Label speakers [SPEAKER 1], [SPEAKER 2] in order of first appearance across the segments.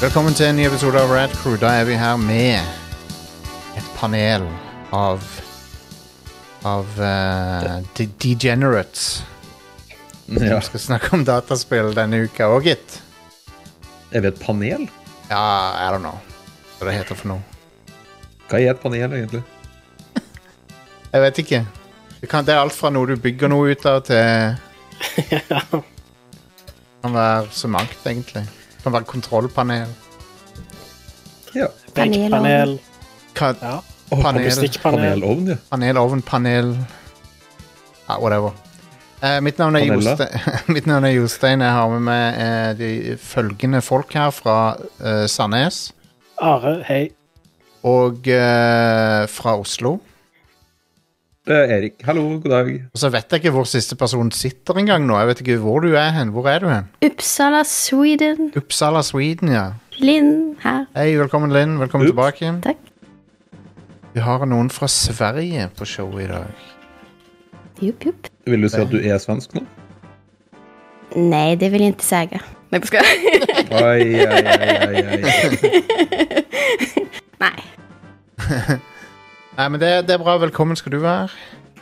[SPEAKER 1] Velkommen til en ny episode av Rad Crew. Da er vi her med et panel av av eh, de degenerates.
[SPEAKER 2] Ja.
[SPEAKER 1] Vi skal snakke om dataspill denne uka òg, gitt.
[SPEAKER 2] Er vi et panel?
[SPEAKER 1] Ja, I don't know hva det heter for noe.
[SPEAKER 2] Hva er et panel, egentlig?
[SPEAKER 1] Jeg vet ikke. Det, kan, det er alt fra noe du bygger noe ut av, til Det kan være så mangt, egentlig. Det kan være kontrollpanel.
[SPEAKER 2] Ja.
[SPEAKER 3] Benkepanel.
[SPEAKER 1] Ka
[SPEAKER 3] Ja.
[SPEAKER 2] Oh,
[SPEAKER 1] panel,
[SPEAKER 3] Logistikkpanel.
[SPEAKER 2] Panelovn, ja.
[SPEAKER 1] panelovn, panel ja, Whatever. Eh, mitt, navn er
[SPEAKER 2] Panella.
[SPEAKER 1] Jostein, mitt navn er Jostein. Jeg har med meg eh, de følgende folk her fra eh, Sandnes
[SPEAKER 3] Are, hei.
[SPEAKER 1] og eh, fra Oslo.
[SPEAKER 2] Det er Erik. Hallo, god dag.
[SPEAKER 1] Og så vet jeg ikke hvor siste person sitter engang nå. Jeg vet ikke hvor du er hen. Hvor er du hen?
[SPEAKER 4] Uppsala, Sweden.
[SPEAKER 1] Uppsala, Sweden, ja.
[SPEAKER 4] Linn her.
[SPEAKER 1] Hei, velkommen Linn. Velkommen
[SPEAKER 2] Ups.
[SPEAKER 1] tilbake.
[SPEAKER 4] Takk.
[SPEAKER 1] Vi har noen fra Sverige på showet i dag.
[SPEAKER 4] Jupp, jupp.
[SPEAKER 2] Vil du si at du er svensk nå?
[SPEAKER 4] Nej, det vill jag inte säga. Nej, jag skojar.
[SPEAKER 2] Oi, oi, oi, oi, oi.
[SPEAKER 4] Nej.
[SPEAKER 1] Nei, men det, det er bra. Velkommen skal du være.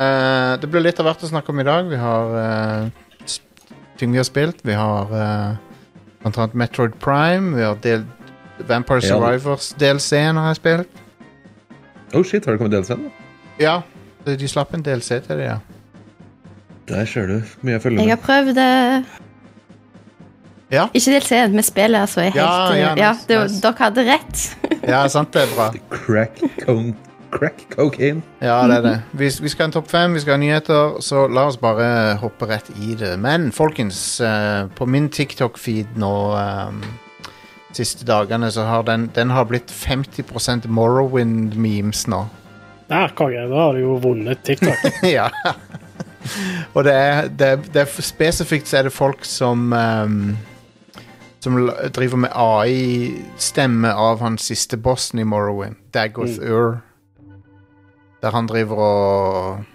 [SPEAKER 1] Eh, det blir litt av hvert å snakke om i dag. Vi har eh, sp- ting vi har spilt. Vi har eh, blant annet Metroid Prime. Vi har del Vampire
[SPEAKER 2] Ja.
[SPEAKER 1] Survivors-DLC-en har jeg spilt.
[SPEAKER 2] Oh shit, har det kommet delscene?
[SPEAKER 1] Ja, de de slapp en DLC til det, ja.
[SPEAKER 2] Der ser du. Mye jeg følger
[SPEAKER 4] Jag har
[SPEAKER 2] med.
[SPEAKER 4] prøvd...
[SPEAKER 1] Ja.
[SPEAKER 4] Ikke dels en, men spillet altså er helt...
[SPEAKER 1] Ja, ja, nice,
[SPEAKER 4] det,
[SPEAKER 1] nice.
[SPEAKER 4] Dere hadde rett.
[SPEAKER 1] Ja, sant det er bra.
[SPEAKER 2] Crack, con crack cocaine.
[SPEAKER 1] Ja, det er det. Vi, vi skal ha en topp fem, vi skal ha nyheter, så la oss bare hoppe rett i det. Men folkens, eh, på min TikTok-feed nå eh, siste dagene, så har den, den har blitt 50 Morrowind-memes nå.
[SPEAKER 3] Der, konge. Da har du jo vunnet TikTok.
[SPEAKER 1] ja. Og det er, det, er- det er spesifikt så er det folk som ehm, Som l- driver med AI-stemme av hans siste bossen i Morrowind, Dagoth Ur. Der han driver og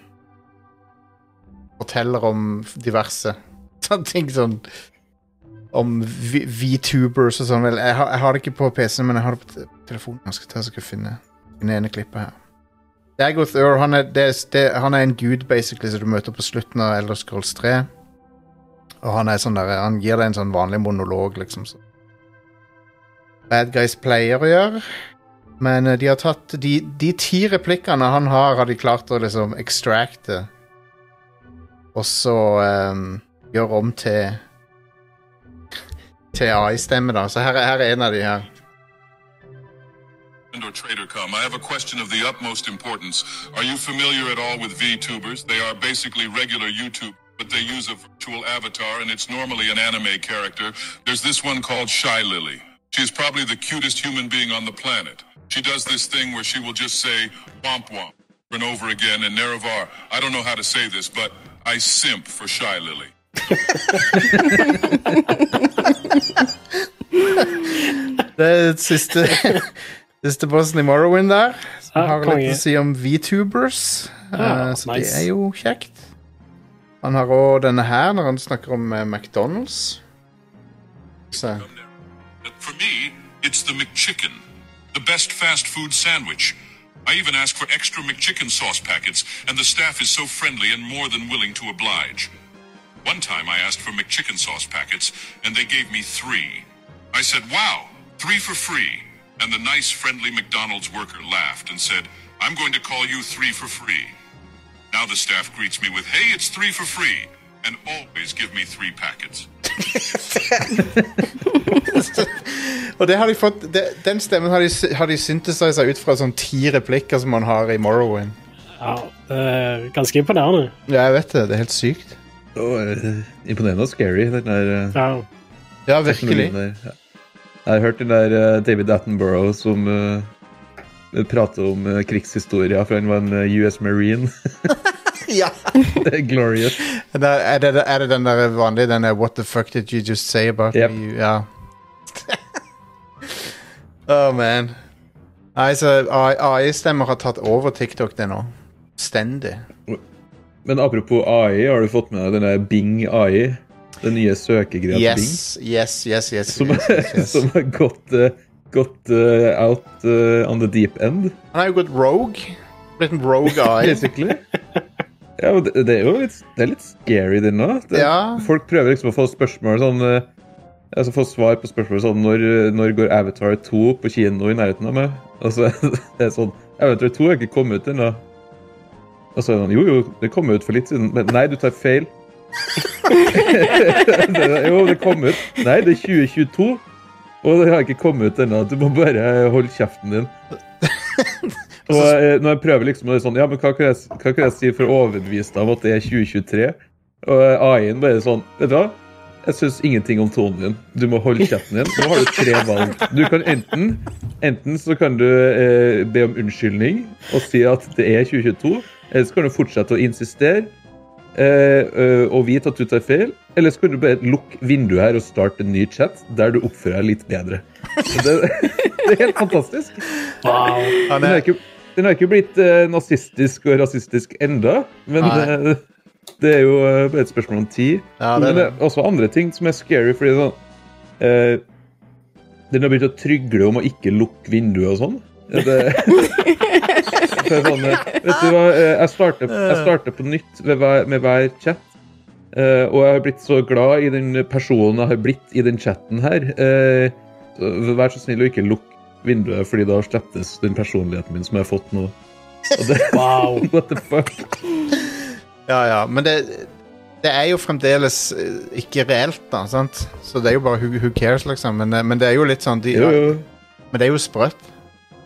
[SPEAKER 1] forteller om diverse sånne ting sånn om v VTubers og sånn. Vel, jeg, har, jeg har det ikke på PC-en, men jeg har det på te- telefonen. Jeg skal ta så skal jeg finne det ene klippet her. Dagoth Ur, han er, det, det, han er en dude basically som du møter på slutten av Elder Scrolls 3. Og han er sånn der, han gir deg en sånn vanlig monolog, liksom. Så. Bad Guys pleier å gjøre. Men eh, de har tatt De, de ti replikkene han har, har de klart å liksom extracte. Og så eh, gjøre om til Til AI-stemme, da. Så her, er- her er en av de her.
[SPEAKER 5] Or trader come. I have a question of the utmost importance. Are you familiar at all with VTubers? They are basically regular YouTube, but they use a virtual avatar, and it's normally an anime character. There's this one called Shy Lily. She's probably the cutest human being on the planet. She does this thing where she will just say womp womp over and over again. And Nerevar, I don't know how to say this, but I simp for Shy Lily.
[SPEAKER 1] Det er siste Siste bossen i Morrowind der. Som
[SPEAKER 3] Ja,
[SPEAKER 1] har
[SPEAKER 3] konge.
[SPEAKER 1] litt å si om VTubers.
[SPEAKER 3] Ja,
[SPEAKER 1] eh, så
[SPEAKER 3] nice.
[SPEAKER 1] det er jo kjekt. Han har òg denne her når han snakker om eh, McDonald's. Så.
[SPEAKER 5] But For me, it's the McChicken, the best fast food sandwich. I even ask for extra McChicken sauce packets, and the staff is so friendly and more than willing to oblige. One time I asked for McChicken sauce packets, and they gave me three. I said, wow, three for free. And the nice, friendly McDonald's worker laughed and said, I'm going to call you three for free. Now the staff greets me with, hey, it's three for free, and always give me three packets.
[SPEAKER 1] Og det har de fått det, Den stemmen har de, sy- har de synthesizer ut fra sånn ti replikker som han har i Morrowind.
[SPEAKER 3] Ja, det er ganske imponerende.
[SPEAKER 1] Ja, jeg vet det. Det er helt sykt.
[SPEAKER 2] Å, eh, imponerende og scary, den der eh,
[SPEAKER 3] Ja.
[SPEAKER 1] Ja, virkelig.
[SPEAKER 2] teknologien der. Ja. Jeg har hørt den der eh, David Attenborough som eh, prater om eh, krigshistorier fra han var en eh, US Marine.
[SPEAKER 1] Ja.
[SPEAKER 2] Det er Glorious.
[SPEAKER 1] Er det, er det- er det den der vanlige den der What the fuck did you just say about
[SPEAKER 2] Yep.
[SPEAKER 1] me? Ja. oh man. Nei, så AI-stemmer har tatt over TikTok det nå. Stendig.
[SPEAKER 2] Men apropos AI, har du fått med deg den der Bing AI? Den nye søkegreia til Bing.
[SPEAKER 1] Yes, yes, yes. yes,
[SPEAKER 2] Som,
[SPEAKER 1] yes, yes, yes.
[SPEAKER 2] som har gått, eh, gått eh, out eh, on the deep end,
[SPEAKER 1] Han har jo gått rogue. Blitt en rogue eye.
[SPEAKER 2] basically. ja, men det, det er jo litt, det er litt scary, den nå. Det-
[SPEAKER 1] Ja.
[SPEAKER 2] Folk prøver liksom å få spørsmål sånn eh, Altså få svar på spørsmål sånn når, når går Avatar 2 på kino i nærheten av meg? Og så det er sånn Avatar 2 har ikke kommet ut ennå. Og så er det sånn Jo, jo, det kom ut for litt siden. Men nei, du tar feil. det, er- jo, det kom ut. Nei, det er 2022. Og det har ikke kommet ut ennå. Du må bare holde kjeften din. Og eh, når jeg prøver liksom å sånn, ja, men hva kan jeg, s- hva kan jeg si for å overbevise deg om at det er 2023? Og AI-en bare sånn Vet du hva? Jeg syns ingenting om tonen din. Du må holde kjeften din. Nå har du tre valg. Du kan enten Enten så kan du eh, be om unnskyldning og si at det er 2022. Eller så kan du fortsette å insistere eh, eh, og vite at du tar feil. Eller så kan du bare lukke vinduet her og starte en ny chat der du oppfører deg litt bedre. Så Det, det er helt fantastisk.
[SPEAKER 3] Wow.
[SPEAKER 1] Han
[SPEAKER 2] Den har
[SPEAKER 1] er,
[SPEAKER 2] ikke, den har ikke blitt eh, nazistisk og rasistisk enda, men
[SPEAKER 1] Nei.
[SPEAKER 2] eh, det er jo eh, bare et spørsmål om tid.
[SPEAKER 1] ja, det
[SPEAKER 2] men
[SPEAKER 1] er
[SPEAKER 2] det
[SPEAKER 1] det.
[SPEAKER 2] er også andre ting som er scary, fordi sånn eh, Den har begynt å trygle om å ikke lukke vinduet og sånn. Det, det er sånn eh, vet du hva, eh, jeg starter, jeg starter på nytt ved hver, med hver chat. eh, og jeg har blitt så glad i den personen jeg har blitt i den chatten her. eh, så vær så snill å ikke lukke vinduet, fordi da slettes den personligheten min som jeg har fått nå. Og det,
[SPEAKER 3] wow.
[SPEAKER 2] what the fuck?
[SPEAKER 1] Ja, ja. Men det, det er jo fremdeles eh, ikke reelt, da. sant? Så det er jo bare who, who cares, liksom. Men, eh, men det er jo litt sånn de,
[SPEAKER 2] Jo, jo.
[SPEAKER 1] Men det er jo sprøtt.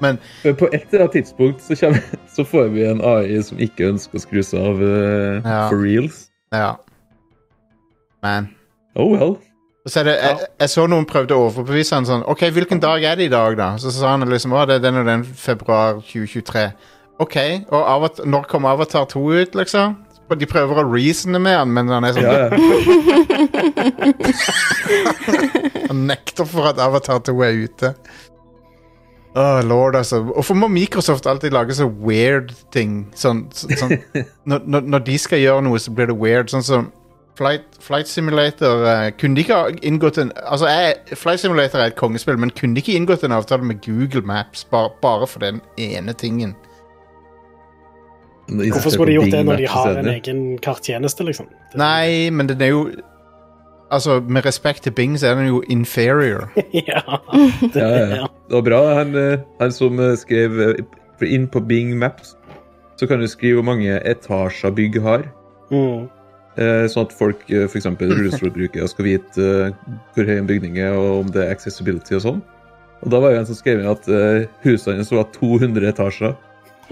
[SPEAKER 2] Men på et eller annet tidspunkt så, kommer, så får vi en AI som ikke ønsker å skru seg av eh,
[SPEAKER 1] Ja.
[SPEAKER 2] for reals.
[SPEAKER 1] Ja. Man.
[SPEAKER 2] Oh well.
[SPEAKER 1] Og så er det, jeg, jeg så noen prøvde å overbevise han sånn OK, hvilken dag er det i dag, da? Så sa han liksom å, det er den og den februar 2023. OK, og Avatar, når kom Avatar 2 ut, liksom? Og De prøver å reasone med han, men han er sånn,
[SPEAKER 2] Ja, ja.
[SPEAKER 1] han nekter for at Avatar 2 er ute. Åh, lord, altså. Hvorfor må Microsoft alltid lage så weird ting? Sånn, så- sånn, når, når, når de skal gjøre noe, så blir det weird. Sånn som Flight, Flight Simulator eh, Kunne de ikke ha inngått en Altså, jeg, Flight Simulator er et kongespill, men kunne de ikke inngått en avtale med Google Maps bare, bare for den ene tingen?
[SPEAKER 3] Hvorfor skulle de gjort det når de har
[SPEAKER 2] sånn.
[SPEAKER 3] en egen karttjeneste, liksom? Det-
[SPEAKER 1] Nei, men den er jo Altså, med respekt til Bing, så er den jo inferior.
[SPEAKER 3] ja. Det,
[SPEAKER 2] Ja, ja.
[SPEAKER 3] ja.
[SPEAKER 2] Det var bra, han, eh, han som eh, skrev eh, for inn på Bing Maps, så kan du skrive hvor mange etasjer bygg har.
[SPEAKER 3] Mm.
[SPEAKER 2] eh, Sånn at folk, eh, for eksempel rullestolbrukere, skal vite eh, hvor høy en bygning er, og om det er accessibility og sånn. Og da var jo en som skrev inn at eh, husene hans var 200 etasjer.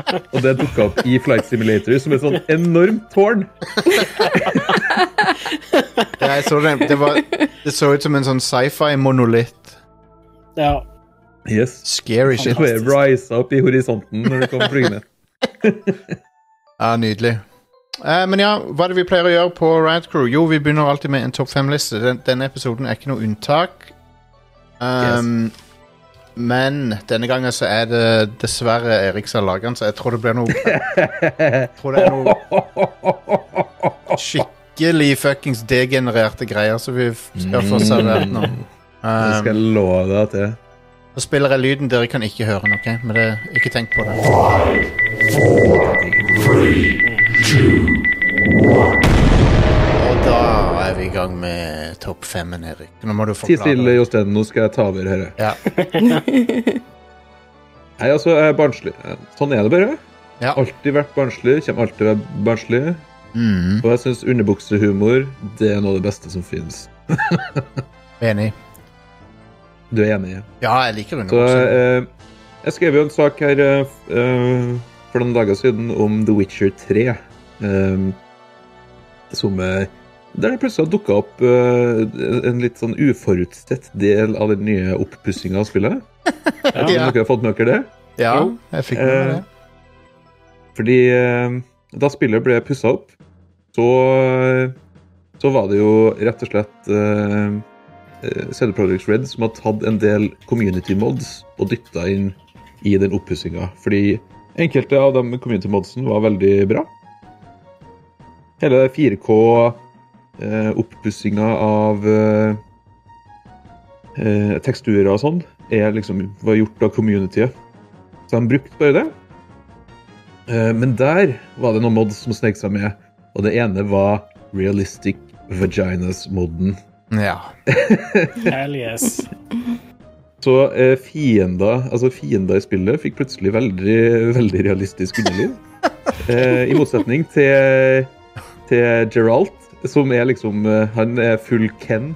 [SPEAKER 2] Og det dukka opp i Flight Simulator som et sånn enormt tårn.
[SPEAKER 1] Ja, jeg så den, det, var, det så ut som en sånn sci-fi-monolitt.
[SPEAKER 3] ja.
[SPEAKER 2] Yes.
[SPEAKER 1] Scary
[SPEAKER 2] Det
[SPEAKER 1] shit.
[SPEAKER 2] bare risa opp i horisonten når det kom flyende.
[SPEAKER 1] Ja, nydelig. Eh, men ja, hva er det vi pleier å gjøre på Rad Crew? Jo, vi begynner alltid med en topp fem-liste. Den, denne episoden er ikke noe unntak. Um, Men denne gangen så er det dessverre Erik som har laget den, så jeg tror det blir noe Jeg tror det er noe skikkelig fuckings degenererte greier som vi f- skal få servert nå.
[SPEAKER 2] Det
[SPEAKER 1] Um,
[SPEAKER 2] skal jeg love deg at det er.
[SPEAKER 1] Nå spiller jeg lyden dere kan ikke høre den, ok? Men det, ikke tenk på det. Og da er vi i gang med topp femmen, Erik. Nå må du
[SPEAKER 2] Ti stille,
[SPEAKER 1] forklare.
[SPEAKER 2] Jostein. Nå skal jeg ta over dette.
[SPEAKER 1] Ja.
[SPEAKER 2] Nei, altså, jeg er barnslig. Sånn er det bare.
[SPEAKER 1] Ja.
[SPEAKER 2] Alltid vært barnslig. Kommer alltid til å være barnslig.
[SPEAKER 1] Mm,
[SPEAKER 2] Og jeg syns underbuksehumor det er noe av det beste som fins.
[SPEAKER 1] enig.
[SPEAKER 2] Du er enig?
[SPEAKER 1] Ja, jeg liker
[SPEAKER 2] Så
[SPEAKER 1] underbukser.
[SPEAKER 2] eh, jeg skrev jo en sak her eh, f- eh, for noen dager siden om The Witcher 3. Eh, som eh, Der det plutselig har dukka opp eh, en litt sånn uforutsett del av den nye oppussinga av spillet. Jeg vet ikke
[SPEAKER 1] Ja.
[SPEAKER 2] om dere har fått med dere det?
[SPEAKER 1] Ja,
[SPEAKER 3] jo.
[SPEAKER 1] jeg fikk med meg det.
[SPEAKER 2] Fordi eh, da spillet ble pussa opp, så, eh, så var det jo rett og slett eh, eh, CD Projekt Red som har tatt en del community mods og dytta inn i den oppussinga. Fordi enkelte av de community modsene var veldig bra. Hele 4K eh, oppussinga av eh, eh, teksturer og sånn, er liksom, var gjort av communityet. Så de brukte bare det. Eh, men der var det noen mods som snek seg med, og det ene var Realistic Vaginas-moden.
[SPEAKER 1] Ja.
[SPEAKER 3] Hell yes.
[SPEAKER 2] Så eh, fiender, altså fiender i spillet fikk plutselig veldig, veldig realistisk underliv. Eh, I motsetning til, til Geralt, som er liksom eh, Han er full Ken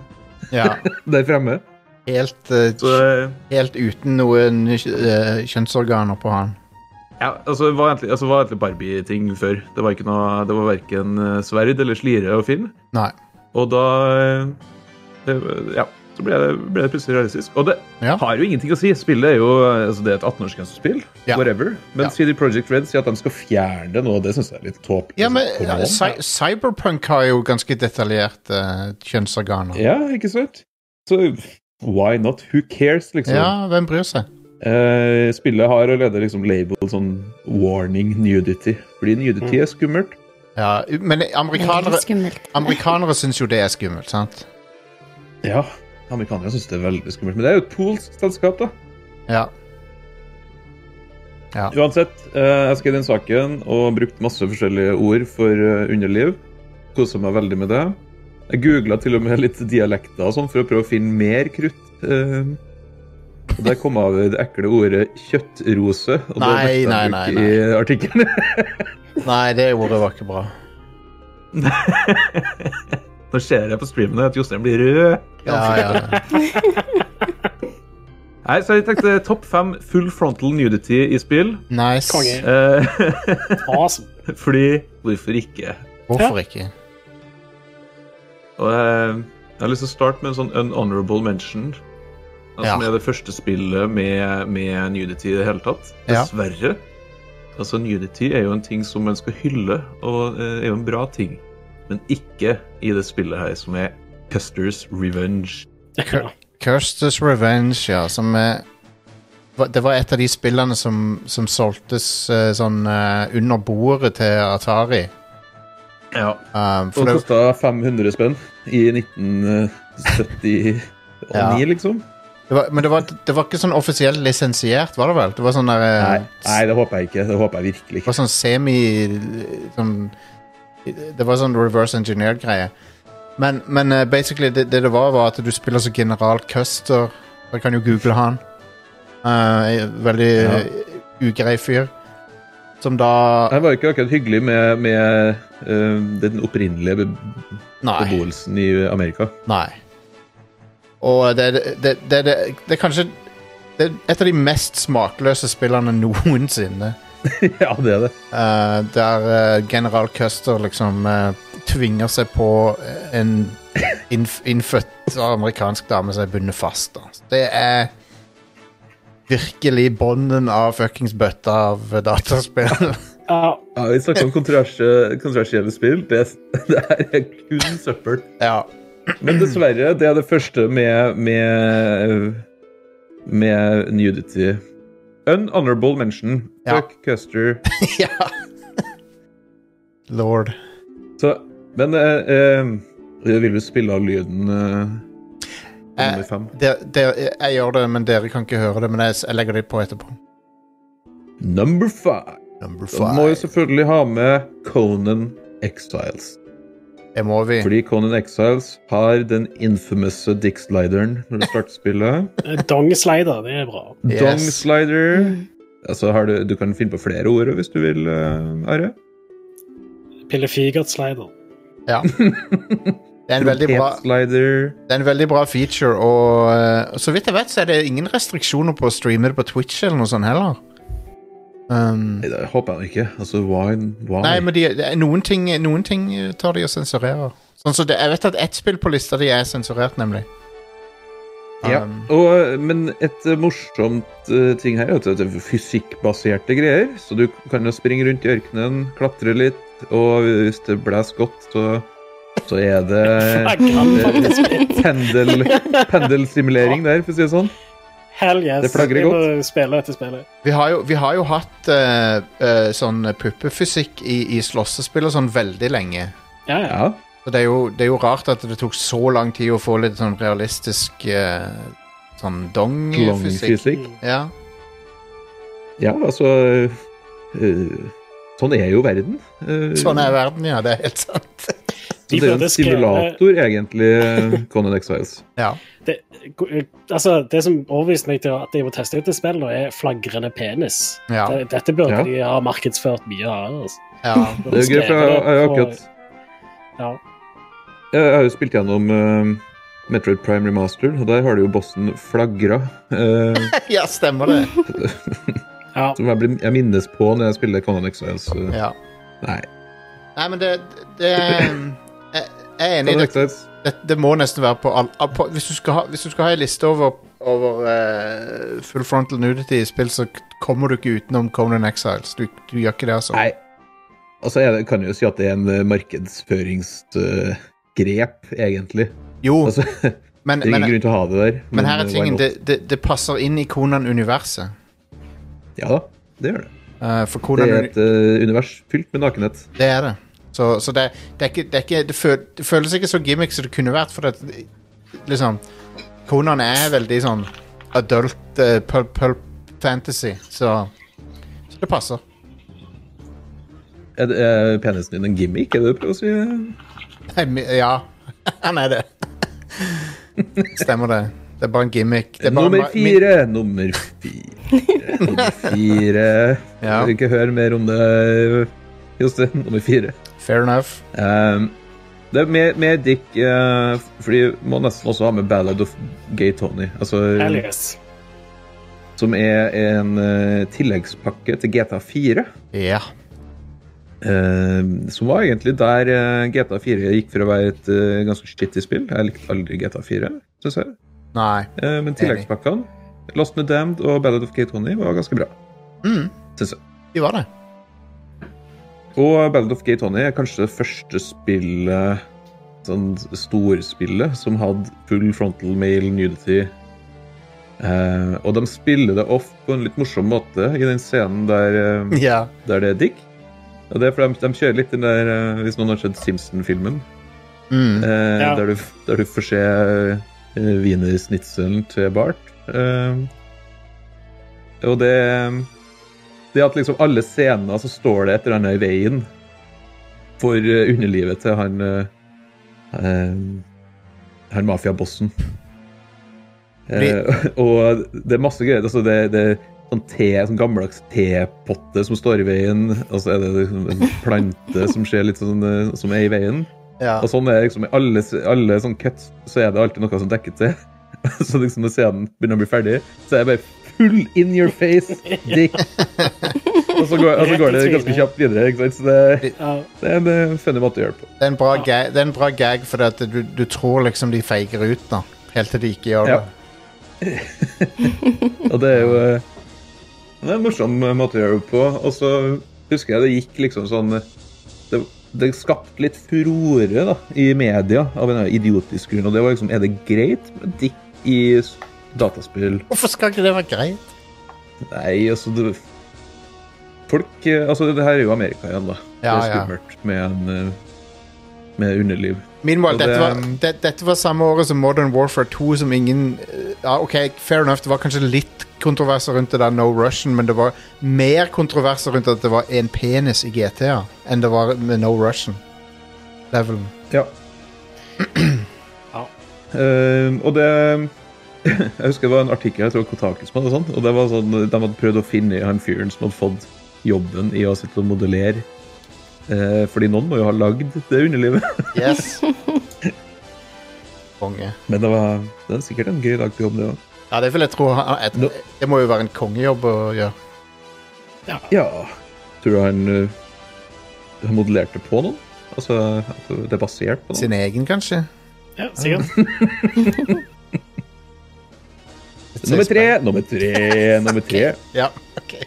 [SPEAKER 1] ja.
[SPEAKER 2] der fremme.
[SPEAKER 1] Helt, eh,
[SPEAKER 2] Så eh,
[SPEAKER 1] helt uten noen eh, kjønnsorganer på han.
[SPEAKER 2] ja, altså, det var egentlig, altså, det var egentlig Barbie-ting før. Det var, ikke noe, det var verken eh, sverd eller slire å finne.
[SPEAKER 1] Nei.
[SPEAKER 2] Og da eh, eh, Ja, så ble det, ble det plutselig realistisk. Og det
[SPEAKER 1] Ja.
[SPEAKER 2] har jo ingenting å si. Spillet er jo altså det er et 18-årsgrensespill.
[SPEAKER 1] Ja.
[SPEAKER 2] Whatever. Men
[SPEAKER 1] Ja.
[SPEAKER 2] CD Project Red sier at de skal fjerne det nå. Det syns jeg er litt tåpelig.
[SPEAKER 1] Ja, men
[SPEAKER 2] Come on.
[SPEAKER 1] eh, cy Cyberpunk har jo ganske detaljerte eh, kjønnsorganer.
[SPEAKER 2] Ja, ikke sant? Så why not? Who cares, liksom?
[SPEAKER 1] Ja, hvem bryr seg?
[SPEAKER 2] Eh, spillet har allerede liksom label sånn warning nudity. Fordi
[SPEAKER 1] Mm.
[SPEAKER 2] nudity er skummelt.
[SPEAKER 1] Ja, men amerikanere,
[SPEAKER 4] Veldig skummelt.
[SPEAKER 1] amerikanere syns jo det er skummelt, sant?
[SPEAKER 2] Ja, amerikanere syns det er veldig skummelt. Men det er jo et polsk selskap, da.
[SPEAKER 1] Ja. Ja.
[SPEAKER 2] Uansett, eh, jeg skrev den saken og brukte masse forskjellige ord for eh, underliv. Kosa meg veldig med det. Jeg googla til og med litt dialekter og sånn for å prøve å finne mer krutt. eh, og der kom jeg over det ekle ordet 'kjøttrose'. Og det
[SPEAKER 1] Nei,
[SPEAKER 2] nekta jeg
[SPEAKER 1] nei,
[SPEAKER 2] å bruke
[SPEAKER 1] nei,
[SPEAKER 2] i artikkelen.
[SPEAKER 1] Nei, det ordet var ikke bra.
[SPEAKER 2] Nå ser jeg på streamen at Jostein blir rød.
[SPEAKER 1] Ja, ja.
[SPEAKER 2] Nei, så jeg tenkte eh, topp fem full frontal nudity i spill.
[SPEAKER 1] Nice.
[SPEAKER 3] Konge.
[SPEAKER 2] Eh,
[SPEAKER 3] Awesome.
[SPEAKER 2] fordi hvorfor ikke?
[SPEAKER 1] Hvorfor ikke?
[SPEAKER 2] Og eh, jeg har lyst til å starte med en sånn unhonorable mention. Altså,
[SPEAKER 1] Ja.
[SPEAKER 2] Som er det første spillet med, med nudity i det hele tatt.
[SPEAKER 1] Ja.
[SPEAKER 2] Dessverre. Altså, nudity er jo en ting som man skal hylle, og eh, er jo en bra ting. Men ikke i det spillet her, som er Custer's Revenge.
[SPEAKER 3] Ja.
[SPEAKER 1] Kirsters Revenge, ja, som er hva- Det var et av de spillene som, som solgtes eh, sånn eh, under bordet til Atari.
[SPEAKER 2] Ja.
[SPEAKER 1] Um, for
[SPEAKER 2] Og
[SPEAKER 1] det,
[SPEAKER 2] kosta 500 spenn i 1979,
[SPEAKER 1] Ja.
[SPEAKER 2] liksom.
[SPEAKER 1] det var, men det var, det var ikke sånn offisielt lisensiert, var det vel? Det var sånn der eh,
[SPEAKER 2] Nei, nei, det håper jeg ikke. Det håper jeg virkelig
[SPEAKER 1] Det var
[SPEAKER 2] ikke.
[SPEAKER 1] sånn semi sånn, Det var sånn reverse engineer-greie. Men, men eh, basically det, det det var, var at du spiller som general Custer. Dere kan jo google han. Eh, veldig
[SPEAKER 2] Ja.
[SPEAKER 1] eh, ugrei fyr. Som da
[SPEAKER 2] Det var jo ikke akkurat hyggelig med, med eh, den opprinnelige be-
[SPEAKER 1] Nei.
[SPEAKER 2] beboelsen i Amerika.
[SPEAKER 1] nei. Og det, det, det, det, det, det er kanskje det er et av de mest smakløse spillene noensinne.
[SPEAKER 2] ja, det er det.
[SPEAKER 1] Eh, der eh, general Custer liksom eh, tvinger seg på eh, en innf innfødt amerikansk dame som er bundet fast. Da. Så Det er virkelig bånden av fuckings bøtta av dataspill.
[SPEAKER 3] Ja,
[SPEAKER 2] Ja, vi snakker om kontroverse- kontroversielle spill. Det, det her er kun søppel.
[SPEAKER 1] ja.
[SPEAKER 2] Men dessverre, det er det første med, med, eh, med nudity. Unhonorable mention.
[SPEAKER 1] Ja.
[SPEAKER 2] Fuck Custer.
[SPEAKER 1] ja. Lord. Eh,
[SPEAKER 2] Så, men eh, eh, vil du spille av lyden eh,
[SPEAKER 1] Eh,
[SPEAKER 2] nummer fem?
[SPEAKER 1] Der, der, jeg gjør det, men dere kan ikke høre det. Men jeg, jeg legger det på etterpå.
[SPEAKER 2] Number five.
[SPEAKER 1] Number
[SPEAKER 2] Så må jo selvfølgelig ha med Conan Exiles.
[SPEAKER 1] Det må vi.
[SPEAKER 2] Fordi Conan Exiles har den infamous dick-slideren når du starter spillet.
[SPEAKER 3] Dong slider, det er bra.
[SPEAKER 1] Yes.
[SPEAKER 2] Dong-slider.
[SPEAKER 3] Mm.
[SPEAKER 2] Altså, har du, du kan finne på flere ord hvis du vil, eh, Are.
[SPEAKER 3] Pillefigert slider.
[SPEAKER 1] Ja. Det er en veldig bra
[SPEAKER 2] Trompet-slider.
[SPEAKER 1] Det er en veldig bra feature, og eh, så vidt jeg vet, så er det ingen restriksjoner på å streame det på Twitch eller noe sånt heller. Um,
[SPEAKER 2] Nei, det håper jeg ikke. Altså, why? why?
[SPEAKER 1] nei, men de, det er noen, ting, noen ting eh, tar de og sensurerer. Sånn, så det, jeg vet at ett spill på lista di er sensurert, nemlig.
[SPEAKER 2] ja.
[SPEAKER 1] Um,
[SPEAKER 2] Og, men et eh, morsomt eh, ting her er at det er fysikkbaserte greier. Så du kan jo springe rundt i ørkenen, klatre litt, og hvis det blæs godt, så, så er det
[SPEAKER 3] Jeg kan faktisk
[SPEAKER 2] Eh, pendel, pendelsimulering der, for å si det sånn.
[SPEAKER 3] Hell yes.
[SPEAKER 2] Det flagrer
[SPEAKER 3] Jeg må
[SPEAKER 2] godt.
[SPEAKER 3] Spille etter spillet.
[SPEAKER 1] vi, har jo, vi har jo hatt eh, eh, sånn puppefysikk i, i slåssespill og sånn veldig lenge.
[SPEAKER 3] Ja, ja.
[SPEAKER 2] Ja.
[SPEAKER 1] Så det er, jo, det er jo rart at det tok så lang tid å få litt sånn realistisk eh, sånn dong-fysikk.
[SPEAKER 2] Klangfysikk.
[SPEAKER 3] Mm.
[SPEAKER 1] Ja.
[SPEAKER 2] Ja, altså eh, Sånn er jo verden. Eh,
[SPEAKER 1] Sånn er verden, ja. Det er helt sant.
[SPEAKER 2] Så
[SPEAKER 3] De
[SPEAKER 2] det er jo en
[SPEAKER 3] prøvde å skreve-
[SPEAKER 2] simulator, egentlig, eh, Conan Exiles.
[SPEAKER 1] Ja.
[SPEAKER 3] det, altså, det som overbeviste meg til at jeg må teste ut det spillet, nå, er flagrende penis.
[SPEAKER 1] Ja.
[SPEAKER 3] Det- Dette burde
[SPEAKER 2] Ja.
[SPEAKER 3] de ha markedsført mye hardere. altså.
[SPEAKER 1] ja.
[SPEAKER 2] Det er jo gøy, for jeg, jeg, har
[SPEAKER 3] Skrevet
[SPEAKER 2] akkurat,
[SPEAKER 3] på- Ja.
[SPEAKER 2] jeg har jo spilt gjennom eh, Metroid Prime Remaster, og der har du jo bossen flagra. eh,
[SPEAKER 1] ja, stemmer det.
[SPEAKER 3] ja.
[SPEAKER 2] som jeg, blir, jeg minnes på når jeg spiller Conan Exiles. eh,
[SPEAKER 1] Ja.
[SPEAKER 2] Nei.
[SPEAKER 1] Nei, men det, det er Jeg jeg er enig i
[SPEAKER 2] Conan
[SPEAKER 1] det.
[SPEAKER 2] Exiles.
[SPEAKER 1] Det, det må nesten være på all all- på, hvis, du skal ha, hvis du skal ha en liste over, over eh, full frontal nudity i spill, så k- kommer du ikke utenom Conan Exiles. Du, du gjør ikke det, altså.
[SPEAKER 2] Nei. Altså, jeg kan jo si at det er en eh, markedsføringsgrep, egentlig.
[SPEAKER 1] Jo,
[SPEAKER 2] Altså,
[SPEAKER 1] men,
[SPEAKER 2] det er ingen
[SPEAKER 1] men,
[SPEAKER 2] grunn til å ha det der.
[SPEAKER 1] men her er
[SPEAKER 2] eh, why
[SPEAKER 1] tingen.
[SPEAKER 2] not?
[SPEAKER 1] Det, det, det passer inn i Conan-universet.
[SPEAKER 2] Ja da, det gjør det.
[SPEAKER 1] Eh, for
[SPEAKER 2] Det
[SPEAKER 1] Conan
[SPEAKER 2] er et eh, univers fylt med nakenhet.
[SPEAKER 1] Det er det. Så, så det, det, er ikke, det, er ikke, det, føl, det føles ikke så gimmick som det kunne vært, for at liksom Konan er veldig sånn adult eh, pulp, pulp fantasy, så, så det passer.
[SPEAKER 2] Er, det- er penisen din en gimmick? Er det det du prøver å si?
[SPEAKER 1] Nei, mi- Ja, han er det. Stemmer det. Det er bare en gimmick. Det er bare
[SPEAKER 2] Nummer
[SPEAKER 1] ma- mi-
[SPEAKER 2] fire! Nummer fire. Nummer fire.
[SPEAKER 1] Ja.
[SPEAKER 2] Jeg vil ikke høre mer om det, Jostein. Nummer fire.
[SPEAKER 1] Fair enough.
[SPEAKER 2] Ehm, det er mer, mer dick, eh, fordi må nesten også ha med Ballad of Gay Tony. Altså,
[SPEAKER 3] Hell yes.
[SPEAKER 2] som er en eh, tilleggspakke til GTA4.
[SPEAKER 1] Ja.
[SPEAKER 2] Eh, som var egentlig der eh, GTA4 gikk for å være et eh, ganske skittig spill. Jeg likte aldri GTA4, synes jeg.
[SPEAKER 1] Nei.
[SPEAKER 2] Eh, men tilleggspakkene, Lost and Damned og Ballad of Gay Tony, var ganske bra.
[SPEAKER 1] Mm,
[SPEAKER 2] Synes jeg.
[SPEAKER 1] de var det.
[SPEAKER 2] Og Ballad of Gay Tony er kanskje det første spillet Sånn storspillet som hadde full frontal male nudity. Eh, og de spiller det off på en litt morsom måte i den scenen der eh,
[SPEAKER 1] Ja.
[SPEAKER 2] der det er dick. Og det er fordi de, de kjører litt den der eh, Hvis noen har sett Simpson-filmen,
[SPEAKER 1] Mm.
[SPEAKER 2] eh,
[SPEAKER 3] Ja.
[SPEAKER 2] der, du, der du får se eh, wienersnitselen til Bart. Eh, og det Det at liksom alle scener så står det et eller annet i veien for eh, underlivet til han eh, eh, Han mafiabossen. Eh, og det er masse greier. Altså det, det er sånn, te, sånn gammeldags tepotte som står i veien, og så er det liksom en plante som ser litt sånn eh, Som er i veien.
[SPEAKER 1] Ja.
[SPEAKER 2] Og sånn er det liksom i alle, alle sånn cuts, så er det alltid noe som dekker til. Så liksom når scenen begynner å bli ferdig, så er det bare full in your face dick. Og så går, og så går det ganske kjapt videre. ikke sant? Så det,
[SPEAKER 3] Ja.
[SPEAKER 2] det er en eh, funny måte å gjøre det på.
[SPEAKER 1] Det er en bra gag, det er en bra gag fordi at du, du tror liksom de feiger ut nå, helt til de ikke gjør det.
[SPEAKER 2] Ja. Og det er jo eh, Det er en morsom eh, måte å gjøre det på. Og så husker jeg det gikk liksom sånn eh, Det, det skapte litt furore da, i media av en idiotisk grunn. Og det var liksom Er det greit med dick i s- dataspill?
[SPEAKER 1] Hvorfor skal ikke det være greit?
[SPEAKER 2] Nei, altså det, Folk eh, Altså, det her er jo Amerika igjen, da.
[SPEAKER 1] Ja,
[SPEAKER 2] det er
[SPEAKER 1] ja.
[SPEAKER 2] skummelt med en eh, med underliv.
[SPEAKER 1] Meanwhile,
[SPEAKER 2] Og det-
[SPEAKER 1] dette var, det, dette var samme året som Modern Warfare 2, som ingen eh, Ja, OK, fair enough, det var kanskje litt kontroverser rundt det der No Russian, men det var mer kontroverser rundt at det var en penis i GTA enn det var med No Russian-levelen.
[SPEAKER 2] Ja.
[SPEAKER 3] Ja.
[SPEAKER 2] Ehm, og det Jeg husker det var en artikkel jeg tror Kotaku som hadde sånn, og det var sånn, de hadde prøvd å finne han fyren som hadde fått jobben i å sitte og modellere. Eh, fordi noen må jo ha lagd det underlivet.
[SPEAKER 1] Yes. Konge.
[SPEAKER 2] Men det var, det er sikkert en gøy dag på jobb, det òg.
[SPEAKER 1] Ja, det vil jeg tro. han- et-
[SPEAKER 2] No.
[SPEAKER 1] Det må jo være en kongejobb å gjøre.
[SPEAKER 2] Ja. Tror du han eh, han modellerte på noen? Altså at det er basert på noen?
[SPEAKER 1] Sin egen, kanskje?
[SPEAKER 3] ja, sikkert.
[SPEAKER 2] Nummer tre, nummer tre, nummer tre.
[SPEAKER 1] Ja, ok.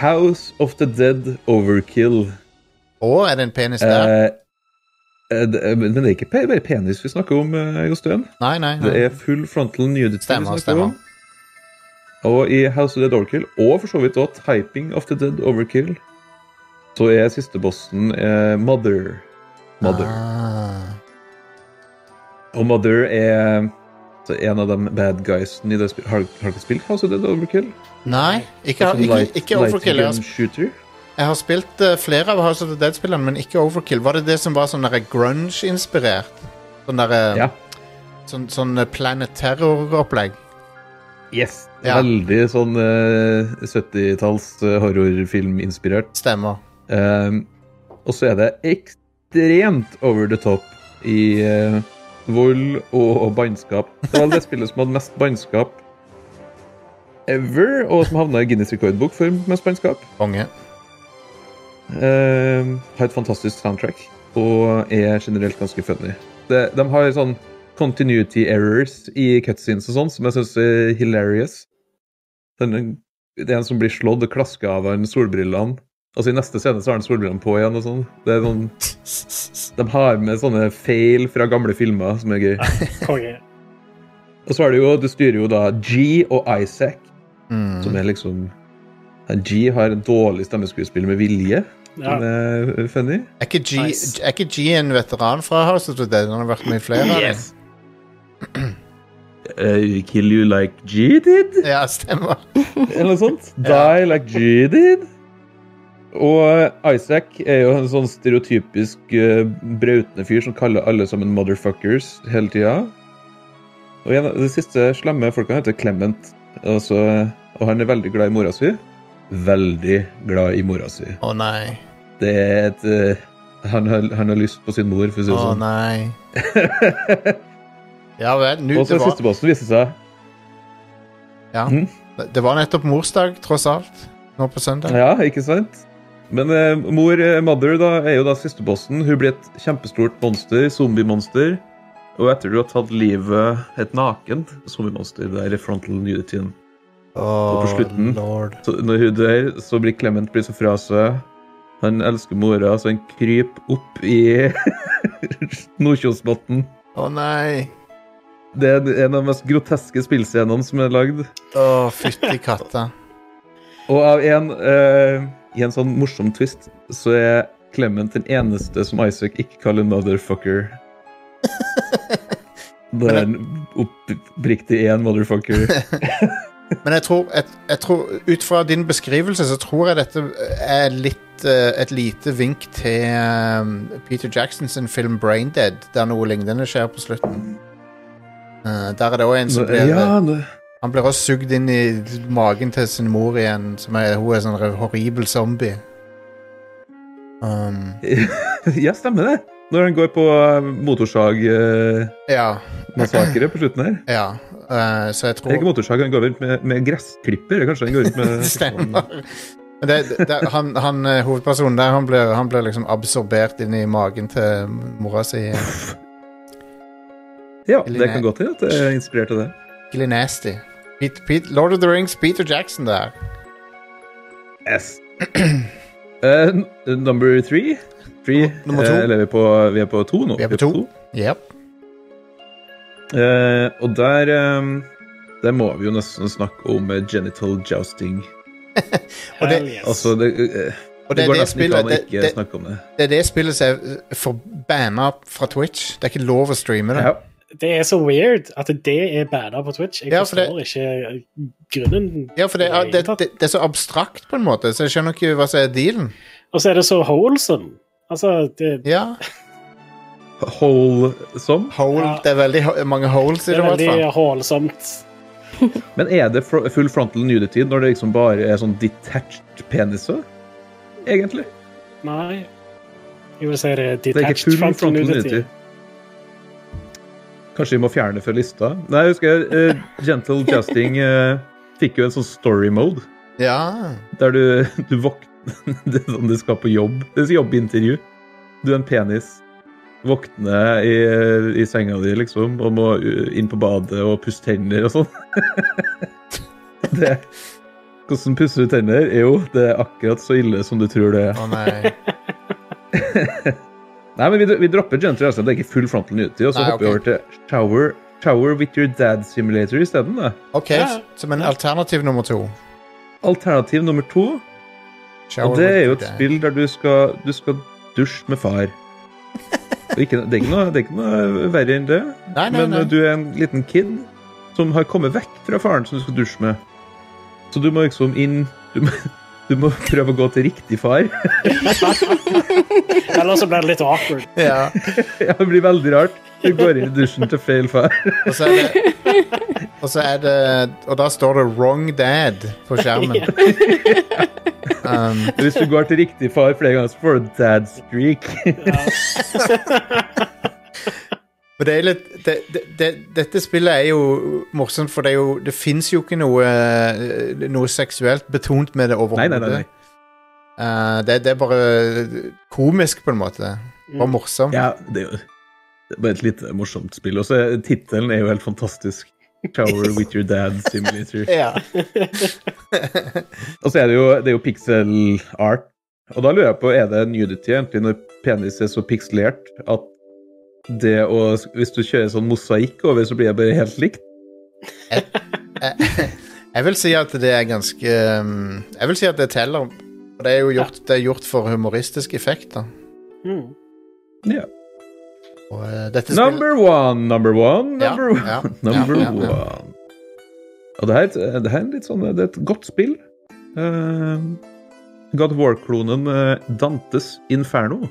[SPEAKER 2] House of the Dead Overkill.
[SPEAKER 1] Å, er det en penis der?
[SPEAKER 2] Eh, eh, det- eh, men det er ikke pe- bare penis vi snakker om, eh, Jostein.
[SPEAKER 1] nei, nei. nei.
[SPEAKER 2] Det er full frontal nudity
[SPEAKER 1] Stemmer,
[SPEAKER 2] vi snakker
[SPEAKER 1] stemmer.
[SPEAKER 2] om. Og i House of the Dead Overkill, og for så vidt også Typing of the Dead Overkill, så er sistebossen eh, Mother. Mother.
[SPEAKER 1] Ah.
[SPEAKER 2] Og Mother er så en av de bad guysene i det spillet. Har, har dere spilt House of Dead Overkill?
[SPEAKER 1] Nei, ikke,
[SPEAKER 2] Sånn
[SPEAKER 1] ikke,
[SPEAKER 2] light-
[SPEAKER 1] ikke Overkill. Jeg
[SPEAKER 2] light
[SPEAKER 1] har,
[SPEAKER 2] gun shooter?
[SPEAKER 1] sp- jeg har spilt eh, flere av House of the Dead-spillene, men ikke Overkill. Var det det som var sånn derre grunge-inspirert? Sånn derre-
[SPEAKER 2] Ja.
[SPEAKER 1] sånn, sånn eh, Planet Terror-opplegg?
[SPEAKER 2] Yes.
[SPEAKER 1] Ja.
[SPEAKER 2] Veldig sånn eh, 70-talls eh, horrorfilm-inspirert.
[SPEAKER 1] Stemmer.
[SPEAKER 2] Um, og så er det ekstremt over the top i eh, vold og, og bannskap. Det var det spillet som hadde mest bannskap ever, og som havna i Guinness rekordbok for mest bannskap.
[SPEAKER 1] Konge.
[SPEAKER 2] Um, har et fantastisk soundtrack og er generelt ganske funny. Det, de har sånn continuity errors i cutscenes og sånn, som jeg syns er hilarious. Den, det er en som blir slått og klasker av han solbrillene. Altså I neste scene så har han solbrillene på igjen. og sånn. Det er sånn de har med sånne feil fra gamle filmer som er gøy.
[SPEAKER 3] Konge.
[SPEAKER 2] Og så er det jo, du styrer jo da G og Isaac, som
[SPEAKER 1] Mm.
[SPEAKER 2] er liksom ja, G har en dårlig stemmeskuespill med vilje,
[SPEAKER 3] Ja.
[SPEAKER 2] som er funny.
[SPEAKER 1] Er ikke G-
[SPEAKER 3] Nice.
[SPEAKER 1] er ikke G en veteran fra House of the Dead? Han har vært med i flere av dem.
[SPEAKER 2] Uh, kill you like G did?
[SPEAKER 1] Ja, stemmer.
[SPEAKER 2] Eller noe sånt. Die like G did. Og eh, Isaac er jo en sånn stereotypisk eh, brautende fyr som kaller alle sammen motherfuckers hele tida. Og en av de siste slemme folka heter Clement, altså, og han er veldig glad i mora si. Veldig glad i mora si.
[SPEAKER 1] Å nei.
[SPEAKER 2] Det er et eh, han, har, han har lyst på sin mor, for å si
[SPEAKER 1] Å
[SPEAKER 2] det sånn.
[SPEAKER 1] nei. Ja vel. Nu,
[SPEAKER 2] og så
[SPEAKER 1] det,
[SPEAKER 2] den
[SPEAKER 1] var,
[SPEAKER 2] siste bossen viste seg
[SPEAKER 1] det var nettopp morsdag, tross alt. Nå på søndag.
[SPEAKER 2] Ja, ikke sant? Men eh, mor eh, Mother da, er jo da sistebossen. Hun blir et kjempestort monster, zombiemonster. Og etter du har tatt livet et nakent zombiemonster, det er frontal nudityen.
[SPEAKER 1] Å,
[SPEAKER 2] Og på slutten.
[SPEAKER 1] lord.
[SPEAKER 2] Så når hun dør, så blir Clement blir så fra seg. Han elsker mora, så han kryper opp i Nordkjosbotn.
[SPEAKER 1] Å nei.
[SPEAKER 2] Det er en av de mest groteske spillscenene som er lagd.
[SPEAKER 1] Å, fytti katta.
[SPEAKER 2] Og av en, eh, i en sånn morsom twist så er Clement den eneste som Isaac ikke kaller motherfucker. Da er han oppriktig én motherfucker.
[SPEAKER 1] Men jeg tror, jeg, jeg tror Ut fra din beskrivelse så tror jeg dette er litt eh, et lite vink til eh, Peter Jacksons film 'Braindead', der noe lignende skjer på slutten. Eh, der er det òg en som blir
[SPEAKER 2] Ja, det,
[SPEAKER 1] Han blir også sugd inn i magen til sin mor igjen, som er hun er sånn re- horribel zombie. Um,
[SPEAKER 2] ja, stemmer det. Når han går på eh, motorsagmassakre
[SPEAKER 1] ja.
[SPEAKER 2] på slutten her.
[SPEAKER 1] Ja. eh, så jeg
[SPEAKER 2] Det er ikke
[SPEAKER 1] tror
[SPEAKER 2] motorsag, han går rundt med, med gressklipper. Kanskje han går rundt med
[SPEAKER 1] Stemmer. Men det, det, han, han eh, hovedpersonen der, han blir, han blir liksom absorbert inn i magen til mora si.
[SPEAKER 2] Ja, det kan godt hende at det er inspirert av det.
[SPEAKER 1] Skikkelig nasty. Pete, Pete, Lord of the Rings, Peter Jackson der.
[SPEAKER 2] Yes. Eh, n- number three. three.
[SPEAKER 1] Nummer to.
[SPEAKER 2] Eh, eller vi er, på, vi er på to nå.
[SPEAKER 1] Vi er på to. Yep.
[SPEAKER 2] Eh, og der eh, Der må vi jo nesten snakke om eh, genital jousting.
[SPEAKER 1] Og det-
[SPEAKER 3] Hell yes.
[SPEAKER 2] Altså, det, eh,
[SPEAKER 1] Og
[SPEAKER 2] det
[SPEAKER 1] det, er
[SPEAKER 2] går
[SPEAKER 1] det,
[SPEAKER 2] nesten ikke
[SPEAKER 1] spillet,
[SPEAKER 2] an å
[SPEAKER 1] det,
[SPEAKER 2] ikke
[SPEAKER 1] det,
[SPEAKER 2] snakke om det.
[SPEAKER 1] det er det spillet som er forbanna fra Twitch. Det er ikke lov å streame det.
[SPEAKER 2] Ja.
[SPEAKER 3] Det er så weird at det er banna på Twitch. Jeg
[SPEAKER 1] Ja, for det-
[SPEAKER 3] forstår ikke grunnen.
[SPEAKER 1] Ja, for det er, det, det, det er så abstrakt på en måte, så jeg skjønner ikke hva som er dealen.
[SPEAKER 3] Og så er det så wholesome. Altså, det,
[SPEAKER 1] Ja,
[SPEAKER 2] Wholesome.
[SPEAKER 1] hole,
[SPEAKER 3] Ja.
[SPEAKER 1] Det er veldig ho- mange holes i det,
[SPEAKER 3] det er
[SPEAKER 1] i hvert fall.
[SPEAKER 3] veldig hålsomt.
[SPEAKER 2] Men er det fro- full frontal nudity når det liksom bare er sånn detached peniser? Egentlig.
[SPEAKER 3] Nei. Jeg vil si det er
[SPEAKER 2] Det er ikke
[SPEAKER 3] detached
[SPEAKER 2] full
[SPEAKER 3] frontal
[SPEAKER 2] frontal
[SPEAKER 3] nudity.
[SPEAKER 2] nudity. Kanskje vi må fjerne det fra lista? Nei, jeg husker eh, Gentle Justing eh, fikk jo en sånn story mode,
[SPEAKER 1] Ja.
[SPEAKER 2] der du, du våkner Det er sånn du skal på jobb. Det er sånn jobbintervju. Du er en penis. Våkner i, i senga di, liksom, og må uh, inn på badet og pusse tenner og sånn. det Hvordan pusser du tenner? Jo, det er akkurat så ille som du tror det er.
[SPEAKER 1] Å nei.
[SPEAKER 2] Nei, men vi, vi dropper Gentle Jousting. Det er ikke full frontal nudity. Og så
[SPEAKER 1] Nei,
[SPEAKER 2] hopper vi
[SPEAKER 1] ok.
[SPEAKER 2] over til Shower, shower with your dad simulator isteden. da.
[SPEAKER 1] OK,
[SPEAKER 3] Ja.
[SPEAKER 1] som en alternativ nummer to.
[SPEAKER 2] Alternativ nummer to,
[SPEAKER 1] Shower
[SPEAKER 2] og det er jo
[SPEAKER 1] with
[SPEAKER 2] et
[SPEAKER 1] the-
[SPEAKER 2] spill der du skal, du skal dusje med far. Det er ikke, det er ikke, noe, det er ikke noe verre enn det.
[SPEAKER 1] Nei, nei,
[SPEAKER 2] Men
[SPEAKER 1] nei.
[SPEAKER 2] eh, du er en liten kid som har kommet vekk fra faren som du skal dusje med. Så du må liksom inn Du må, du må prøve å gå til riktig far.
[SPEAKER 3] Eller så blir det litt awkward.
[SPEAKER 1] Ja.
[SPEAKER 2] Ja, det blir veldig rart. Du går inn i dusjen til feil far.
[SPEAKER 1] Og så er det Og så er det Og da står det 'Wrong Dad' på skjermen. Um,
[SPEAKER 2] Hvis du går til riktig far flere ganger, så får du dad streak.
[SPEAKER 1] men det er litt det, det, det, Dette spillet er jo morsomt, for det, er jo, det fins jo ikke noe eh, Noe seksuelt betont med det
[SPEAKER 2] Nei, nei, nei.
[SPEAKER 1] overhodet.
[SPEAKER 2] nei.
[SPEAKER 1] Eh, det, det er bare eh, komisk, på en måte. Bare morsomt.
[SPEAKER 2] Ja, det er jo det er bare et litt morsomt spill. Og så er- tittelen er jo helt fantastisk. Shower with your dad simulator.
[SPEAKER 1] Ja.
[SPEAKER 2] Og så er det jo, det er jo pixel art. Og da lurer jeg på, er det nudity egentlig når penis er så pikselert at det å Hvis du kjører sånn mosaikk over, så blir det bare helt likt?
[SPEAKER 1] jeg, jeg vil si at det er ganske um, Jeg vil si at det teller. Og det er jo gjort, det er gjort for humoristisk effekt, da.
[SPEAKER 3] Mm.
[SPEAKER 2] Ja.
[SPEAKER 1] Og, eh, dette spillet-
[SPEAKER 2] Number one, number one,
[SPEAKER 1] Ja,
[SPEAKER 2] number
[SPEAKER 1] ja,
[SPEAKER 2] one. number
[SPEAKER 1] ja, ja, ja.
[SPEAKER 2] one. Og det her, er et- det her er en litt sånn Det er et godt spill. Eh, God of War-klonen eh, Dantes Inferno.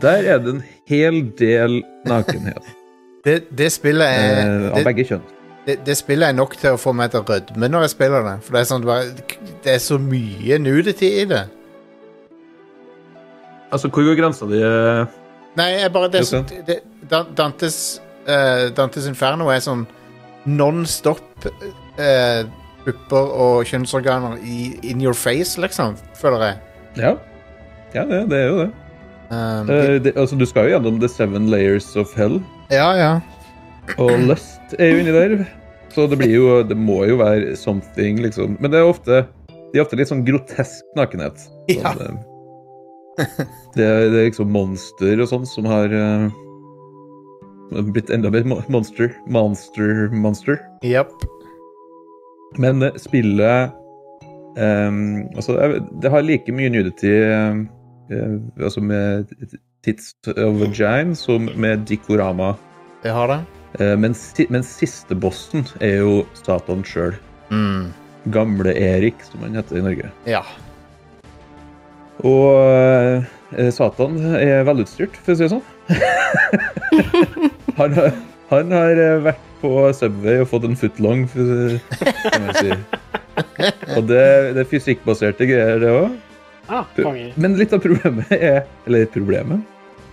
[SPEAKER 2] Der er det en hel del nakenhet.
[SPEAKER 1] Det, det spillet er
[SPEAKER 2] eh, av
[SPEAKER 1] det,
[SPEAKER 2] begge kjønn.
[SPEAKER 1] det, det spillet er nok til å få meg til å rødme når jeg spiller det. For det er, sånn, bare, det er så mye nudity i det.
[SPEAKER 2] Altså, hvor går grensa di? eh?
[SPEAKER 1] Nei, jeg bare det, er så-
[SPEAKER 2] Det
[SPEAKER 1] det, Dan- Dantes, eh, Dantes Inferno er sånn non-stop eh, pupper og kjønnsorganer i, in your face, liksom, føler jeg.
[SPEAKER 2] Ja, ja det, det er jo det.
[SPEAKER 1] Um,
[SPEAKER 2] Eh, det. Altså, du skal jo gjennom The Seven Layers of Hell,
[SPEAKER 1] ja, ja.
[SPEAKER 2] og Lust er jo inni der. Så det blir jo Det må jo være something, liksom. Men det er ofte De er ofte litt sånn grotesk nakenhet. Sånn,
[SPEAKER 1] Ja.
[SPEAKER 2] eh, det, er, det er liksom monster og sånn som har eh, blitt enda mer mo- monster. Monster, monster.
[SPEAKER 1] Japp.
[SPEAKER 2] Men eh, spillet ehm, altså, det- Det har like mye nudity ehm, eh, altså med tits og vagina som med Dikorama.
[SPEAKER 1] Det har det.
[SPEAKER 2] Eh, men, si, men siste bossen er jo Satan sjøl.
[SPEAKER 1] Mm.
[SPEAKER 2] Gamle-Erik, som han heter i Norge.
[SPEAKER 1] Ja.
[SPEAKER 2] Og eh, Satan er velutstyrt, for å si det sånn. han, har- han har eh, vært på Subway og fått en footlong, for å kan man si. Og det, det er fysikkbaserte greier, det òg.
[SPEAKER 3] Ah, konge.
[SPEAKER 2] Men litt av problemet er Eller problemet?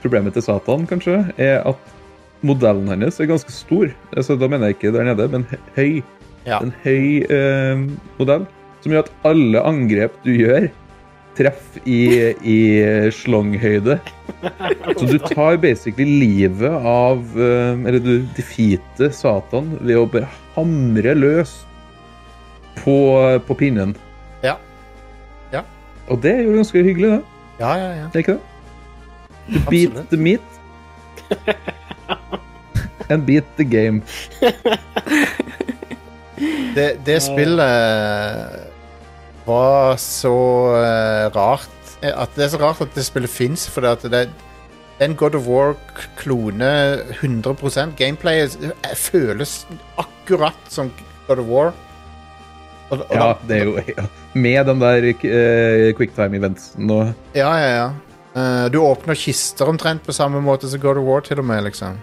[SPEAKER 2] Problemet til Satan, kanskje, er at modellen hennes er ganske stor. Altså, da mener jeg ikke der nede, men hø- høy.
[SPEAKER 1] Ja.
[SPEAKER 2] En høy eh, modell som gjør at alle angrep du gjør, treffer i, i slonghøyde. Så du tar basically livet av eh, Eller du defeater Satan ved å bare hamre løs på, på pinnen.
[SPEAKER 1] Ja. Ja.
[SPEAKER 2] Og det er jo ganske hyggelig, det.
[SPEAKER 1] Ja, ja, ja.
[SPEAKER 2] Det er ikke det? Du beat
[SPEAKER 1] Absolutt.
[SPEAKER 2] the meat. And beat the game.
[SPEAKER 1] Det, det spillet var så eh, rart at Det er så rart at det spillet fins, for det, at det det er en God of War-klone 100 Gameplayet eh, føles akkurat som God of War. Og, og
[SPEAKER 2] Ja,
[SPEAKER 1] da-
[SPEAKER 2] det er jo ja. Med den der eh, quicktime-eventsen og
[SPEAKER 1] ja, ja, ja. Eh, du åpner kister omtrent på samme måte som God of War, til og med. liksom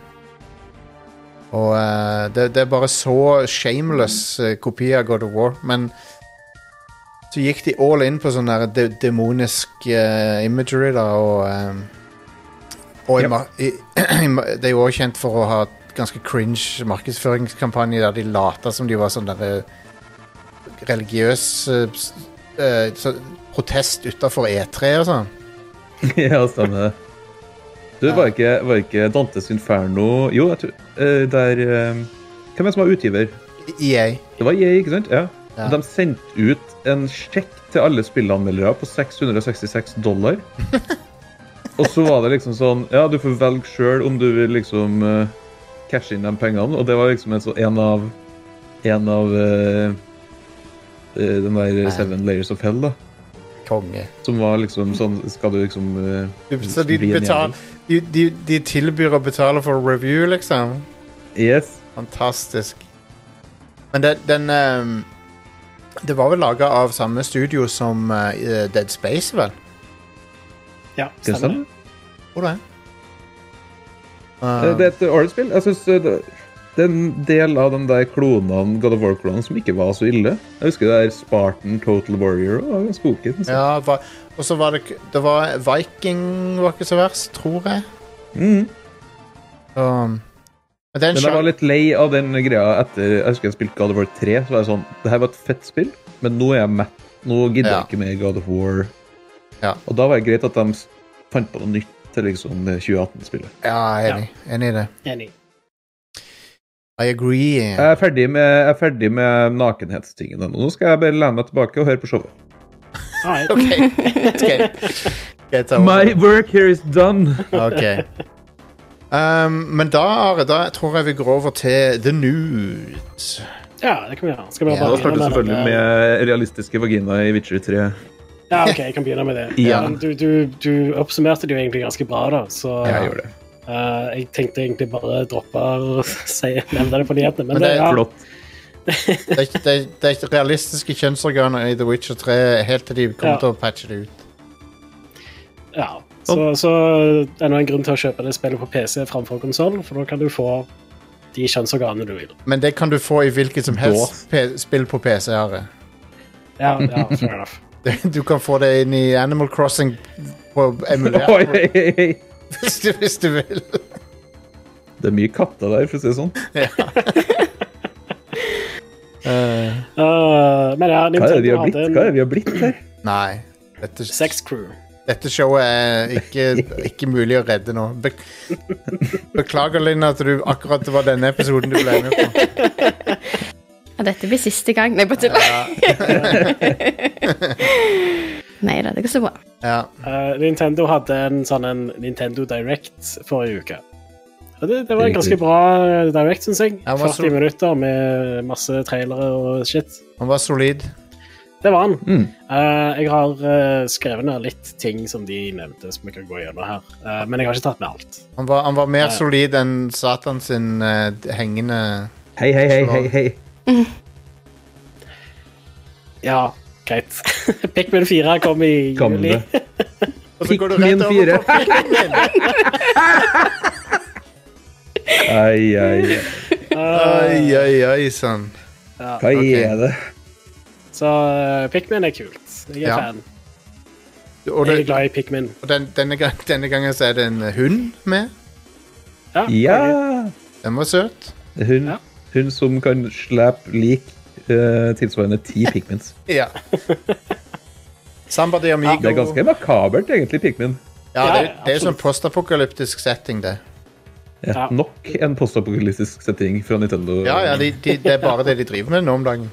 [SPEAKER 1] Og eh, det, det er bare så shameless eh, kopi av God of War. Men så gikk de all in på sånn der de demonisk eh, imagery, da, og eh, Og i
[SPEAKER 2] Yep.
[SPEAKER 1] ma- i, i, ma- det er jo også kjent for å ha ganske cringe markedsføringskampanje der de later som de var sånn derre religiøs eh, s- eh, så, protest utafor E3 og sånn.
[SPEAKER 2] Ja, stemmer det. Du, var ikke, var ikke Dantes Inferno Jo, jeg tror eh, Der eh, Hvem er det som var utgiver?
[SPEAKER 1] EA.
[SPEAKER 2] Det var jeg, ikke sant? Ja.
[SPEAKER 1] Ja.
[SPEAKER 2] De sendte ut en sjekk til alle spillanmeldere på 666 dollar. og så var det liksom sånn Ja, du får velge sjøl om du vil liksom eh, cashe inn de pengene. Og det var liksom en, sånn- en av En av eh, eh, den der Seven Layers of Hell, da.
[SPEAKER 1] Konge.
[SPEAKER 2] Som var liksom sånn Skal du liksom eh,
[SPEAKER 1] Så de,
[SPEAKER 2] bli en
[SPEAKER 1] betal,
[SPEAKER 2] jævel?
[SPEAKER 1] de, de, de tilbyr å betale for review, liksom.
[SPEAKER 2] Yes.
[SPEAKER 1] Fantastisk. Men det, den ehm, Det var vel laga av samme studio som eh, Dead Space, vel?
[SPEAKER 3] Ja,
[SPEAKER 2] Det er
[SPEAKER 3] stemmer.
[SPEAKER 2] sant.
[SPEAKER 1] Hvor det?
[SPEAKER 2] Eh, Det er et ålreit spill. Jeg syns det det er en del av de der klonene, God of War-klonene som ikke var så ille. Jeg husker det der Spartan Total Warrior og det var ganske ok. synes jeg.
[SPEAKER 1] Eh, Ja, va- og så var det k- Det var Viking var ikke så verst, tror jeg.
[SPEAKER 2] Mhm.
[SPEAKER 1] Um, men den
[SPEAKER 2] Men jeg var litt lei av den greia etter Jeg husker jeg spilte God of War 3. Så var jeg sånn Det her var et fett spill, men nå er jeg mett. Nå gidder
[SPEAKER 1] Ja.
[SPEAKER 2] jeg ikke mer God of War.
[SPEAKER 1] Ja.
[SPEAKER 2] Og da var det greit at de s- fant på noe nytt til liksom det 2018-spillet.
[SPEAKER 1] Ja, jeg er enig. Enig i det.
[SPEAKER 3] Enig.
[SPEAKER 1] I agree.
[SPEAKER 2] Jeg er ferdig med, jeg er ferdig med nakenhetstingen ennå. Nå skal jeg bare lene meg tilbake og høre på showet.
[SPEAKER 3] Alright.
[SPEAKER 1] OK. Skal jeg- skal jeg ta over?
[SPEAKER 2] My work here is done.
[SPEAKER 1] OK. Um, men da, Are, da tror jeg vi går over til the news.
[SPEAKER 3] Ja, det kan vi gjøre. Skal vi
[SPEAKER 1] Ja,
[SPEAKER 2] Da
[SPEAKER 3] bare
[SPEAKER 2] starter
[SPEAKER 3] begynne med
[SPEAKER 2] selvfølgelig
[SPEAKER 3] den, eh,
[SPEAKER 2] med realistiske vaginaer i Witcher 3.
[SPEAKER 3] Ja, OK, jeg kan begynne med det.
[SPEAKER 2] Ja.
[SPEAKER 3] Men Du, du, du oppsummerte det jo egentlig ganske bra, da, så
[SPEAKER 2] Jeg gjør det.
[SPEAKER 3] eh, jeg tenkte egentlig bare droppe å si- nevne det på nyhetene, men,
[SPEAKER 1] Men
[SPEAKER 3] det,
[SPEAKER 1] det er
[SPEAKER 3] ja,
[SPEAKER 2] Flott.
[SPEAKER 1] Det, er ikke- det, er- det er ikke realistiske kjønnsorganer i The Witcher 3 helt til de kommer
[SPEAKER 3] Ja.
[SPEAKER 1] til å patche det ut.
[SPEAKER 3] ja. Så, så det er nå en grunn til å kjøpe det spillet på PC framfor konsoll, for da kan du få de kjønnsorganene du vil.
[SPEAKER 1] Men det kan du få i hvilket som helst pe- spill på PC, Are.
[SPEAKER 3] Ja, ja fair enough.
[SPEAKER 1] Du kan få det inn i Animal Crossing på
[SPEAKER 2] Oi,
[SPEAKER 1] emulert
[SPEAKER 2] hei, hei, hei.
[SPEAKER 1] hvis, du, hvis du vil.
[SPEAKER 2] Det er mye katter der, for å si det sånn.
[SPEAKER 1] Eh,
[SPEAKER 3] Eh, men ja,
[SPEAKER 2] Hva er det vi
[SPEAKER 3] Nintendo
[SPEAKER 2] har blitt,
[SPEAKER 3] hadde en
[SPEAKER 2] Hva er det vi har blitt her?
[SPEAKER 1] nei. Dette,
[SPEAKER 3] sex crew.
[SPEAKER 1] dette showet er ikke, ikke mulig å redde nå. Be Beklager, Linn, at du akkurat det var denne episoden du ble med på.
[SPEAKER 4] Og dette blir siste gang. Nei, bare tuller. Nei da, det går så bra.
[SPEAKER 1] Ja.
[SPEAKER 3] Eh, Nintendo hadde en sånn en Nintendo Direct forrige uke. Og det, det var en ganske
[SPEAKER 2] Riktig.
[SPEAKER 3] bra eh, Direct, syns jeg.
[SPEAKER 1] Ja, hva
[SPEAKER 3] 40
[SPEAKER 1] så-
[SPEAKER 3] minutter med masse trailere og shit.
[SPEAKER 1] Han var solid.
[SPEAKER 3] Det var han.
[SPEAKER 2] Mm.
[SPEAKER 3] Eh, jeg har eh, skrevet ned litt ting som de nevnte, som vi kan gå gjennom her. Eh, men jeg har ikke tatt med alt.
[SPEAKER 1] Han var, han var mer
[SPEAKER 3] Ja.
[SPEAKER 1] solid enn Satan sin eh, hengende
[SPEAKER 2] Hei, hei, hei, hei, hei.
[SPEAKER 3] Ja, greit. Pikmin 4 kom i juli.
[SPEAKER 2] Gamle.
[SPEAKER 1] Og så går du
[SPEAKER 2] Pikmin
[SPEAKER 1] rett over
[SPEAKER 2] fire.
[SPEAKER 1] på Pikmin.
[SPEAKER 2] Ai, ai, ai.
[SPEAKER 3] Eh,
[SPEAKER 1] Oi, oi, oi, sann.
[SPEAKER 2] Hva
[SPEAKER 1] Ok.
[SPEAKER 2] er det?
[SPEAKER 3] Så eh, Pikmin er kult. Jeg er
[SPEAKER 1] Ja.
[SPEAKER 3] fan.
[SPEAKER 1] Og,
[SPEAKER 3] Jeg er
[SPEAKER 1] det,
[SPEAKER 3] glad i Pikmin.
[SPEAKER 1] og den, denne, gang, denne gangen så er det en hund med.
[SPEAKER 3] Ja,
[SPEAKER 2] Ja!
[SPEAKER 1] Den var søt.
[SPEAKER 2] Hun,
[SPEAKER 3] Ja.
[SPEAKER 2] hun som kan slappe lik eh, tilsvarende ti pikmins.
[SPEAKER 1] Ja. Samba de Amigo.
[SPEAKER 2] Det er ganske makabert, egentlig, pikmin.
[SPEAKER 1] Ja, det,
[SPEAKER 3] Ja,
[SPEAKER 1] det er jo sånn
[SPEAKER 3] absolutt.
[SPEAKER 1] postapokalyptisk setting, det.
[SPEAKER 2] Ja.
[SPEAKER 3] Ja.
[SPEAKER 2] Nok en postapokalyptisk setting fra Nintendo.
[SPEAKER 1] Ja, ja, de, de, Det er bare det de driver med nå om dagen.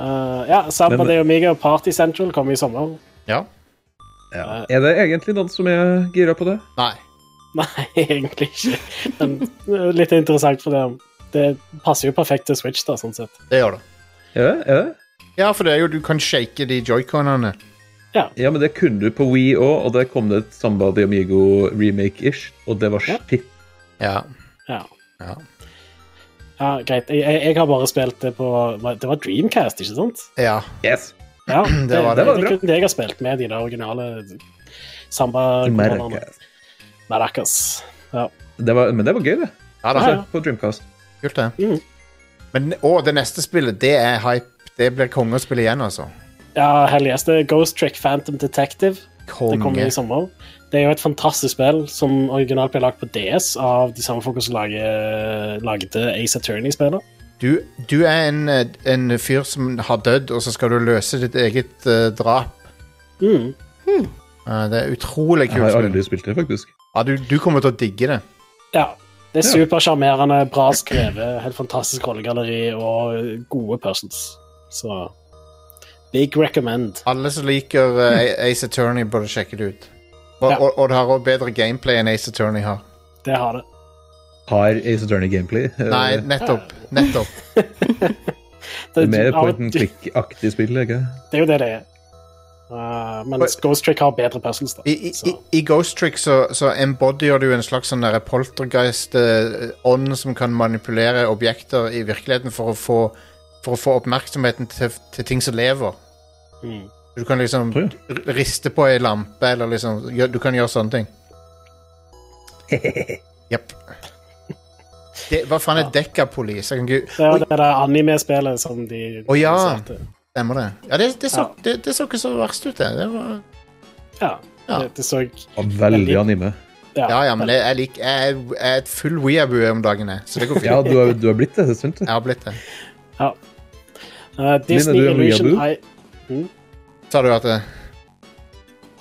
[SPEAKER 3] Eh, ja Samba
[SPEAKER 2] Men-
[SPEAKER 3] de Omega og Party Central kom i sommer.
[SPEAKER 1] Ja.
[SPEAKER 2] Ja. Er det egentlig noen som er gira på det?
[SPEAKER 1] Nei.
[SPEAKER 3] Nei, egentlig ikke. Men eh, litt interessant, for det, det passer jo perfekt til Switch, da, sånn sett.
[SPEAKER 1] Det gjør det.
[SPEAKER 2] Er det? Er det?
[SPEAKER 1] Ja, for det er jo du kan shake de joyconene.
[SPEAKER 2] Ja, men det kunne du på Wii òg, og der kom det et Samba de Amigo remake-ish, og det var
[SPEAKER 3] Ja.
[SPEAKER 2] shit.
[SPEAKER 1] Ja.
[SPEAKER 3] Ja.
[SPEAKER 1] Ja.
[SPEAKER 3] ja greit. Jeg, jeg, jeg har bare spilt det på Det var Dreamcast, ikke sant?
[SPEAKER 1] ja.
[SPEAKER 2] Yes!
[SPEAKER 3] Ja, det, det,
[SPEAKER 1] var
[SPEAKER 3] var
[SPEAKER 1] det.
[SPEAKER 2] Det
[SPEAKER 3] det,
[SPEAKER 2] var
[SPEAKER 3] er kun det jeg har spilt med, de der originale samba-konene.
[SPEAKER 2] Merkast.
[SPEAKER 3] Maracas. Ja.
[SPEAKER 2] Det var, men det var gøy, det.
[SPEAKER 1] ja da.
[SPEAKER 3] Ja, ja.
[SPEAKER 2] På Dreamcast.
[SPEAKER 1] Kult, det.
[SPEAKER 3] Mhm.
[SPEAKER 1] Men å, det neste spillet, det er hype. Det blir konge å spille igjen, altså.
[SPEAKER 3] ja, hell yes. Det er Ghost Trick Phantom Detective. Det kommer
[SPEAKER 1] Konge.
[SPEAKER 3] i sommer. Det er jo et fantastisk spill som originalt ble lagd på DS av de samme folka som lager- lagde Ace Attorney-spillet.
[SPEAKER 1] Du, du er en, eh, en fyr som har dødd, og så skal du løse ditt eget eh, drap.
[SPEAKER 3] Mm.
[SPEAKER 1] Eh, det er utrolig
[SPEAKER 2] Jeg
[SPEAKER 1] kult.
[SPEAKER 2] har
[SPEAKER 1] spill.
[SPEAKER 2] aldri spilt det, faktisk.
[SPEAKER 1] Ja, du, du kommer til å digge det.
[SPEAKER 3] Ja. Det er
[SPEAKER 2] Ja.
[SPEAKER 3] supersjarmerende, bra skrevet, helt fantastisk rollegalleri og gode persons. Så big recommend.
[SPEAKER 1] Alle som liker eh, Ace Attorney, burde sjekke det ut. Og,
[SPEAKER 3] Ja.
[SPEAKER 1] og, og det har også bedre gameplay enn Ace Attorney har.
[SPEAKER 3] Det har det.
[SPEAKER 2] Har Ace Attorney gameplay? Eh,
[SPEAKER 1] Nei, nettopp. Nettopp.
[SPEAKER 2] det er mer
[SPEAKER 3] av og
[SPEAKER 2] point and
[SPEAKER 3] til-
[SPEAKER 2] click-aktig spill, ikke
[SPEAKER 3] det er jo det det er. Uh, mens Ghost Trick har bedre puzzles, da.
[SPEAKER 1] I, i,
[SPEAKER 3] Så,
[SPEAKER 1] i- I Ghost Trick så, så embodyer du en slags sånn der poltergeist-ånd som kan manipulere objekter i virkeligheten for å få, for å få oppmerksomheten til, til ting som lever.
[SPEAKER 3] mm.
[SPEAKER 1] Du kan liksom
[SPEAKER 2] Tror
[SPEAKER 1] r- riste på ei lampe, eller liksom gjø- Du kan gjøre sånne ting. Jepp. Det- Hva faen er Dekkapolis? Jeg kan ikke
[SPEAKER 3] Det er
[SPEAKER 1] Oi,
[SPEAKER 3] det, er det anime-spillet som de
[SPEAKER 1] Å, ja.
[SPEAKER 3] lanserte.
[SPEAKER 1] stemmer det? Ja, det, det, så, det, det så ikke så verst ut, det. det var,
[SPEAKER 3] ja.
[SPEAKER 1] Ja.
[SPEAKER 3] Det, det så
[SPEAKER 2] Ja, Veldig anime.
[SPEAKER 3] ja,
[SPEAKER 1] ja, ja, men jeg, jeg, lik, jeg, er- jeg er et full weeaboo om dagen, jeg. Så det går
[SPEAKER 2] Ja,
[SPEAKER 1] fint.
[SPEAKER 2] du har, du har blitt det. Det er sunt. det.
[SPEAKER 1] Jeg har blitt det.
[SPEAKER 3] Uh, Disney
[SPEAKER 2] du er
[SPEAKER 3] Illusion
[SPEAKER 2] weeaboo?
[SPEAKER 3] I-
[SPEAKER 1] Sa du at eh, det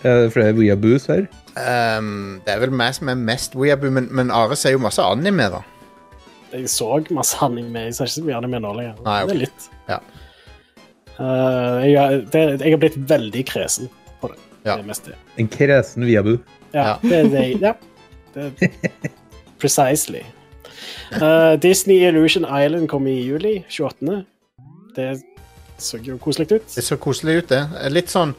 [SPEAKER 2] Er Eh, det flere weaboos her?
[SPEAKER 1] Ehm, det er vel meg som er mest weeaboo, men, men Are ser jo masse anime, da.
[SPEAKER 3] Jeg så masse anime. Jeg ser ikke så mye anime nå lenger.
[SPEAKER 1] Nei, ok.
[SPEAKER 3] Det er litt.
[SPEAKER 1] Ja.
[SPEAKER 3] Eh, jeg, er- det, jeg har blitt veldig kresen på det.
[SPEAKER 1] Ja.
[SPEAKER 3] Det er mest det.
[SPEAKER 2] En kresen weaboo.
[SPEAKER 1] Ja.
[SPEAKER 3] Ja, det, det, ja. Det, precisely. Eh, Disney Illusion Island kom i juli 28. Det så jo koselig ut.
[SPEAKER 1] Det så koselig ut, det. Eh, Litt sånn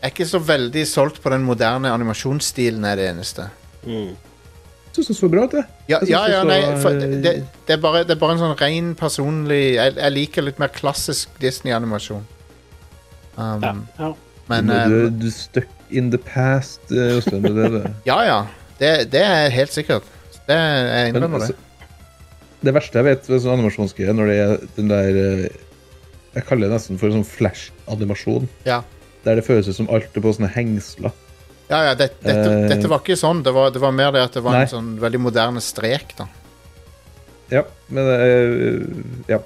[SPEAKER 1] Jeg er ikke så veldig solgt på den moderne animasjonsstilen, er det eneste.
[SPEAKER 2] Jeg synes det så bra ut, jeg.
[SPEAKER 1] Ja,
[SPEAKER 2] Jeg synes
[SPEAKER 1] ja,
[SPEAKER 2] det eh,
[SPEAKER 1] ja
[SPEAKER 2] så-
[SPEAKER 1] nei, for det, det, er bare, det er bare en sånn ren personlig Jeg, jeg liker litt mer klassisk Disney-animasjon. Um,
[SPEAKER 3] Ja, ja.
[SPEAKER 1] Men
[SPEAKER 2] du,
[SPEAKER 1] eh,
[SPEAKER 2] du stuck in the past, eh, Jostein. Det, er det, det.
[SPEAKER 1] ja, ja. Det, det er helt sikkert. Det, jeg
[SPEAKER 2] Men,
[SPEAKER 1] innrømmer det.
[SPEAKER 2] altså, det verste jeg vet ved sånn animasjonsgreie, når det er den der eh, Jeg kaller det nesten for sånn flash-animasjon.
[SPEAKER 1] Ja.
[SPEAKER 2] Der det føles ut som alt er på sånne hengsler.
[SPEAKER 1] Ja, ja, det, dette,
[SPEAKER 2] Eh.
[SPEAKER 1] dette var ikke sånn. Det var, det var mer det at det var
[SPEAKER 2] Nei.
[SPEAKER 1] en sånn veldig moderne strek, da.
[SPEAKER 2] Ja, men eh, Ja.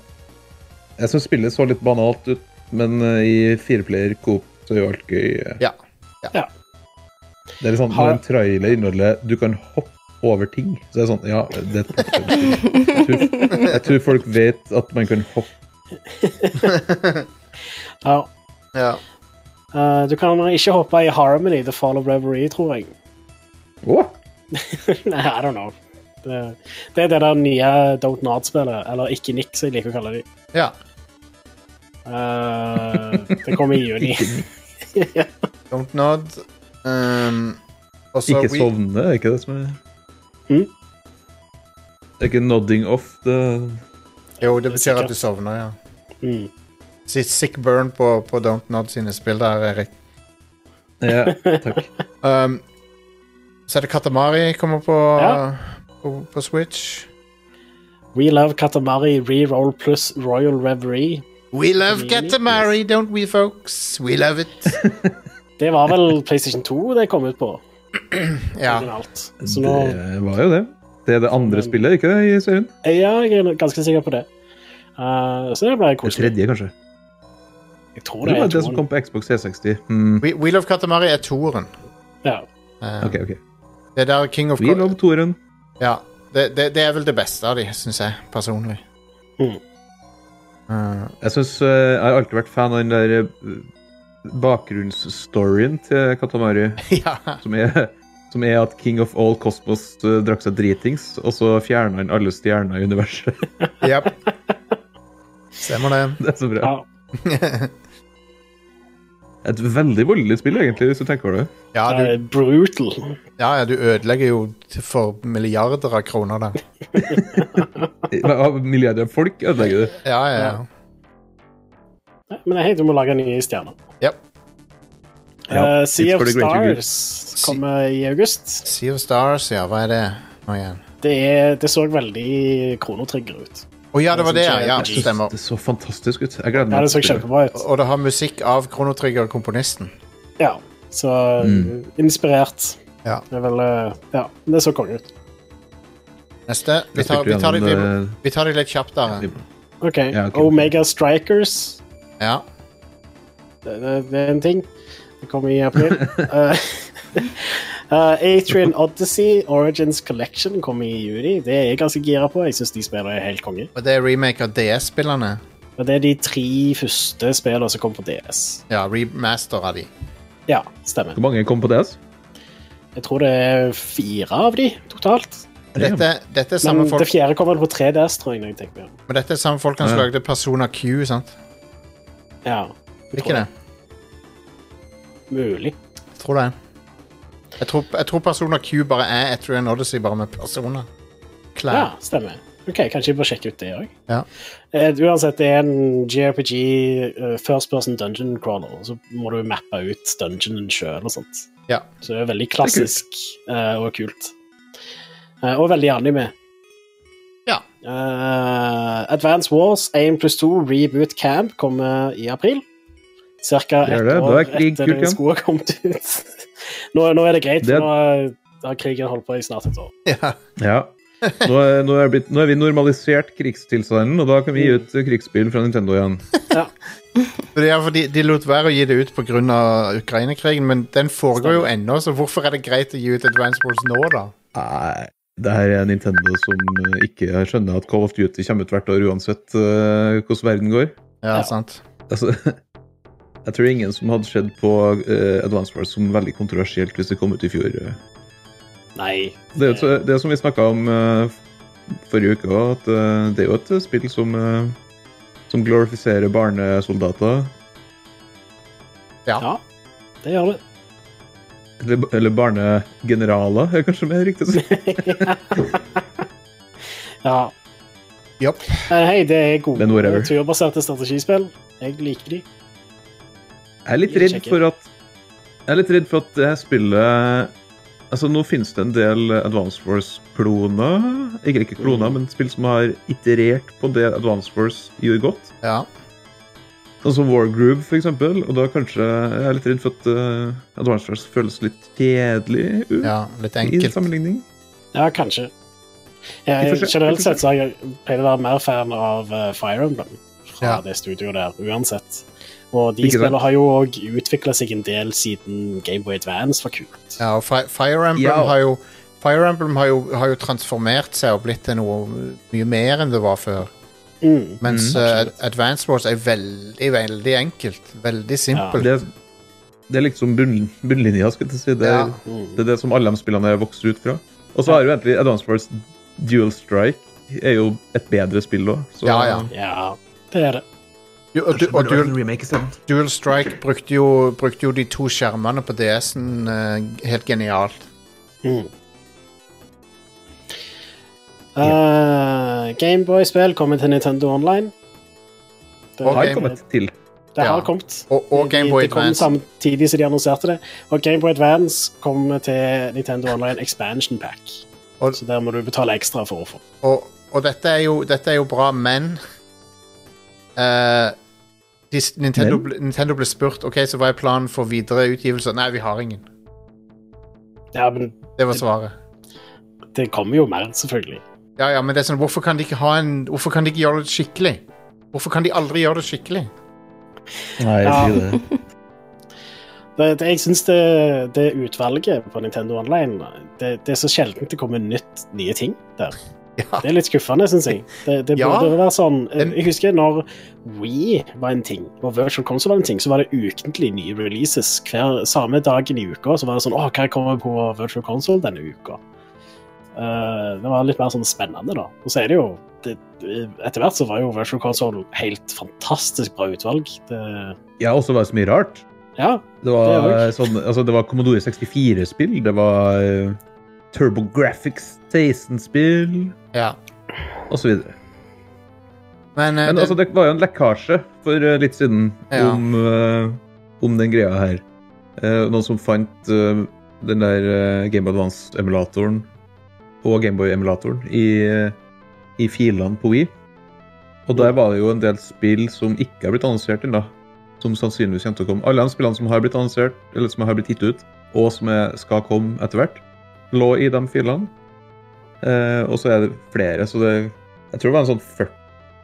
[SPEAKER 2] Jeg syns spillet så litt banalt ut, men eh, i fireplayer coop så er jo alt gøy. eh.
[SPEAKER 1] Ja.
[SPEAKER 2] Det er litt sånn, Når en trailer inneholder Du kan hoppe over ting. Så det er sånn, ja, det er et forspill. jeg, tror, jeg tror folk vet at man kan hoppe.
[SPEAKER 3] ja.
[SPEAKER 1] ja.
[SPEAKER 3] Eh, du kan ikke hoppe i Harmony, The Fall of Reverie, tror jeg.
[SPEAKER 2] Åh!
[SPEAKER 3] Nei, I don't know. Det, det er det der nye Don't Nod-spillet, eller Ikke Nikk, som jeg liker å kalle det.
[SPEAKER 1] ja.
[SPEAKER 3] Eh, det kommer i juni.
[SPEAKER 1] Don't Nod. Um, og så
[SPEAKER 2] Ikke
[SPEAKER 1] We-
[SPEAKER 2] sovne, er ikke det som er
[SPEAKER 3] Mm.
[SPEAKER 2] Det er ikke nodding off, det
[SPEAKER 1] Jo, det betyr at
[SPEAKER 3] Sikkert.
[SPEAKER 1] du sovner, ja.
[SPEAKER 3] Mm.
[SPEAKER 1] Si- Sick burn på, på Don't Nod sine spill der, Erik.
[SPEAKER 2] Ja, takk.
[SPEAKER 1] Um, så er det Katamari kommer på,
[SPEAKER 3] Ja.
[SPEAKER 1] på, på Switch.
[SPEAKER 3] We Love Katamari Reroll pluss Royal Reverie.
[SPEAKER 1] We love
[SPEAKER 3] Really?
[SPEAKER 1] Katamari, don't we, folks? We love it.
[SPEAKER 3] Det var vel PlayStation 2 det kom ut på.
[SPEAKER 1] Ja.
[SPEAKER 3] originalt. Så nå,
[SPEAKER 2] Det var jo det. Det er det andre
[SPEAKER 3] Men-
[SPEAKER 2] spillet, ikke det, i serien?
[SPEAKER 3] ja, jeg er ganske sikker på det. Eh, så det ble
[SPEAKER 2] Det
[SPEAKER 3] koselig.
[SPEAKER 2] tredje, kanskje.
[SPEAKER 3] Jeg tror
[SPEAKER 2] Det
[SPEAKER 3] det
[SPEAKER 2] var
[SPEAKER 3] er
[SPEAKER 2] det som
[SPEAKER 3] toeren.
[SPEAKER 2] kom på Xbox 360. Hmm.
[SPEAKER 1] We, we love Katamari er toeren.
[SPEAKER 3] Ja.
[SPEAKER 1] Um,
[SPEAKER 2] OK, OK.
[SPEAKER 1] Det der King of
[SPEAKER 2] Vi
[SPEAKER 1] Ko-
[SPEAKER 2] lov toeren.
[SPEAKER 1] Ja. Det, det, det er vel det beste av de, syns jeg, personlig.
[SPEAKER 3] Mm.
[SPEAKER 1] Uh,
[SPEAKER 2] Jeg synes, eh, Jeg har alltid vært fan av den der eh, bakgrunnsstoryen til Katamari,
[SPEAKER 1] ja.
[SPEAKER 2] som er som er at King of All Cosmos eh, drakk seg dritings, og så fjerna han alle stjerner i universet.
[SPEAKER 1] Yep. Stemmer det.
[SPEAKER 2] Det er så bra.
[SPEAKER 3] ja.
[SPEAKER 2] Et veldig voldelig spill, egentlig, hvis du tenker over det.
[SPEAKER 1] Ja,
[SPEAKER 3] det
[SPEAKER 1] du,
[SPEAKER 3] er brutal.
[SPEAKER 1] ja, ja, du ødelegger jo t- for milliarder av kroner der.
[SPEAKER 2] Nei, Av milliarder av folk ødelegger det.
[SPEAKER 1] Ja, ja, ja.
[SPEAKER 3] Nei, Men jeg heter om å lage nye stjerner.
[SPEAKER 1] Yep.
[SPEAKER 2] Ja,
[SPEAKER 3] Eh, sea
[SPEAKER 2] it's
[SPEAKER 3] of
[SPEAKER 2] for the greater good.
[SPEAKER 3] Stars kommer i august.
[SPEAKER 1] Sea of Stars, ja. Hva er det? Nå igjen.
[SPEAKER 3] Det, er, det så veldig kronotrigger ut.
[SPEAKER 1] Å ja, det var det, ja. ja
[SPEAKER 2] Jeg synes
[SPEAKER 1] stemmer.
[SPEAKER 2] Det så fantastisk ut. Jeg gleder meg.
[SPEAKER 3] Ja,
[SPEAKER 2] til
[SPEAKER 3] det så
[SPEAKER 2] å spille
[SPEAKER 3] kjempebra ut.
[SPEAKER 1] Og det har musikk av Kronotrigger-komponisten.
[SPEAKER 3] Ja, så inspirert.
[SPEAKER 1] Ja.
[SPEAKER 3] Det er vel eh, Ja, det så konge ut.
[SPEAKER 1] Neste. Vi
[SPEAKER 2] Jeg
[SPEAKER 1] tar,
[SPEAKER 2] spilte
[SPEAKER 1] vi tar, det, vi,
[SPEAKER 2] gjennom, eh,
[SPEAKER 1] vi tar det litt kjapt der.
[SPEAKER 3] OK.
[SPEAKER 2] Ja, ok.
[SPEAKER 3] Omega Strikers
[SPEAKER 1] Ja.
[SPEAKER 3] Det, det, det er en ting. Det kommer i april. Eh, eh, Atrian Odyssey Origins Collection kommer i juni. Det er jeg ganske gira på. Jeg syns de spillene er helt konge.
[SPEAKER 1] Og det er remake av DS-spillene.
[SPEAKER 3] Og det er de tre første spillene som kom på DS.
[SPEAKER 1] Ja, remaster av de.
[SPEAKER 3] Ja, stemmer.
[SPEAKER 2] Hvor mange kom på DS?
[SPEAKER 3] Jeg tror det er fire av de totalt.
[SPEAKER 1] Dette, dette er samme
[SPEAKER 3] Men det
[SPEAKER 1] folk
[SPEAKER 3] fjerde kommer på 3DS, tror jeg. når jeg tenker meg om.
[SPEAKER 1] Men dette er samme folkene som
[SPEAKER 2] Ja.
[SPEAKER 1] lagde Persona Q, sant?
[SPEAKER 3] Ja.
[SPEAKER 1] Ikke det?
[SPEAKER 3] mulig.
[SPEAKER 1] Tror det. Jeg tror, jeg tror Persona Q bare er Etrian Odyssey, bare med personer. Klær.
[SPEAKER 3] Ja, stemmer. Ok, Kanskje jeg bør sjekke ut det òg.
[SPEAKER 1] Ja.
[SPEAKER 3] Eh, Uansett, det er en JRPG, eh, first person dungeon crawler. og Så må du mappe ut dungeonen sjøl og sånt.
[SPEAKER 1] Ja.
[SPEAKER 3] Så det er veldig klassisk eh, og kult. Eh, og veldig anime.
[SPEAKER 1] Ja.
[SPEAKER 3] Uh, Advance Wars 1 pluss 2 Reboot Camp kommer i april. Cirka
[SPEAKER 2] Det er
[SPEAKER 3] ett
[SPEAKER 2] det. Da er
[SPEAKER 3] år
[SPEAKER 2] krig
[SPEAKER 3] etter
[SPEAKER 2] kult
[SPEAKER 3] det
[SPEAKER 2] igjen.
[SPEAKER 3] skoet har kommet ut. nå, nå er det greit,
[SPEAKER 2] Det-
[SPEAKER 3] for nå har krigen holdt på i snart et år.
[SPEAKER 1] Ja.
[SPEAKER 2] Ja. Nå er, nå, er blitt, nå er vi normalisert krigstilstanden, og da kan vi gi ut eh, krigsspill fra Nintendo igjen.
[SPEAKER 1] For det er fordi de lot være å gi det ut pga. Ukraina-krigen, men den foregår jo ennå, så hvorfor er det greit å gi ut Advance Wars nå, da?
[SPEAKER 2] Nei, det her er Nintendo som eh, ikke skjønner at Call of Duty kommer ut hvert år uansett eh, hvordan verden går.
[SPEAKER 1] Ja,
[SPEAKER 3] Ja.
[SPEAKER 1] sant.
[SPEAKER 2] Altså, jeg tror ingen som hadde sett på eh, Advance Wars som veldig kontroversielt hvis det kom ut i fjor. eh.
[SPEAKER 3] Nei.
[SPEAKER 2] Det er jo et- det er som vi snakka om eh, forrige uke òg, at eh, det er jo et spill som, eh, som glorifiserer barnesoldater.
[SPEAKER 3] Ja, det gjør det.
[SPEAKER 2] Eller, eller barnegeneraler, er kanskje mer riktig. å si.
[SPEAKER 3] Ja.
[SPEAKER 1] Japp.
[SPEAKER 3] Men hei, det er gode
[SPEAKER 2] Men whatever.
[SPEAKER 3] turbaserte strategispill. Jeg liker de.
[SPEAKER 2] Jeg er litt redd for at Jeg er litt redd for at det her spillet Altså, nå finnes det en del Advance Force-kloner. Ikke, ikke kloner, men spill som har iterert på det Advance Force gjorde godt.
[SPEAKER 1] Ja.
[SPEAKER 2] Sånn som Wargroove, for eksempel. Og da kanskje Jeg er litt redd for at eh, Advance Wars føles litt kjedelig ut
[SPEAKER 1] ja litt
[SPEAKER 2] i
[SPEAKER 1] enkelt.
[SPEAKER 2] sammenligning.
[SPEAKER 3] Ja, kanskje. Jeg,
[SPEAKER 2] Vi får se, vi
[SPEAKER 3] generelt
[SPEAKER 2] får
[SPEAKER 3] sett så har jeg pleid å være mer fan av eh, Fire Emblem fra
[SPEAKER 1] Ja.
[SPEAKER 3] det studioet der, uansett. Og de
[SPEAKER 2] Ikke sant?
[SPEAKER 3] spillene har jo òg utvikla seg en del siden Gameboy Advance var kult.
[SPEAKER 1] Ja, og Fi- Fire Emblem
[SPEAKER 2] Ja.
[SPEAKER 1] har jo Fire Emblem har jo, har jo transformert seg og blitt til noe mye mer enn det var før.
[SPEAKER 3] Mm.
[SPEAKER 1] Mens
[SPEAKER 2] Mm.
[SPEAKER 1] eh, Advance Wars er veldig, veldig enkelt. Veldig simpelt.
[SPEAKER 2] Det, det er liksom bunn, bunnlinja, skal jeg si. Det, er-
[SPEAKER 1] Ja.
[SPEAKER 3] Mm.
[SPEAKER 2] det er det som alle de spillene er vokst ut fra. Og så har jo egentlig Advance Wars Dual Strike er jo et bedre spill da. Så
[SPEAKER 1] Ja, ja.
[SPEAKER 3] Ja, det er det.
[SPEAKER 1] Du, og du, og
[SPEAKER 2] Burde
[SPEAKER 1] Dual,
[SPEAKER 2] vært en remake isteden.
[SPEAKER 1] Dual Strike brukte jo, brukte jo de to skjermene på DS-en eh, helt genialt.
[SPEAKER 3] Mm. Eh, Gameboy-spill kommer til Nintendo Online. Det,
[SPEAKER 1] Og
[SPEAKER 2] Har
[SPEAKER 1] Game-
[SPEAKER 2] kommet til.
[SPEAKER 3] det har
[SPEAKER 1] ja.
[SPEAKER 3] kommet.
[SPEAKER 1] Og, og
[SPEAKER 3] De-
[SPEAKER 1] Gameboy
[SPEAKER 3] Det kom
[SPEAKER 1] Advance.
[SPEAKER 3] samtidig som de annonserte det. Og Gameboy Advance kommer til Nintendo Online Expansion Pack.
[SPEAKER 1] Og-
[SPEAKER 3] Så der må du betale ekstra for å få.
[SPEAKER 1] Og, og dette, er jo, dette er jo bra, men eh, de, s- Nintendo,
[SPEAKER 2] Men?
[SPEAKER 1] ble- Nintendo ble spurt Ok, så hva er planen for videre utgivelser. Nei, vi har ingen.
[SPEAKER 3] Ja, men
[SPEAKER 1] Det var svaret.
[SPEAKER 3] det kommer jo mer, selvfølgelig.
[SPEAKER 1] Ja, ja, men det er sånn, hvorfor kan de ikke ha en Hvorfor kan de ikke gjøre det skikkelig? Hvorfor kan de aldri gjøre det skikkelig?
[SPEAKER 2] Nei,
[SPEAKER 3] Ja.
[SPEAKER 2] si det.
[SPEAKER 3] Det, det, jeg syns det, det utvalget på Nintendo Online Det, det er så sjelden det kommer nytt, nye ting der.
[SPEAKER 1] Ja,
[SPEAKER 3] Det er litt skuffende, syns jeg. Det, det
[SPEAKER 1] Ja.
[SPEAKER 3] burde være sånn
[SPEAKER 1] Den-
[SPEAKER 3] Jeg husker når We var en ting, og Virtual Console var en ting, så var det ukentlig nye releases. Hver samme dagen i uka så var det sånn Å, hva kommer på Virtual Console denne uka? Eh, det var litt mer sånn spennende, da. Og så er det jo det, Etter hvert så var jo Virtual Console helt fantastisk bra utvalg. Det,
[SPEAKER 2] Ja, også var det så mye rart.
[SPEAKER 3] ja.
[SPEAKER 2] Det var,
[SPEAKER 3] Det er
[SPEAKER 2] eh, sånn, altså, det var Commodore 64-spill, det var eh, TurboGrafx 16-spill
[SPEAKER 1] ja.
[SPEAKER 2] osv.
[SPEAKER 1] Men, eh,
[SPEAKER 2] Men
[SPEAKER 1] det,
[SPEAKER 2] altså, det var jo en lekkasje for eh, litt siden
[SPEAKER 1] Ja.
[SPEAKER 2] om, eh, om den greia her. Eh, noen som fant eh, den der eh, Game Boy Advance-emulatoren og Gameboy-emulatoren i, eh, i filene på Wii. Og der var det jo en del spill som ikke har blitt annonsert ennå. Som sannsynligvis kommer til å komme. Alle de spillene som har blitt annonsert, eller som har blitt gitt ut, og som er, skal komme etter hvert, lå i de filene. Eh, og så er det flere, så det Jeg tror det var en sånn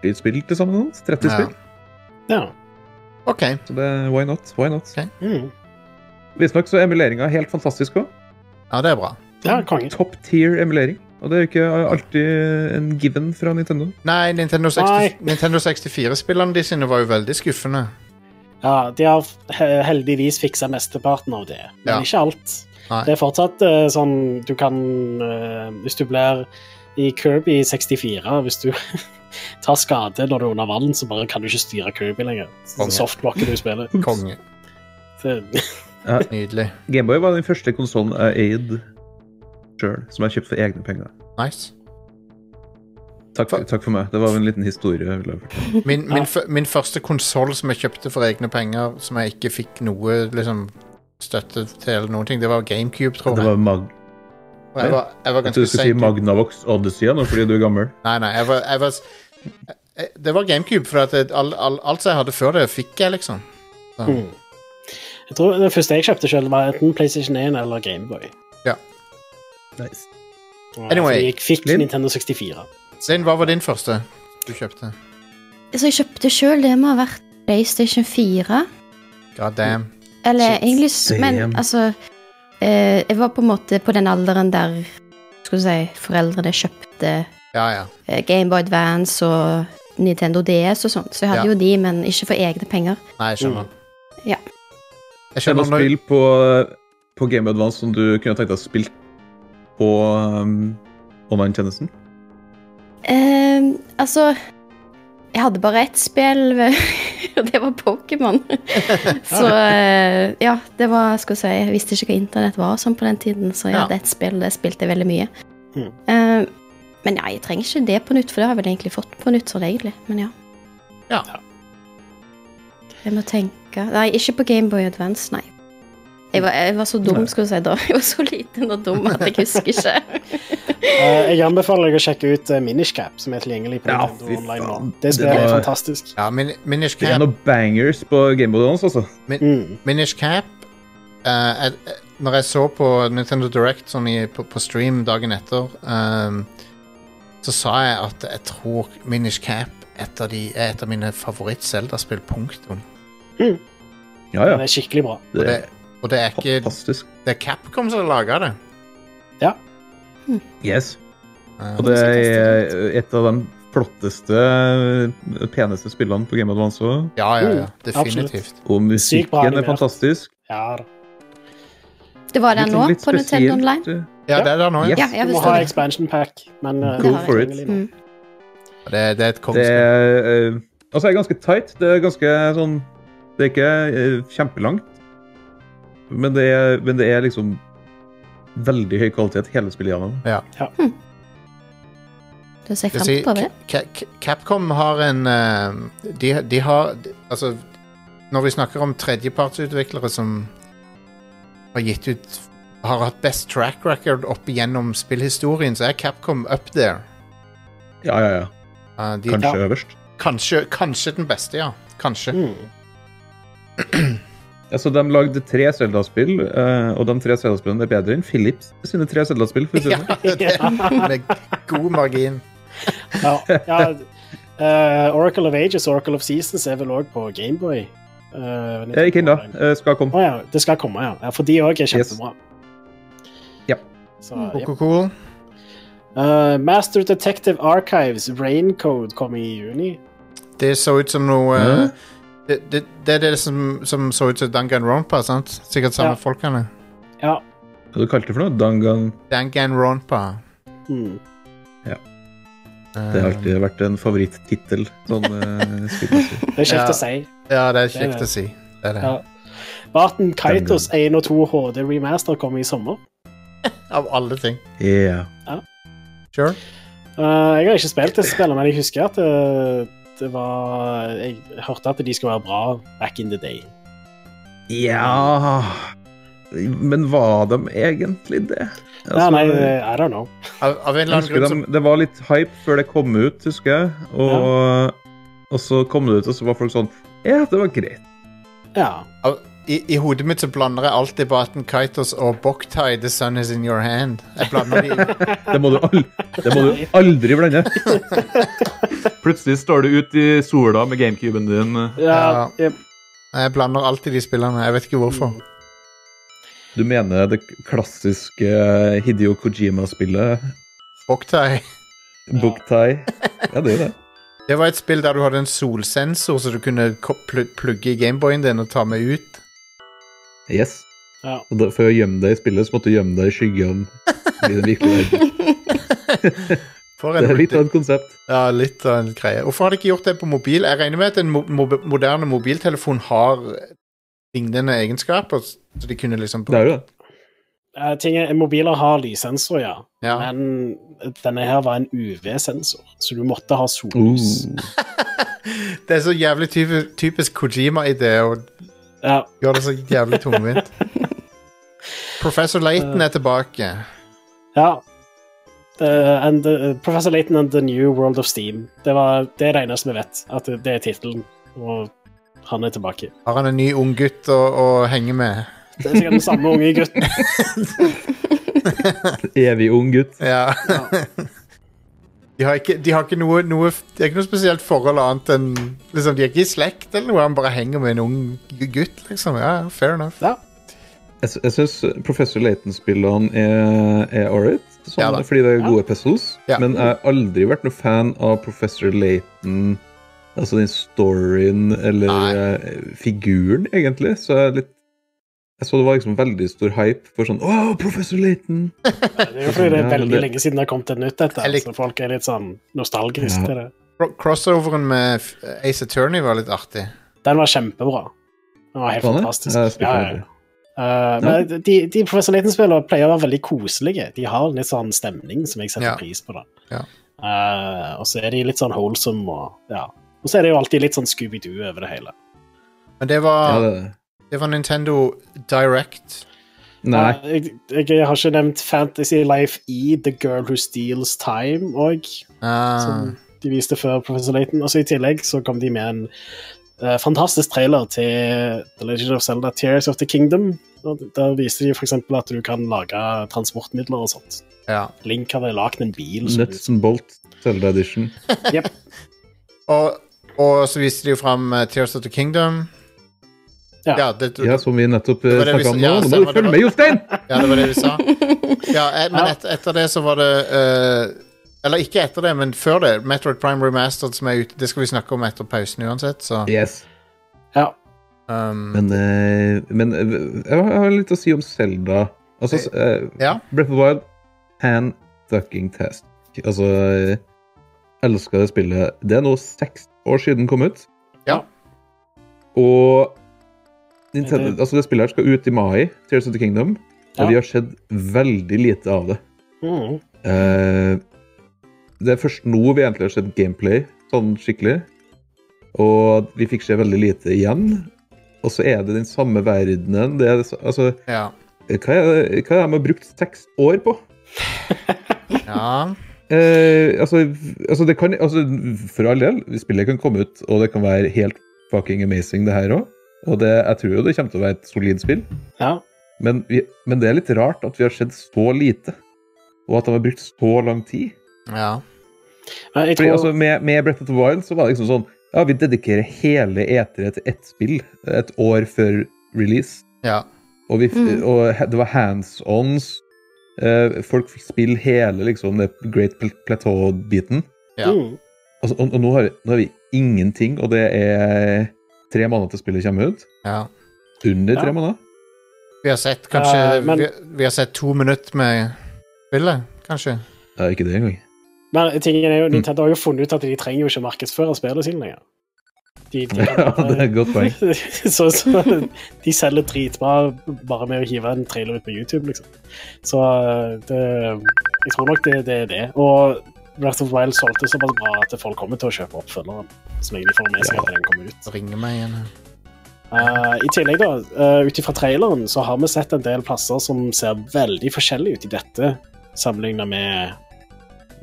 [SPEAKER 2] 40 spill til sammen. 30
[SPEAKER 1] Ja.
[SPEAKER 2] spill.
[SPEAKER 3] ja.
[SPEAKER 1] OK.
[SPEAKER 2] Så det, why not? Why not?
[SPEAKER 1] Ok.
[SPEAKER 3] Mm.
[SPEAKER 2] Visstnok så er emuleringa helt fantastisk òg.
[SPEAKER 1] Ja, det er bra.
[SPEAKER 3] Ja, konge.
[SPEAKER 2] Top tier emulering. Og det er jo ikke alltid en given fra Nintendo.
[SPEAKER 1] Nei, Nintendo, 60,
[SPEAKER 3] Nei.
[SPEAKER 1] Nintendo 64-spillene de sine var jo veldig skuffende.
[SPEAKER 3] Ja, de har he- heldigvis fiksa mesteparten av det, men
[SPEAKER 1] Ja.
[SPEAKER 3] ikke alt.
[SPEAKER 1] Nei.
[SPEAKER 3] Det er fortsatt eh, sånn Du kan eh, Hvis du blir i Kirby 64 Hvis du tar skade når du er under vann, så bare kan du ikke styre Kirby lenger. Så
[SPEAKER 1] Konge.
[SPEAKER 3] Softlocker du spiller.
[SPEAKER 1] Konge.
[SPEAKER 3] Det-
[SPEAKER 1] Nydelig.
[SPEAKER 2] Gameboy var den første konsollen jeg eide sjøl, som jeg kjøpte for egne penger.
[SPEAKER 1] Nice.
[SPEAKER 2] Takk, takk for meg. Det var en liten historie. jeg ville ha fortalt.
[SPEAKER 1] Min, min, f- min første konsoll som jeg kjøpte for egne penger, som jeg ikke fikk noe liksom, støtte til, eller noen ting, det var GameCube, tror
[SPEAKER 2] Det
[SPEAKER 1] jeg.
[SPEAKER 2] var Mag...
[SPEAKER 1] Og jeg var, jeg var
[SPEAKER 2] Jeg trodde
[SPEAKER 1] ganske
[SPEAKER 2] du skulle si
[SPEAKER 1] sein.
[SPEAKER 2] Magnavox Odyssey nå fordi du er gammel.
[SPEAKER 1] Nei, nei, jeg var, jeg var jeg, Det var GameCube, for at jeg- all, all, alt som jeg hadde før det, fikk jeg, liksom. Så,
[SPEAKER 3] Mm. Jeg tror Den første jeg kjøpte selv, var enten PlayStation 1 eller Gameboy.
[SPEAKER 2] Nice.
[SPEAKER 1] Anyway,
[SPEAKER 3] jeg fikk
[SPEAKER 2] Linn?
[SPEAKER 3] Nintendo 64.
[SPEAKER 1] Linn, hva var din første du kjøpte?
[SPEAKER 4] Så jeg kjøpte sjøl, det må ha vært PlayStation 4.
[SPEAKER 1] God
[SPEAKER 2] Mm.
[SPEAKER 1] damn.
[SPEAKER 4] Eller
[SPEAKER 3] Shit.
[SPEAKER 4] egentlig s- Men
[SPEAKER 2] Damn.
[SPEAKER 4] altså eh, Jeg var på en måte på den alderen der Skal vi si foreldrene kjøpte
[SPEAKER 1] Ja, ja.
[SPEAKER 4] eh, Gameboy Advance og Nintendo DS og sånn. Så jeg hadde
[SPEAKER 1] Ja.
[SPEAKER 4] jo de, men ikke for egne penger.
[SPEAKER 1] Nei, jeg
[SPEAKER 3] Mm.
[SPEAKER 2] Mm.
[SPEAKER 1] skjønner.
[SPEAKER 4] Ja.
[SPEAKER 1] Jeg
[SPEAKER 2] Det
[SPEAKER 1] skjønner
[SPEAKER 2] var
[SPEAKER 1] når,
[SPEAKER 2] spill på, på Game Boy Advance som du kunne tenkt deg å spille på um, online-tjenesten.
[SPEAKER 4] Eh, altså Jeg hadde bare ett spill, og det var Pokémon. så eh, ja, det var Skal vi si Jeg visste ikke hva internett var og sånn på den tiden, så jeg
[SPEAKER 1] Ja.
[SPEAKER 4] hadde ett spill, og det spilte jeg veldig mye.
[SPEAKER 3] Mhm.
[SPEAKER 4] Eh, men ja, jeg trenger ikke det på nytt, for det har jeg vel egentlig fått på nytt sånn egentlig, men ja.
[SPEAKER 1] Ja.
[SPEAKER 4] Jeg må tenke Nei, ikke på Gameboy Advance, nei. Jeg var, jeg var så dum,
[SPEAKER 2] Nei.
[SPEAKER 4] skal du si, da. Jeg var så liten og dum at jeg husker ikke.
[SPEAKER 3] Eh, jeg anbefaler deg å sjekke ut eh, Minish Cap, som er tilgjengelig på
[SPEAKER 2] Ja,
[SPEAKER 3] Nintendo
[SPEAKER 2] fy
[SPEAKER 3] Online
[SPEAKER 2] faen.
[SPEAKER 3] nå. Det spillet
[SPEAKER 2] Det
[SPEAKER 3] er
[SPEAKER 2] var-
[SPEAKER 3] fantastisk.
[SPEAKER 1] ja, min, Minish
[SPEAKER 2] Det er
[SPEAKER 1] Cap,
[SPEAKER 2] noen bangers på Game Boy Advance, altså.
[SPEAKER 3] Mm.
[SPEAKER 1] Minish Cap eh, jeg- jeg- Når jeg så på Nintendo Direct sånn i, på, på stream dagen etter, ehm, så sa jeg at jeg tror Minish Cap et av de, er et av mine favoritt-Zelda-spill, punktum.
[SPEAKER 2] Ja,
[SPEAKER 3] Den
[SPEAKER 2] ja.
[SPEAKER 3] er skikkelig bra.
[SPEAKER 2] Det
[SPEAKER 1] det
[SPEAKER 2] er
[SPEAKER 1] Og det er ikke
[SPEAKER 2] fantastisk.
[SPEAKER 1] Det er Capcom som har laga det.
[SPEAKER 2] Yes.
[SPEAKER 1] Eh,
[SPEAKER 2] Og det er et av de flotteste, eh, peneste spillene på Game of Advance også.
[SPEAKER 1] ja, ja, ja.
[SPEAKER 3] Mm,
[SPEAKER 1] Definitivt.
[SPEAKER 2] Og
[SPEAKER 3] Sykt bra
[SPEAKER 2] musikken er
[SPEAKER 3] animert.
[SPEAKER 2] fantastisk.
[SPEAKER 3] Ja da.
[SPEAKER 4] Det var der
[SPEAKER 2] Litt
[SPEAKER 4] nå,
[SPEAKER 2] sånn litt
[SPEAKER 4] på Nintendo
[SPEAKER 2] spesielt,
[SPEAKER 4] Online.
[SPEAKER 2] eh,
[SPEAKER 1] Ja, det er det nå, ja.
[SPEAKER 2] Yes.
[SPEAKER 4] Ja, jeg
[SPEAKER 3] Du må
[SPEAKER 4] forstår
[SPEAKER 3] ha
[SPEAKER 4] det.
[SPEAKER 3] expansion pack, men eh,
[SPEAKER 2] Go
[SPEAKER 3] den er
[SPEAKER 2] for it.
[SPEAKER 3] tilgjengelig nå.
[SPEAKER 4] Mm.
[SPEAKER 1] Det, det er et
[SPEAKER 2] Det
[SPEAKER 1] kongespill.
[SPEAKER 2] er eh, Altså, det er ganske tight. Det er ganske sånn Det er ikke eh, kjempelangt. Men det, er, men det er liksom veldig høy kvalitet hele spillet gjennom.
[SPEAKER 4] Da ser jeg
[SPEAKER 1] Jeg sier,
[SPEAKER 4] frem på det.
[SPEAKER 1] Ca- Ca- Capcom har en eh, de, de har de, Altså, når vi snakker om tredjepartsutviklere som har gitt ut Har hatt best track record opp igjennom spillhistorien, så er Capcom up there.
[SPEAKER 2] Ja, ja, ja.
[SPEAKER 1] Eh, de,
[SPEAKER 2] Kanskje øverst.
[SPEAKER 1] kanskje, kanskje den beste, ja. Kanskje.
[SPEAKER 3] Mm.
[SPEAKER 2] Altså, de lagde tre Zelda-spill, eh, og de tre Zelda-spillene er bedre enn Philips sine tre Zelda-spill. for å si det
[SPEAKER 1] Ja, det,
[SPEAKER 2] sånn.
[SPEAKER 1] det- med god margin.
[SPEAKER 3] Ja, ja. eh, Oracle of Ages Oracle of Seasons er vel òg på Gameboy. Uh,
[SPEAKER 2] Eh, Ikke ennå. eh, Skal komme.
[SPEAKER 3] Å ja, det skal komme, ja. ja for de òg er kjempebra.
[SPEAKER 2] Ja.
[SPEAKER 3] Så, ja.
[SPEAKER 1] Coco Cool.
[SPEAKER 3] Eh, Master Detective Archives Raincode kommer i juni.
[SPEAKER 1] Det så ut som noe eh,
[SPEAKER 2] Hæ?
[SPEAKER 1] det, det, det er det som, som så ut som Danganronpa, sant? Sikkert samme
[SPEAKER 3] Ja.
[SPEAKER 1] folkene.
[SPEAKER 3] Ja.
[SPEAKER 2] Hva du kalte det for noe? Dangan?
[SPEAKER 1] Danganronpa.
[SPEAKER 3] Mm.
[SPEAKER 1] Eh,
[SPEAKER 2] Det har alltid vært en favorittittel. Sånn eh, spillmessig.
[SPEAKER 3] Det er kjekt
[SPEAKER 1] Ja.
[SPEAKER 3] å si.
[SPEAKER 1] Ja, det er
[SPEAKER 3] Det er
[SPEAKER 1] kjekt
[SPEAKER 3] det.
[SPEAKER 1] å si. Det er det.
[SPEAKER 3] Ja. Barton Kaitos 1 og 2 HD Remaster kommer i sommer.
[SPEAKER 1] Av alle ting.
[SPEAKER 2] Yeah.
[SPEAKER 1] Sure.
[SPEAKER 3] Eh, jeg har ikke spilt disse spillene, men jeg husker at det, det var Jeg hørte at de skulle være bra back in the day.
[SPEAKER 2] Ja Men var de egentlig det?
[SPEAKER 3] Nei,
[SPEAKER 2] Altså,
[SPEAKER 3] nei, I don't know.
[SPEAKER 1] Av, av en
[SPEAKER 2] jeg
[SPEAKER 1] eller annen
[SPEAKER 2] husker
[SPEAKER 1] grunn
[SPEAKER 2] de,
[SPEAKER 1] som
[SPEAKER 2] det var litt hype før det kom ut, husker jeg. Og, og så kom det ut, og så var folk sånn Ja, det var greit.
[SPEAKER 3] Ja.
[SPEAKER 1] av, i, I hodet mitt så blander jeg alltid Baten Kytos og Boktai, The Sun Is In Your Hand. Jeg blander de
[SPEAKER 2] Det må du, al det må du aldri blande. Plutselig står du ute i sola med gamecuben din.
[SPEAKER 1] Ja.
[SPEAKER 3] Ja, jep.
[SPEAKER 1] Jeg blander alltid de spillene. Jeg vet ikke hvorfor.
[SPEAKER 2] Du mener det klassiske Hidio Kojima-spillet?
[SPEAKER 1] Boktai.
[SPEAKER 2] Boktai? Ja, det er jo det.
[SPEAKER 1] Det var et spill der du hadde en solsensor, så du kunne ko- pl plugge i Gameboyen din og ta med ut.
[SPEAKER 2] Yes.
[SPEAKER 3] Ja.
[SPEAKER 2] Og da, for å gjemme deg i spillet, så måtte du gjemme deg i skyggen. I den virkelige verden.
[SPEAKER 1] For
[SPEAKER 2] Det
[SPEAKER 1] en
[SPEAKER 2] er litt av et konsept.
[SPEAKER 1] ja, litt av en greie. Hvorfor har de ikke gjort det på mobil? Jeg regner med at en mo mo moderne mobiltelefon har lignende egenskaper, så de kunne liksom
[SPEAKER 2] Det er jo det.
[SPEAKER 3] Eh, ting er, mobiler har lyssensor, ja.
[SPEAKER 1] Ja.
[SPEAKER 3] Men denne her var en UV-sensor, så du måtte ha sollys.
[SPEAKER 2] Uh.
[SPEAKER 1] Det er så jævlig typisk, typisk Kojima-idé å
[SPEAKER 3] Ja,
[SPEAKER 1] gjøre det så jævlig tungvint. Professor Layton er tilbake.
[SPEAKER 3] ja. Eh, and the, Professor Layton and the New World of Steam. Det, var, det er det eneste vi vet, at det, det er tittelen. Og han er tilbake.
[SPEAKER 1] Har han en ny ung gutt å, å henge med?
[SPEAKER 3] Det er sikkert den samme unge gutten.
[SPEAKER 2] Evig ung gutt.
[SPEAKER 1] Ja. De har ikke, de har ikke noe, noe Det er ikke noe spesielt forhold annet enn liksom, De er ikke i slekt eller noe, han bare henger med en ung gutt, liksom. Ja, fair enough.
[SPEAKER 3] Ja.
[SPEAKER 2] Jeg, sy- jeg syns Professor Layton-spillene er, er ålright, sånn,
[SPEAKER 1] Ja da.
[SPEAKER 2] fordi det er gode puzzles.
[SPEAKER 1] Ja.
[SPEAKER 2] Men jeg har aldri vært noen fan av Professor Layton, altså den storyen eller
[SPEAKER 1] Nei.
[SPEAKER 2] eh, figuren, egentlig. Så jeg er litt jeg så det var liksom veldig stor hype for sånn Wow, Professor Layton!
[SPEAKER 3] Det er jo fordi det
[SPEAKER 2] Ja,
[SPEAKER 3] er
[SPEAKER 2] men
[SPEAKER 3] veldig
[SPEAKER 2] det-
[SPEAKER 3] lenge siden det har kommet et nytt, dette.
[SPEAKER 1] Jeg lik-
[SPEAKER 3] Så folk er litt sånn nostalgiske
[SPEAKER 2] Ja.
[SPEAKER 3] til det.
[SPEAKER 1] Cro- Crossoveren med F- Ace Attorney var litt artig.
[SPEAKER 3] Den var kjempebra. Den var helt
[SPEAKER 2] Var det?
[SPEAKER 3] fantastisk.
[SPEAKER 2] Ja, jeg spilte aldri.
[SPEAKER 3] Eh, men de, de Professor Layton-spillene pleier å være veldig koselige. De har litt sånn stemning som jeg setter
[SPEAKER 1] Ja.
[SPEAKER 3] pris på. da.
[SPEAKER 1] Ja.
[SPEAKER 3] Eh, og så er de litt sånn holsom og ja. Og så er det jo alltid litt sånn Scooby-Doo over det hele.
[SPEAKER 1] Men det
[SPEAKER 2] Ja,
[SPEAKER 1] var,
[SPEAKER 2] det er det.
[SPEAKER 1] det var Nintendo Direct.
[SPEAKER 2] Nei.
[SPEAKER 3] Eh, jeg, jeg har ikke nevnt Fantasy Life i The Girl Who Steals Time òg,
[SPEAKER 1] Ah,
[SPEAKER 3] som de viste før Professor Layton. Og så i tillegg så kom de med en eh, fantastisk trailer til The Legend of Zelda Tears of the Kingdom. Og Der viste de f.eks. at du kan lage transportmidler og sånt.
[SPEAKER 1] Ah, ja.
[SPEAKER 3] Link hadde lagd en bil. som-
[SPEAKER 2] Nuts and Bolt, Zelda Edition.
[SPEAKER 3] Jep.
[SPEAKER 1] Og, og så viste de jo fram eh, Tears of the Kingdom.
[SPEAKER 3] Ja.
[SPEAKER 1] Ja, det,
[SPEAKER 2] Ja, som vi nettopp
[SPEAKER 1] Det var det vi
[SPEAKER 2] snakka om
[SPEAKER 1] sa- ja,
[SPEAKER 2] nå. Nå må
[SPEAKER 1] stemmer,
[SPEAKER 2] du
[SPEAKER 1] det var-
[SPEAKER 2] følge med, Jostein!
[SPEAKER 1] ja, det var det vi sa. Ja, eh, men et, etter det så var det eh, Eller ikke etter det, men før det. Metroid Prime Remastered som er ute. Det skal vi snakke om etter pausen uansett, så
[SPEAKER 2] Yes.
[SPEAKER 3] Ja.
[SPEAKER 1] um,
[SPEAKER 2] Men, eh, men eh, jeg har- jeg har litt å si om Selda. Altså, s- eh,
[SPEAKER 1] Ja.
[SPEAKER 2] Breath of the Wild, hand fucking test. Altså Elska det spillet. Det er nå seks år siden det kom ut.
[SPEAKER 1] Ja.
[SPEAKER 2] Og Nintendo,
[SPEAKER 3] Er det-
[SPEAKER 2] altså det spillet her skal ut i mai, Tears of the Kingdom,
[SPEAKER 3] Ja.
[SPEAKER 2] og vi har sett veldig lite av det.
[SPEAKER 3] Mm.
[SPEAKER 2] Eh, det er først nå vi egentlig har sett gameplay, sånn skikkelig. Og vi fikk se veldig lite igjen. Og så er det den samme verdenen. Det er, det sa- altså,
[SPEAKER 1] ja.
[SPEAKER 2] hva er det, hva er det de har brukt seks år på?
[SPEAKER 1] ja.
[SPEAKER 2] Eh, altså, altså, det kan altså, For all del, spillet kan komme ut, og det kan være helt fucking amazing, det her òg. Og det, jeg tror jo det kommer til å være et solid spill.
[SPEAKER 3] ja.
[SPEAKER 2] Men, vi, men det er litt rart at vi har sett så lite, og at de har brukt så lang tid.
[SPEAKER 1] ja.
[SPEAKER 3] Men jeg
[SPEAKER 2] Fordi,
[SPEAKER 3] tror,
[SPEAKER 2] altså, med, med Breath of the Wild så var det liksom sånn Ja, vi dedikerer hele eteret til ett spill et år før release.
[SPEAKER 1] Ja.
[SPEAKER 2] Og, vi,
[SPEAKER 4] Mm.
[SPEAKER 2] og he- det var hands-ons. Eh, folk fikk spille hele liksom, det Great Pl- Plateau-biten.
[SPEAKER 1] ja.
[SPEAKER 3] mm.
[SPEAKER 2] Altså, og, og nå, har, nå har vi ingenting, og det er tre måneder til spillet kommer ut.
[SPEAKER 1] ja.
[SPEAKER 2] Under tre
[SPEAKER 3] Ja.
[SPEAKER 2] måneder.
[SPEAKER 1] Vi har sett kanskje
[SPEAKER 3] Eh, men-
[SPEAKER 1] vi, vi har sett to minutter med spillet, kanskje.
[SPEAKER 2] Ja, ikke det engang.
[SPEAKER 3] Men tingen
[SPEAKER 2] Mm.
[SPEAKER 3] er jo, Nintendo har jo funnet ut at de trenger jo ikke markedsføre spillene sine lenger. De, de,
[SPEAKER 2] Ja, det er et godt poeng.
[SPEAKER 3] så, så de selger dritbra bare med å hive en trailer ut på YouTube, liksom. Så eh, det, jeg tror nok det, det er det. Og Breath of the Wild solgte såpass bra at folk kommer til å kjøpe oppfølgeren. Så lenge de får med seg at den kommer ut.
[SPEAKER 1] Ringer meg igjen. her.
[SPEAKER 3] Eh, I tillegg, da, uh, ut ifra traileren, så har vi sett en del plasser som ser veldig forskjellige ut i dette, sammenlignet med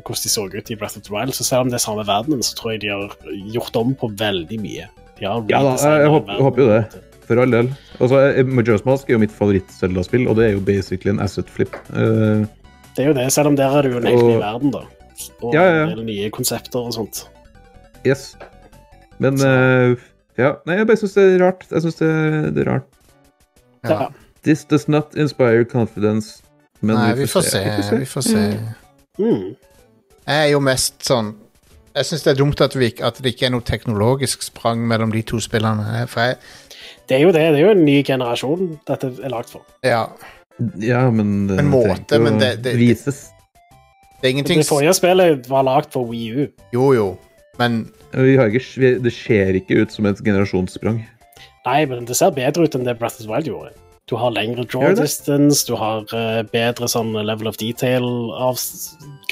[SPEAKER 3] hvordan de så ut i Breath of the Wild. Så selv om det er samme verdenen, så tror jeg de har gjort om på veldig mye. De har
[SPEAKER 2] Ja da, jeg- jeg håper- jeg håper jo det. For all del. Altså, Majora's Mask er jo mitt favoritt-Selda-spill, og det er jo basically en asset flip. Eh,
[SPEAKER 3] Det er jo det, selv om der er det jo en helt ny
[SPEAKER 2] Og-
[SPEAKER 3] verden, da. Og
[SPEAKER 2] Ja, ja, ja.
[SPEAKER 3] en del nye konsepter og sånt.
[SPEAKER 2] Yes. Men eh, Ja. Nei, jeg bare syns det er rart. Jeg synes det, det er rart.
[SPEAKER 1] Ja.
[SPEAKER 3] Ja.
[SPEAKER 2] This does not inspire confidence. Men
[SPEAKER 1] Nei, vi får se. Vi
[SPEAKER 2] Vi får
[SPEAKER 1] får se.
[SPEAKER 3] Mm.
[SPEAKER 1] Jeg er jo mest sånn Jeg syns det er dumt at, vi, ikke- at det ikke er noe teknologisk sprang mellom de to spillene. Jeg- For jeg,
[SPEAKER 3] Det er jo det. Det er jo en ny generasjon dette er lagd for.
[SPEAKER 1] ja,
[SPEAKER 2] Ja, men
[SPEAKER 1] En måte,
[SPEAKER 2] trenger ikke
[SPEAKER 1] men
[SPEAKER 2] å
[SPEAKER 1] det- det-
[SPEAKER 2] Vises.
[SPEAKER 1] det er ingenting
[SPEAKER 3] Det forrige spillet var lagd for Wii U.
[SPEAKER 1] Jo, jo, men
[SPEAKER 2] Vi har ikke, vi, det ser ikke ut som et generasjonssprang.
[SPEAKER 3] Nei, men det ser bedre ut enn det Breath of the Wild gjorde. Du har lengre draw
[SPEAKER 2] Gjør det?
[SPEAKER 3] distance, du har eh, bedre sånn level of detail-greier.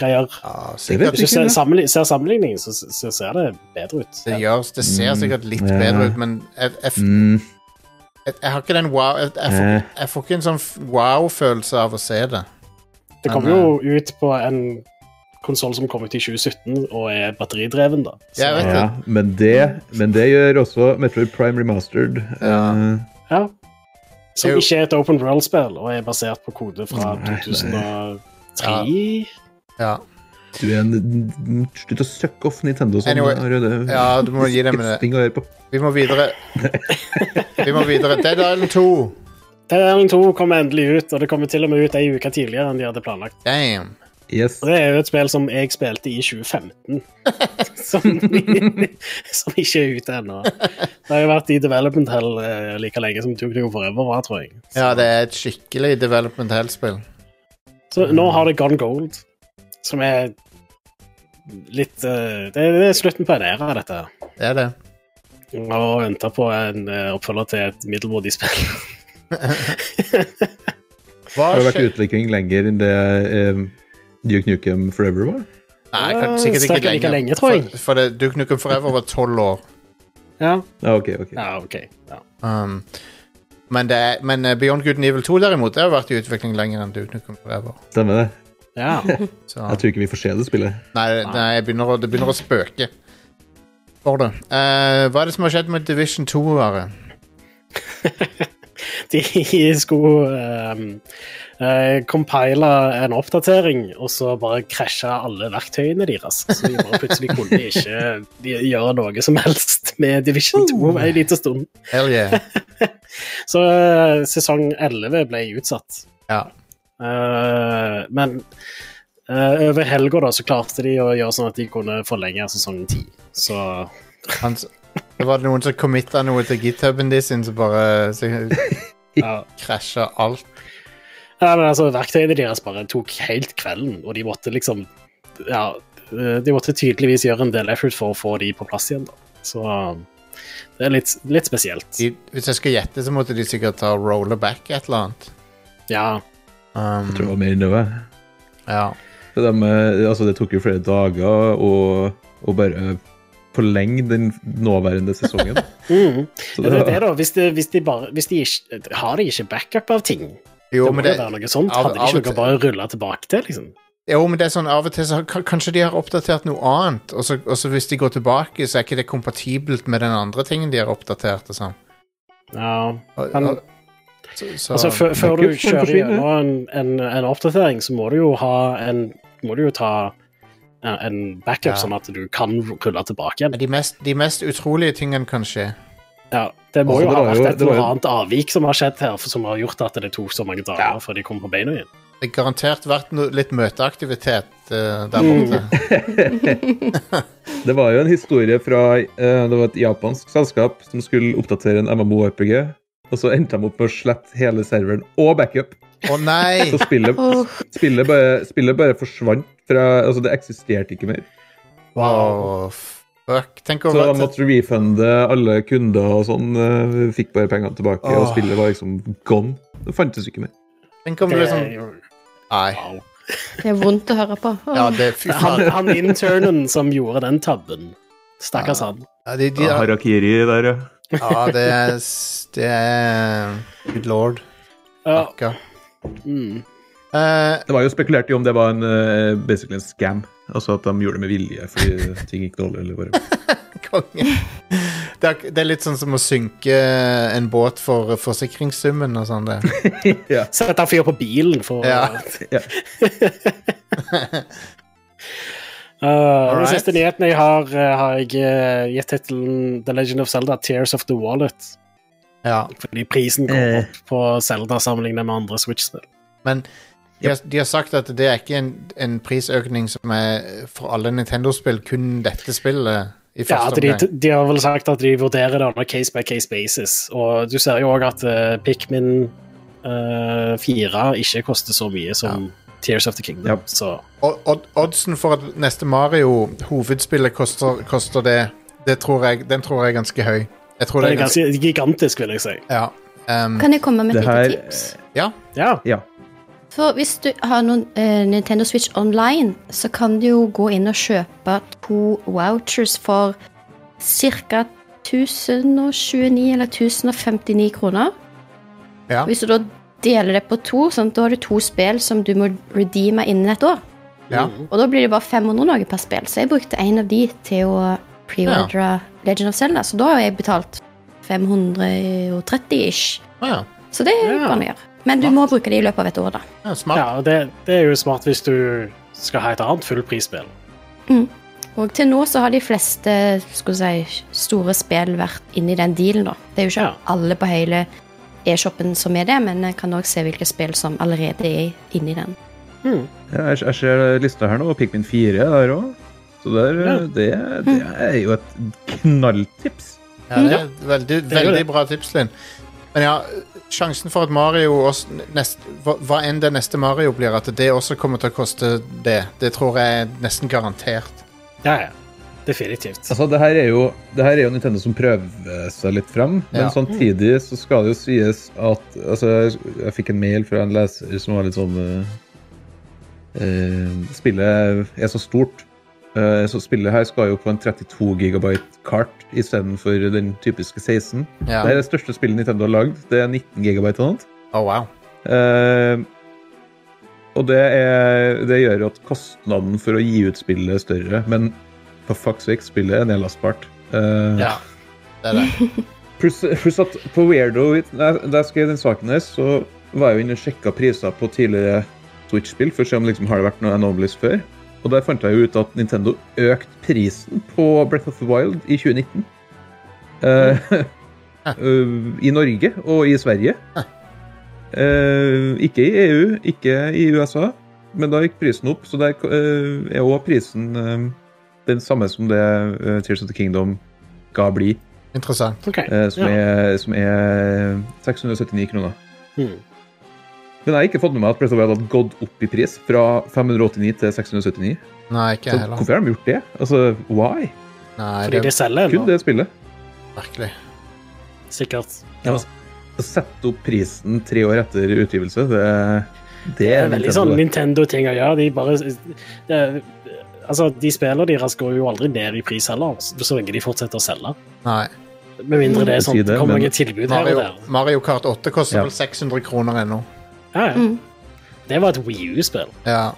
[SPEAKER 1] Ja,
[SPEAKER 2] vet
[SPEAKER 1] sikkert.
[SPEAKER 3] Hvis du ser, sammenli ser sammenligningen, så, så ser det bedre ut.
[SPEAKER 1] Det, gjør, det ser
[SPEAKER 2] Mm,
[SPEAKER 1] sikkert litt
[SPEAKER 2] ja.
[SPEAKER 1] bedre ut, men jeg, jeg,
[SPEAKER 2] Mm,
[SPEAKER 1] jeg, jeg har ikke den wow Jeg, jeg, får,
[SPEAKER 2] eh,
[SPEAKER 1] jeg får ikke en sånn f- wow-følelse av å se det.
[SPEAKER 3] Det kommer jo ut på en konsoll som kom ut i 2017 og er batteridreven, da. Så,
[SPEAKER 1] Jeg vet
[SPEAKER 2] eh, ja,
[SPEAKER 1] det.
[SPEAKER 2] men det, men det gjør også Metroid Prime Remastered.
[SPEAKER 1] Ja.
[SPEAKER 2] Eh,
[SPEAKER 3] ja. Som
[SPEAKER 1] Jo.
[SPEAKER 3] ikke er et open world-spill, og er basert på kode fra
[SPEAKER 2] Nei, nei.
[SPEAKER 3] 2003.
[SPEAKER 1] Ja,
[SPEAKER 2] Du er en Slutt å søkke off Nintendo sånn.
[SPEAKER 1] Anyway,
[SPEAKER 2] Røde.
[SPEAKER 1] ja du må gi dem det.
[SPEAKER 2] Hetsting å høre på.
[SPEAKER 1] Vi må videre. Vi må videre. Dead Island 2.
[SPEAKER 3] Dead Island 2 kommer endelig ut, og det kommer til og med ut ei uke tidligere enn de hadde planlagt.
[SPEAKER 1] Damn.
[SPEAKER 2] Yes.
[SPEAKER 3] Og Det er jo et spill som jeg spilte i 2015, som, som ikke er ute ennå. Det har jo vært i development hell eh, like lenge som Duke Nukem Forever var, tror jeg. Så,
[SPEAKER 1] Ja, det er et skikkelig development hell-spill.
[SPEAKER 3] så nå har det Gone Gold, som er litt eh, det, er- det er slutten på en æra, dette. her.
[SPEAKER 1] Det er det.
[SPEAKER 3] Og venta på en eh, oppfølger til et middelmådig spill.
[SPEAKER 1] Hva
[SPEAKER 2] Det har vært
[SPEAKER 1] skjer?
[SPEAKER 2] utvikling lenger enn det eh, Duke Nukem Forever var.
[SPEAKER 1] Nei, kan- sikkert
[SPEAKER 3] Snakker
[SPEAKER 1] ikke
[SPEAKER 3] like
[SPEAKER 1] lenger.
[SPEAKER 3] lenge, tror jeg.
[SPEAKER 1] For, for det, Duke Nukem Forever var tolv år.
[SPEAKER 3] Ja,
[SPEAKER 2] Ja, ok, ok.
[SPEAKER 3] ja OK. Ja.
[SPEAKER 1] Um, men, det er, men eh, Beyond Good and Evil 2 derimot, det har vært i utvikling lenger enn Duke Nukem Forever.
[SPEAKER 2] Stemmer det.
[SPEAKER 3] ja.
[SPEAKER 1] Så,
[SPEAKER 2] Jeg tror ikke vi får se det spillet.
[SPEAKER 1] nei, nei jeg begynner å, det begynner å spøke for det. Eh, hva er det som har skjedd med Division 2? -are?
[SPEAKER 3] de skulle um, eh, compile en oppdatering, og så bare krasja alle verktøyene deres. Så de bare plutselig kunne ikke de- gjøre noe som helst med Division 2 over en liten stund.
[SPEAKER 1] Hell yeah.
[SPEAKER 3] Så eh, sesong 11 ble utsatt.
[SPEAKER 1] Ja.
[SPEAKER 3] Eh, men eh, over helga da, så klarte de å gjøre sånn at de kunne forlenge sesong 10. Så
[SPEAKER 1] Han, s- det var noen som committa noe til githuben de sin, som bare så
[SPEAKER 3] ja.
[SPEAKER 1] krasja alt.
[SPEAKER 3] Ja, men altså, verktøyene deres bare tok helt kvelden, og de måtte liksom Ja, de måtte tydeligvis gjøre en del effort for å få de på plass igjen, da. Så det er litt, litt spesielt.
[SPEAKER 1] De, hvis jeg skal gjette, så måtte de sikkert ta roller back et eller annet.
[SPEAKER 3] Ja.
[SPEAKER 1] Um,
[SPEAKER 2] Jeg tror det var mer enn det var.
[SPEAKER 1] ja.
[SPEAKER 2] Så de, eh, altså, det tok jo flere dager å å bare forlenge den nåværende sesongen.
[SPEAKER 3] Mm.
[SPEAKER 2] Så
[SPEAKER 3] Det er det,
[SPEAKER 2] var-
[SPEAKER 3] da. Hvis de, hvis de bare hvis de ikke, Har de ikke backup av ting?
[SPEAKER 1] Jo,
[SPEAKER 3] det må
[SPEAKER 1] men
[SPEAKER 3] jo
[SPEAKER 1] det,
[SPEAKER 3] være noe sånt.
[SPEAKER 1] av-
[SPEAKER 3] Hadde de
[SPEAKER 1] av og
[SPEAKER 3] ikke
[SPEAKER 1] til-
[SPEAKER 3] noe bare å rulle tilbake til, liksom?
[SPEAKER 1] jo, men det er sånn av og til så har, kan- Kanskje de har oppdatert noe annet, og så, og så hvis de går tilbake, så er ikke det kompatibelt med den andre tingen de har oppdatert. og sånn.
[SPEAKER 3] Ja.
[SPEAKER 1] Og-
[SPEAKER 3] Men-
[SPEAKER 1] og- så- så-
[SPEAKER 3] Altså, før, før du
[SPEAKER 2] Backup kan
[SPEAKER 3] kjører
[SPEAKER 2] forsvinne.
[SPEAKER 3] gjennom en, en, en oppdatering, så må du jo ha en Må du jo ta ja, en backup,
[SPEAKER 1] Ja.
[SPEAKER 3] sånn at du kan rulle tilbake igjen.
[SPEAKER 1] de, mest, de mest utrolige tingene kan skje.
[SPEAKER 3] Ja, det må
[SPEAKER 2] Altså,
[SPEAKER 3] jo
[SPEAKER 2] det
[SPEAKER 3] ha
[SPEAKER 2] var
[SPEAKER 3] vært
[SPEAKER 2] jo-
[SPEAKER 3] et
[SPEAKER 2] det var
[SPEAKER 3] eller
[SPEAKER 2] jo-
[SPEAKER 3] annet avvik som har skjedd her, for- som har gjort at det tok så mange dager
[SPEAKER 2] Ja.
[SPEAKER 3] før de kom på beina igjen.
[SPEAKER 1] Det har garantert vært no, litt møteaktivitet eh, der
[SPEAKER 3] Mm.
[SPEAKER 1] borte.
[SPEAKER 2] Det var jo en historie fra eh, Det var et japansk selskap som skulle oppdatere en MMO-RPG. Og så endte de opp med å slette hele serveren og backup.
[SPEAKER 1] Å nei!
[SPEAKER 2] Så spillet, spillet, bare, spillet bare forsvant fra Altså, det eksisterte ikke mer.
[SPEAKER 1] Wow, fuck. Tenk å
[SPEAKER 2] Så de
[SPEAKER 1] være
[SPEAKER 2] måtte refunde alle kunder og sånn. eh, Fikk bare pengene tilbake, og
[SPEAKER 1] Åh.
[SPEAKER 2] spillet var liksom gone. Det fantes ikke mer.
[SPEAKER 1] Tenk om
[SPEAKER 3] Det
[SPEAKER 1] du
[SPEAKER 3] er
[SPEAKER 1] liksom
[SPEAKER 3] jo,
[SPEAKER 1] Nei.
[SPEAKER 3] wow.
[SPEAKER 4] Det er vondt å høre på. Åh.
[SPEAKER 1] Ja, det Fy
[SPEAKER 3] han,
[SPEAKER 1] faen.
[SPEAKER 3] han internen som gjorde den tabben. Stakkars han.
[SPEAKER 1] Ja, de, de, ja,
[SPEAKER 2] Harakiri der, ja.
[SPEAKER 1] det er s- Det er Good lord.
[SPEAKER 3] Ja,
[SPEAKER 1] Akka.
[SPEAKER 3] mm.
[SPEAKER 1] Eh,
[SPEAKER 2] Det var jo spekulert i om det var en, eh, basically en scam. Altså at de gjorde det med vilje fordi ting gikk dårlig. eller bare...
[SPEAKER 1] konge. Det er, det er litt sånn som å synke en båt for forsikringssummen og sånn. det.
[SPEAKER 3] Sette fyr på bilen for
[SPEAKER 1] Ja.
[SPEAKER 2] Ja.
[SPEAKER 3] Uh, Den
[SPEAKER 1] Alright.
[SPEAKER 3] siste nyheten jeg har, uh, har jeg uh, gitt tittelen The Legend of Zelda Tears of the Wallet.
[SPEAKER 1] Ja.
[SPEAKER 3] Fordi prisen går
[SPEAKER 2] Eh.
[SPEAKER 3] opp på Zelda sammenlignet med andre Switch-spill.
[SPEAKER 1] Men de har, de har sagt at det er ikke en, en prisøkning som er for alle Nintendo-spill, kun dette spillet i
[SPEAKER 3] Ja, at
[SPEAKER 1] første
[SPEAKER 3] de,
[SPEAKER 1] omgang.
[SPEAKER 3] de har vel sagt at de vurderer det on a case by case basis. Og du ser jo òg at eh, Pikmin eh, 4 ikke koster så mye som Tears of the Kingdom.
[SPEAKER 2] Ja.
[SPEAKER 3] Så
[SPEAKER 1] Og, og, oddsen for at neste Mario, hovedspillet, koster, koster det, det tror jeg, den tror jeg er ganske høy. Jeg tror
[SPEAKER 3] Det
[SPEAKER 1] det
[SPEAKER 3] er ganske gigantisk, vil jeg si.
[SPEAKER 1] Ja. Um,
[SPEAKER 4] Kan jeg komme med
[SPEAKER 2] Det
[SPEAKER 4] et lite
[SPEAKER 2] her
[SPEAKER 4] tips?
[SPEAKER 1] ja.
[SPEAKER 3] Ja.
[SPEAKER 2] Ja.
[SPEAKER 4] For hvis du har noen eh, Nintendo Switch online, så kan du jo gå inn og kjøpe to vouchers for ca. 1029 eller 1059 kroner.
[SPEAKER 1] Ja.
[SPEAKER 4] Hvis du da deler det på to, sånn, da har du to spill som du må redeeme innen et år.
[SPEAKER 1] ja.
[SPEAKER 4] Og da blir det bare 500 noe per spill, så jeg brukte en av de til å preordre Legend of Zelda, så da har jeg betalt 530-ish.
[SPEAKER 1] Å ja.
[SPEAKER 4] Så det
[SPEAKER 3] Ja.
[SPEAKER 4] kan du gjøre. Men du må bruke det i løpet av et år, da.
[SPEAKER 1] ja. Smart.
[SPEAKER 3] ja og det, det er jo smart hvis du skal ha et annet fullprisspill.
[SPEAKER 4] Og til nå så har de fleste skulle jeg si, store spill vært inni den dealen, da. Det er jo ikke
[SPEAKER 3] Ja.
[SPEAKER 4] alle på hele e-shoppen som er det, men jeg kan òg se hvilke spill som allerede er inni den.
[SPEAKER 2] Ja, jeg, jeg ser lista her nå, og Pikmin 4 er der òg. Så der,
[SPEAKER 3] Ja.
[SPEAKER 2] det, det er jo et knalltips.
[SPEAKER 1] Ja, det er et veldig,
[SPEAKER 3] er jo
[SPEAKER 1] veldig
[SPEAKER 3] Mm. det.
[SPEAKER 1] bra tips, Linn. Men ja, sjansen for at Mario også, nest, hva, hva enn det neste Mario blir, at det også kommer til å koste det, det tror jeg er nesten garantert.
[SPEAKER 3] Ja, ja. Definitivt.
[SPEAKER 2] Altså, det her er jo, det her er jo Nintendo som prøver seg litt frem, men
[SPEAKER 1] Ja.
[SPEAKER 2] samtidig så skal det jo sies at altså, jeg, jeg fikk en mail fra en leser som var litt sånn eh, eh, Spillet er så stort. Eh, så spillet her skal jo på en 32 gigabyte kart istedenfor den typiske 16.
[SPEAKER 1] Ja.
[SPEAKER 2] Det her er det største spillet Nintendo har lagd. Det er 19 gigabyte og noe.
[SPEAKER 1] Oh, wow.
[SPEAKER 2] Eh, og det, er, det gjør jo at kostnaden for å gi ut spillet er større, men for fuck's sake, spillet er nedlastbart. Eh,
[SPEAKER 1] Ja. Det er det.
[SPEAKER 2] pluss, pluss at på Weirdo, da da jeg skrev den saken her, så var jeg jo inne og sjekka priser på tidligere Switch-spill for å se om liksom, har det vært noe Anomalies før. Og der fant jeg jo ut at Nintendo økte prisen på Breath of the Wild i 2019. Eh, eh, I Norge og i Sverige. Eh, ikke i EU, ikke i USA, men da gikk prisen opp. Så der eh, er òg prisen eh, den samme som det eh, Tears of the Kingdom skal bli.
[SPEAKER 1] Interessant.
[SPEAKER 3] Ok.
[SPEAKER 2] Eh, som,
[SPEAKER 3] Ja.
[SPEAKER 2] er, som er eh, 679 kroner.
[SPEAKER 3] Mm.
[SPEAKER 2] Men jeg har ikke fått med meg at Breath of the Wild hadde gått opp i pris fra 589 til 679.
[SPEAKER 1] Nei, ikke
[SPEAKER 2] Så
[SPEAKER 1] jeg heller.
[SPEAKER 2] hvorfor har de gjort det? Altså, why?
[SPEAKER 1] Nei,
[SPEAKER 3] Fordi
[SPEAKER 1] det
[SPEAKER 3] de
[SPEAKER 1] er
[SPEAKER 3] selger
[SPEAKER 2] Kun
[SPEAKER 3] ennå,
[SPEAKER 2] det spillet.
[SPEAKER 1] merkelig.
[SPEAKER 3] sikkert.
[SPEAKER 2] Ja. Å sette opp prisen tre år etter utgivelse, det, det
[SPEAKER 3] Det
[SPEAKER 2] er
[SPEAKER 3] er veldig
[SPEAKER 2] Nintendo,
[SPEAKER 3] sånn
[SPEAKER 2] det.
[SPEAKER 3] Nintendo-ting å gjøre. De bare det, er- Altså, de spillene deres går jo aldri ned i pris heller, så lenge de fortsetter å selge.
[SPEAKER 1] Nei.
[SPEAKER 3] Med mindre det er sånn
[SPEAKER 2] Si Mm. det,
[SPEAKER 3] det kommer
[SPEAKER 2] men-
[SPEAKER 3] noe tilbud her og
[SPEAKER 1] Mario,
[SPEAKER 3] der.
[SPEAKER 1] Mario Kart 8 koster
[SPEAKER 2] Ja.
[SPEAKER 1] vel 600 kroner ennå.
[SPEAKER 3] Ja, ja.
[SPEAKER 4] Mm.
[SPEAKER 3] Det var et Wii U-spill.
[SPEAKER 1] Ja.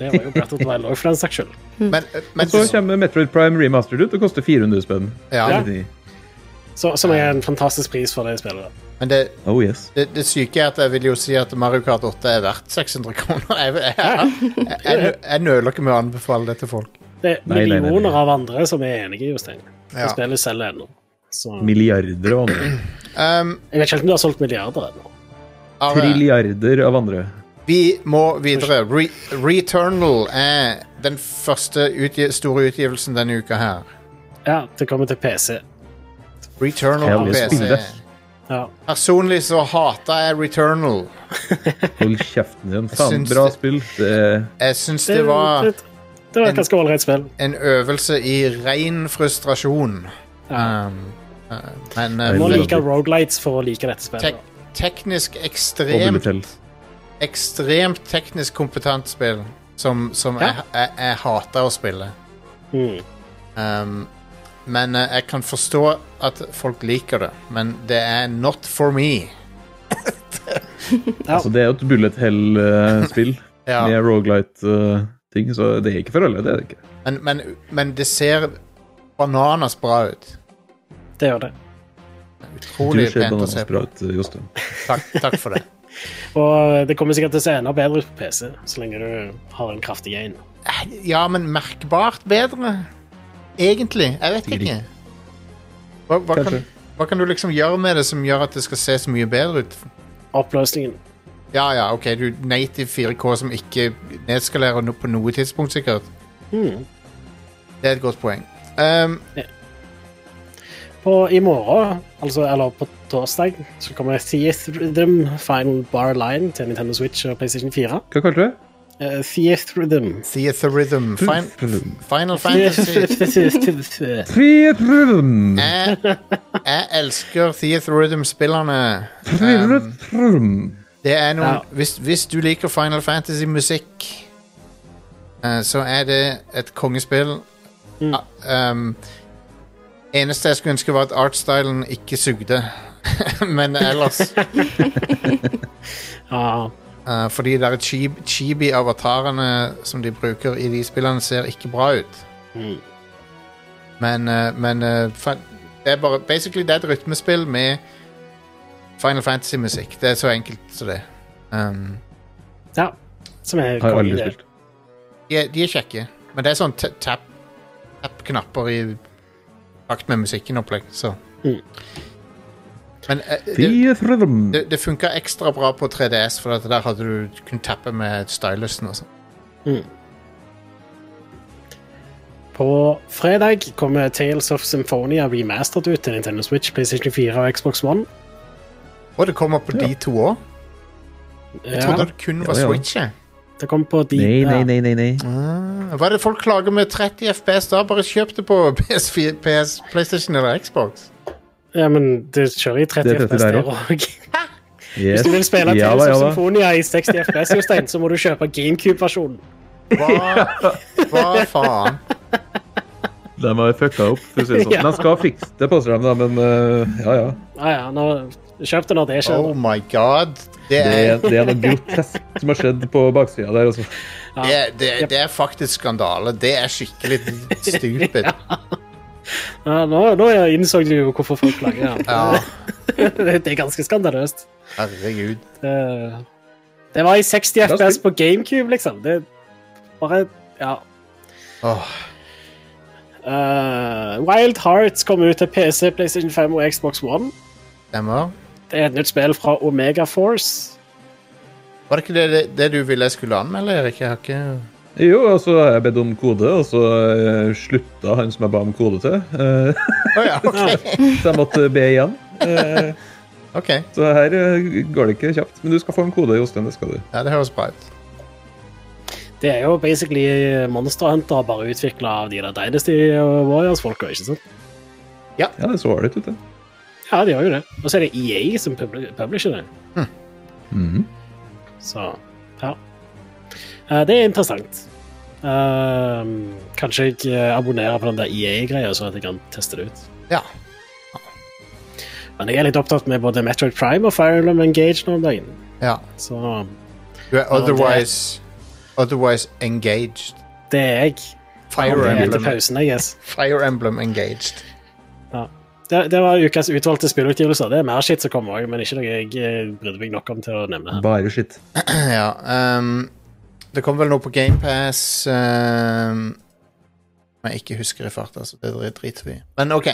[SPEAKER 3] Det var jo Breath of the Wild også, for den saks skyld.
[SPEAKER 1] Men, men
[SPEAKER 2] Og så kommer Metroid Prime Remastered ut og koster 400 spenn.
[SPEAKER 1] ja.
[SPEAKER 3] Så- Som er en fantastisk pris for det spillet.
[SPEAKER 1] Men det,
[SPEAKER 2] Oh yes.
[SPEAKER 1] det, det syke er at jeg vil jo si at Mario Kart 8 er verdt 600 kroner. Jeg, jeg, jeg, jeg, jeg, jeg nøler ikke med å anbefale det til folk.
[SPEAKER 3] Det er
[SPEAKER 2] Nei, nei, nei, nei.
[SPEAKER 3] millioner av andre som er enige, Jostein.
[SPEAKER 1] Ja.
[SPEAKER 3] Ja. Spillet selger ennå. Så
[SPEAKER 2] Milliarder av andre.
[SPEAKER 1] Um,
[SPEAKER 3] jeg vet ikke helt om de har solgt milliarder ennå.
[SPEAKER 1] Are,
[SPEAKER 2] Trilliarder av andre.
[SPEAKER 1] eh, vi må videre. Re Returnal er den første utgi store utgivelsen denne uka her.
[SPEAKER 3] Ja, det kommer til PC.
[SPEAKER 1] Returnal på
[SPEAKER 2] Herlig
[SPEAKER 1] PC.
[SPEAKER 2] spille.
[SPEAKER 1] Altså,
[SPEAKER 3] Ja.
[SPEAKER 1] Personlig så hata jeg Returnal.
[SPEAKER 2] Hold kjeften din.
[SPEAKER 1] Jeg
[SPEAKER 2] Faen,
[SPEAKER 1] syns
[SPEAKER 2] bra
[SPEAKER 1] det-
[SPEAKER 2] spill. Det
[SPEAKER 1] Jeg syns det var
[SPEAKER 3] det, det var
[SPEAKER 1] en-
[SPEAKER 3] et ganske ålreit spill.
[SPEAKER 1] en øvelse i ren frustrasjon. Um, uh, men uh,
[SPEAKER 2] Nei,
[SPEAKER 3] Må
[SPEAKER 2] det-
[SPEAKER 3] like Rogalights for å like dette spillet.
[SPEAKER 1] tek teknisk
[SPEAKER 2] Bobble
[SPEAKER 1] ekstremt
[SPEAKER 2] til.
[SPEAKER 1] ekstremt teknisk kompetent spill som, som
[SPEAKER 3] Ja.
[SPEAKER 1] jeg, jeg, jeg hater å spille.
[SPEAKER 3] Mm.
[SPEAKER 1] Um, men eh, jeg kan forstå at folk liker det, men det er not for me.
[SPEAKER 3] Ja.
[SPEAKER 2] Altså, det er jo et bullet eh, hell-spill
[SPEAKER 1] Ja.
[SPEAKER 2] med rogelight-ting, så det er ikke for alle. det er det ikke.
[SPEAKER 1] Men, men, men det ser bananas bra ut.
[SPEAKER 3] Det gjør det.
[SPEAKER 2] Du
[SPEAKER 1] Utrolig
[SPEAKER 2] ser
[SPEAKER 1] pent å se på.
[SPEAKER 2] bra ut, eh, Jostein.
[SPEAKER 1] Takk, takk for det.
[SPEAKER 3] Og eh, det kommer sikkert til å se enda bedre ut på PC, så lenge du har en kraftig en.
[SPEAKER 1] Eh, Ja, men merkbart bedre. Egentlig. Jeg vet ikke. Hva, hva, kan,
[SPEAKER 2] Kanskje.
[SPEAKER 1] hva kan du liksom gjøre med det som gjør at det skal se så mye bedre ut?
[SPEAKER 3] Oppløsningen.
[SPEAKER 1] Ja, ja, ok, du native 4K som ikke nedskalerer no på noe tidspunkt, sikkert.
[SPEAKER 3] Mm.
[SPEAKER 1] Det er et godt poeng. Um,
[SPEAKER 3] På, I morgen, altså, eller på torsdag, så kommer Theath Rhythm Final Bar Line til Nintendo Switch og PlayStation 4.
[SPEAKER 2] Hva kalte du det?
[SPEAKER 3] Uh, Theathrhythm.
[SPEAKER 1] Theater Rhythm. Fin Final Fantasy.
[SPEAKER 3] Theathrhythm.
[SPEAKER 2] Trirrum.
[SPEAKER 1] Eh, Jeg, jeg elsker Theater Rhythm-spillerne. Um,
[SPEAKER 2] Trirrum.
[SPEAKER 1] det er noen
[SPEAKER 3] Ja.
[SPEAKER 1] hvis, hvis du liker Final Fantasy-musikk, eh, så er det et kongespill. Ah, um, eneste jeg skulle ønske, var at artstylen ikke sugde. Men ellers
[SPEAKER 3] Ja.
[SPEAKER 1] Eh, fordi det er chib- chibi-avatarene som de bruker i de spillene, ser ikke bra ut.
[SPEAKER 3] Mm.
[SPEAKER 1] Men, eh, men eh, fa- det er bare Basically, det er et rytmespill med Final Fantasy-musikk. Det er så enkelt som det. Um,
[SPEAKER 3] ja. Som er
[SPEAKER 2] Har
[SPEAKER 3] konge,
[SPEAKER 2] aldri
[SPEAKER 3] det.
[SPEAKER 2] spilt.
[SPEAKER 1] de, er- de er kjekke, men det er sånn ta- tap- tap-knapper i takt med musikken opplegg, så
[SPEAKER 3] Mm.
[SPEAKER 1] Men eh, det,
[SPEAKER 2] Trirrum.
[SPEAKER 1] det, det funka ekstra bra på 3DS, for at der hadde du du kunne tappe med stylusen og sånn.
[SPEAKER 3] På fredag kommer Tales of Symphonia remastered ut til Nintendo Switch, PlayStation 4 og Xbox One.
[SPEAKER 1] Og det kommer på de to òg. Jeg
[SPEAKER 3] Ja,
[SPEAKER 1] trodde det kun var
[SPEAKER 2] Ja, ja.
[SPEAKER 1] Switch. jeg. Ah,
[SPEAKER 3] det kommer på de
[SPEAKER 2] Nei, nei,
[SPEAKER 3] ja.
[SPEAKER 2] nei, nei, nei.
[SPEAKER 1] Hva er det folk klager med 30 FPS da? Bare kjøp det på PS4, PS, PlayStation eller Xbox.
[SPEAKER 3] Ja, men det kjører i 30
[SPEAKER 2] Det er 30
[SPEAKER 3] FPS
[SPEAKER 2] der
[SPEAKER 3] der
[SPEAKER 2] også.
[SPEAKER 3] òg.
[SPEAKER 2] Yes.
[SPEAKER 3] Hvis du vil spille
[SPEAKER 2] Ja
[SPEAKER 3] Tales
[SPEAKER 2] da,
[SPEAKER 3] of
[SPEAKER 2] ja da.
[SPEAKER 3] Symphonia i 60 FPS, Jostein, så må du kjøpe GameCube-versjonen.
[SPEAKER 1] Hva, hva faen?
[SPEAKER 2] De har fucka opp, for å si det sånn.
[SPEAKER 3] Ja.
[SPEAKER 2] De skal fikse det, påstår de, da, men eh, ja, ja.
[SPEAKER 3] Ja, ja, nå- kjøp det når det skjer.
[SPEAKER 1] Oh my god. Det
[SPEAKER 2] Det
[SPEAKER 1] er,
[SPEAKER 2] er, det er noe grotesk som har skjedd på baksida der, altså.
[SPEAKER 1] det, er- det, er- det er faktisk skandale. Det er skikkelig stupid.
[SPEAKER 3] Ja, nå, nå innså du jo hvorfor folk klager.
[SPEAKER 1] Ja,
[SPEAKER 3] Det det er ganske skandaløst.
[SPEAKER 1] herregud.
[SPEAKER 3] Det, det var i 60
[SPEAKER 2] er
[SPEAKER 3] FPS på GameCube, liksom. Det bare Ja.
[SPEAKER 1] Åh,
[SPEAKER 3] Eh, Wild Hearts kommer ut til PC, PlayStation 5 og Xbox One.
[SPEAKER 1] stemmer.
[SPEAKER 3] Det er et nytt spill fra Omega Force.
[SPEAKER 1] Var det ikke det, det, det du ville jeg skulle anmelde, Erik? Jeg har ikke
[SPEAKER 2] Jo, og så har jeg bedt om kode, og så eh, slutta han som jeg ba om kode til. Eh,
[SPEAKER 1] Å ja, OK.
[SPEAKER 2] så jeg måtte be igjen. Eh,
[SPEAKER 1] Ok.
[SPEAKER 2] så her eh, går det ikke kjapt. Men du skal få en kode, Jostein. Det skal du.
[SPEAKER 1] Ja, det høres bra ut.
[SPEAKER 3] Det er jo basically eh, Monster Hunter bare utvikla av de der Dynasty eh, Warriors-folka, ikke sant?
[SPEAKER 2] Ja, det så ålreit ut, det.
[SPEAKER 3] Ja, de gjør jo det. Og så er det EA som publi- publisher det. Så ja. Eh, det er interessant. Ehm, kanskje jeg eh, abonnerer på den der EA-greia, så at jeg kan teste det ut.
[SPEAKER 1] Ja.
[SPEAKER 3] Men jeg er litt opptatt med både Metroid Prime og Fire Emblem Engage nå om dagen.
[SPEAKER 1] ja.
[SPEAKER 3] Så
[SPEAKER 1] Du er otherwise, otherwise engaged.
[SPEAKER 3] det er jeg.
[SPEAKER 1] Fire
[SPEAKER 3] Det er etter
[SPEAKER 1] Emblem,
[SPEAKER 3] pausen, I guess.
[SPEAKER 1] Fire Emblem engaged.
[SPEAKER 3] Ja. Det, det var ukas utvalgte spillutgivelser. Det er mer shit som kommer òg, men ikke noe jeg eh, brydde meg nok om til å nevne her.
[SPEAKER 2] Bare skitt.
[SPEAKER 1] Ja. ehm, det kom vel noe på GamePass um, Som jeg ikke husker i farta, så det dri- driter vi i. Men OK.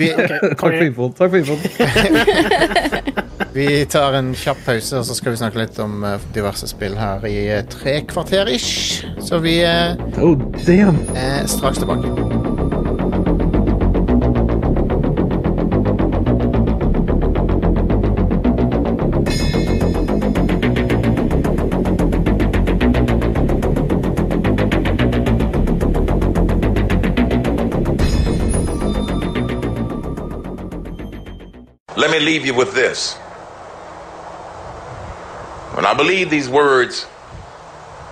[SPEAKER 1] Vi,
[SPEAKER 2] Takk for infoen. Takk for infoen.
[SPEAKER 1] vi tar en kjapp pause, og så skal vi snakke litt om eh, diverse spill her i eh, tre kvarter ish. Så vi eh,
[SPEAKER 2] Oh, damn.
[SPEAKER 1] er straks tilbake.
[SPEAKER 6] Let me leave you with this. And I believe these words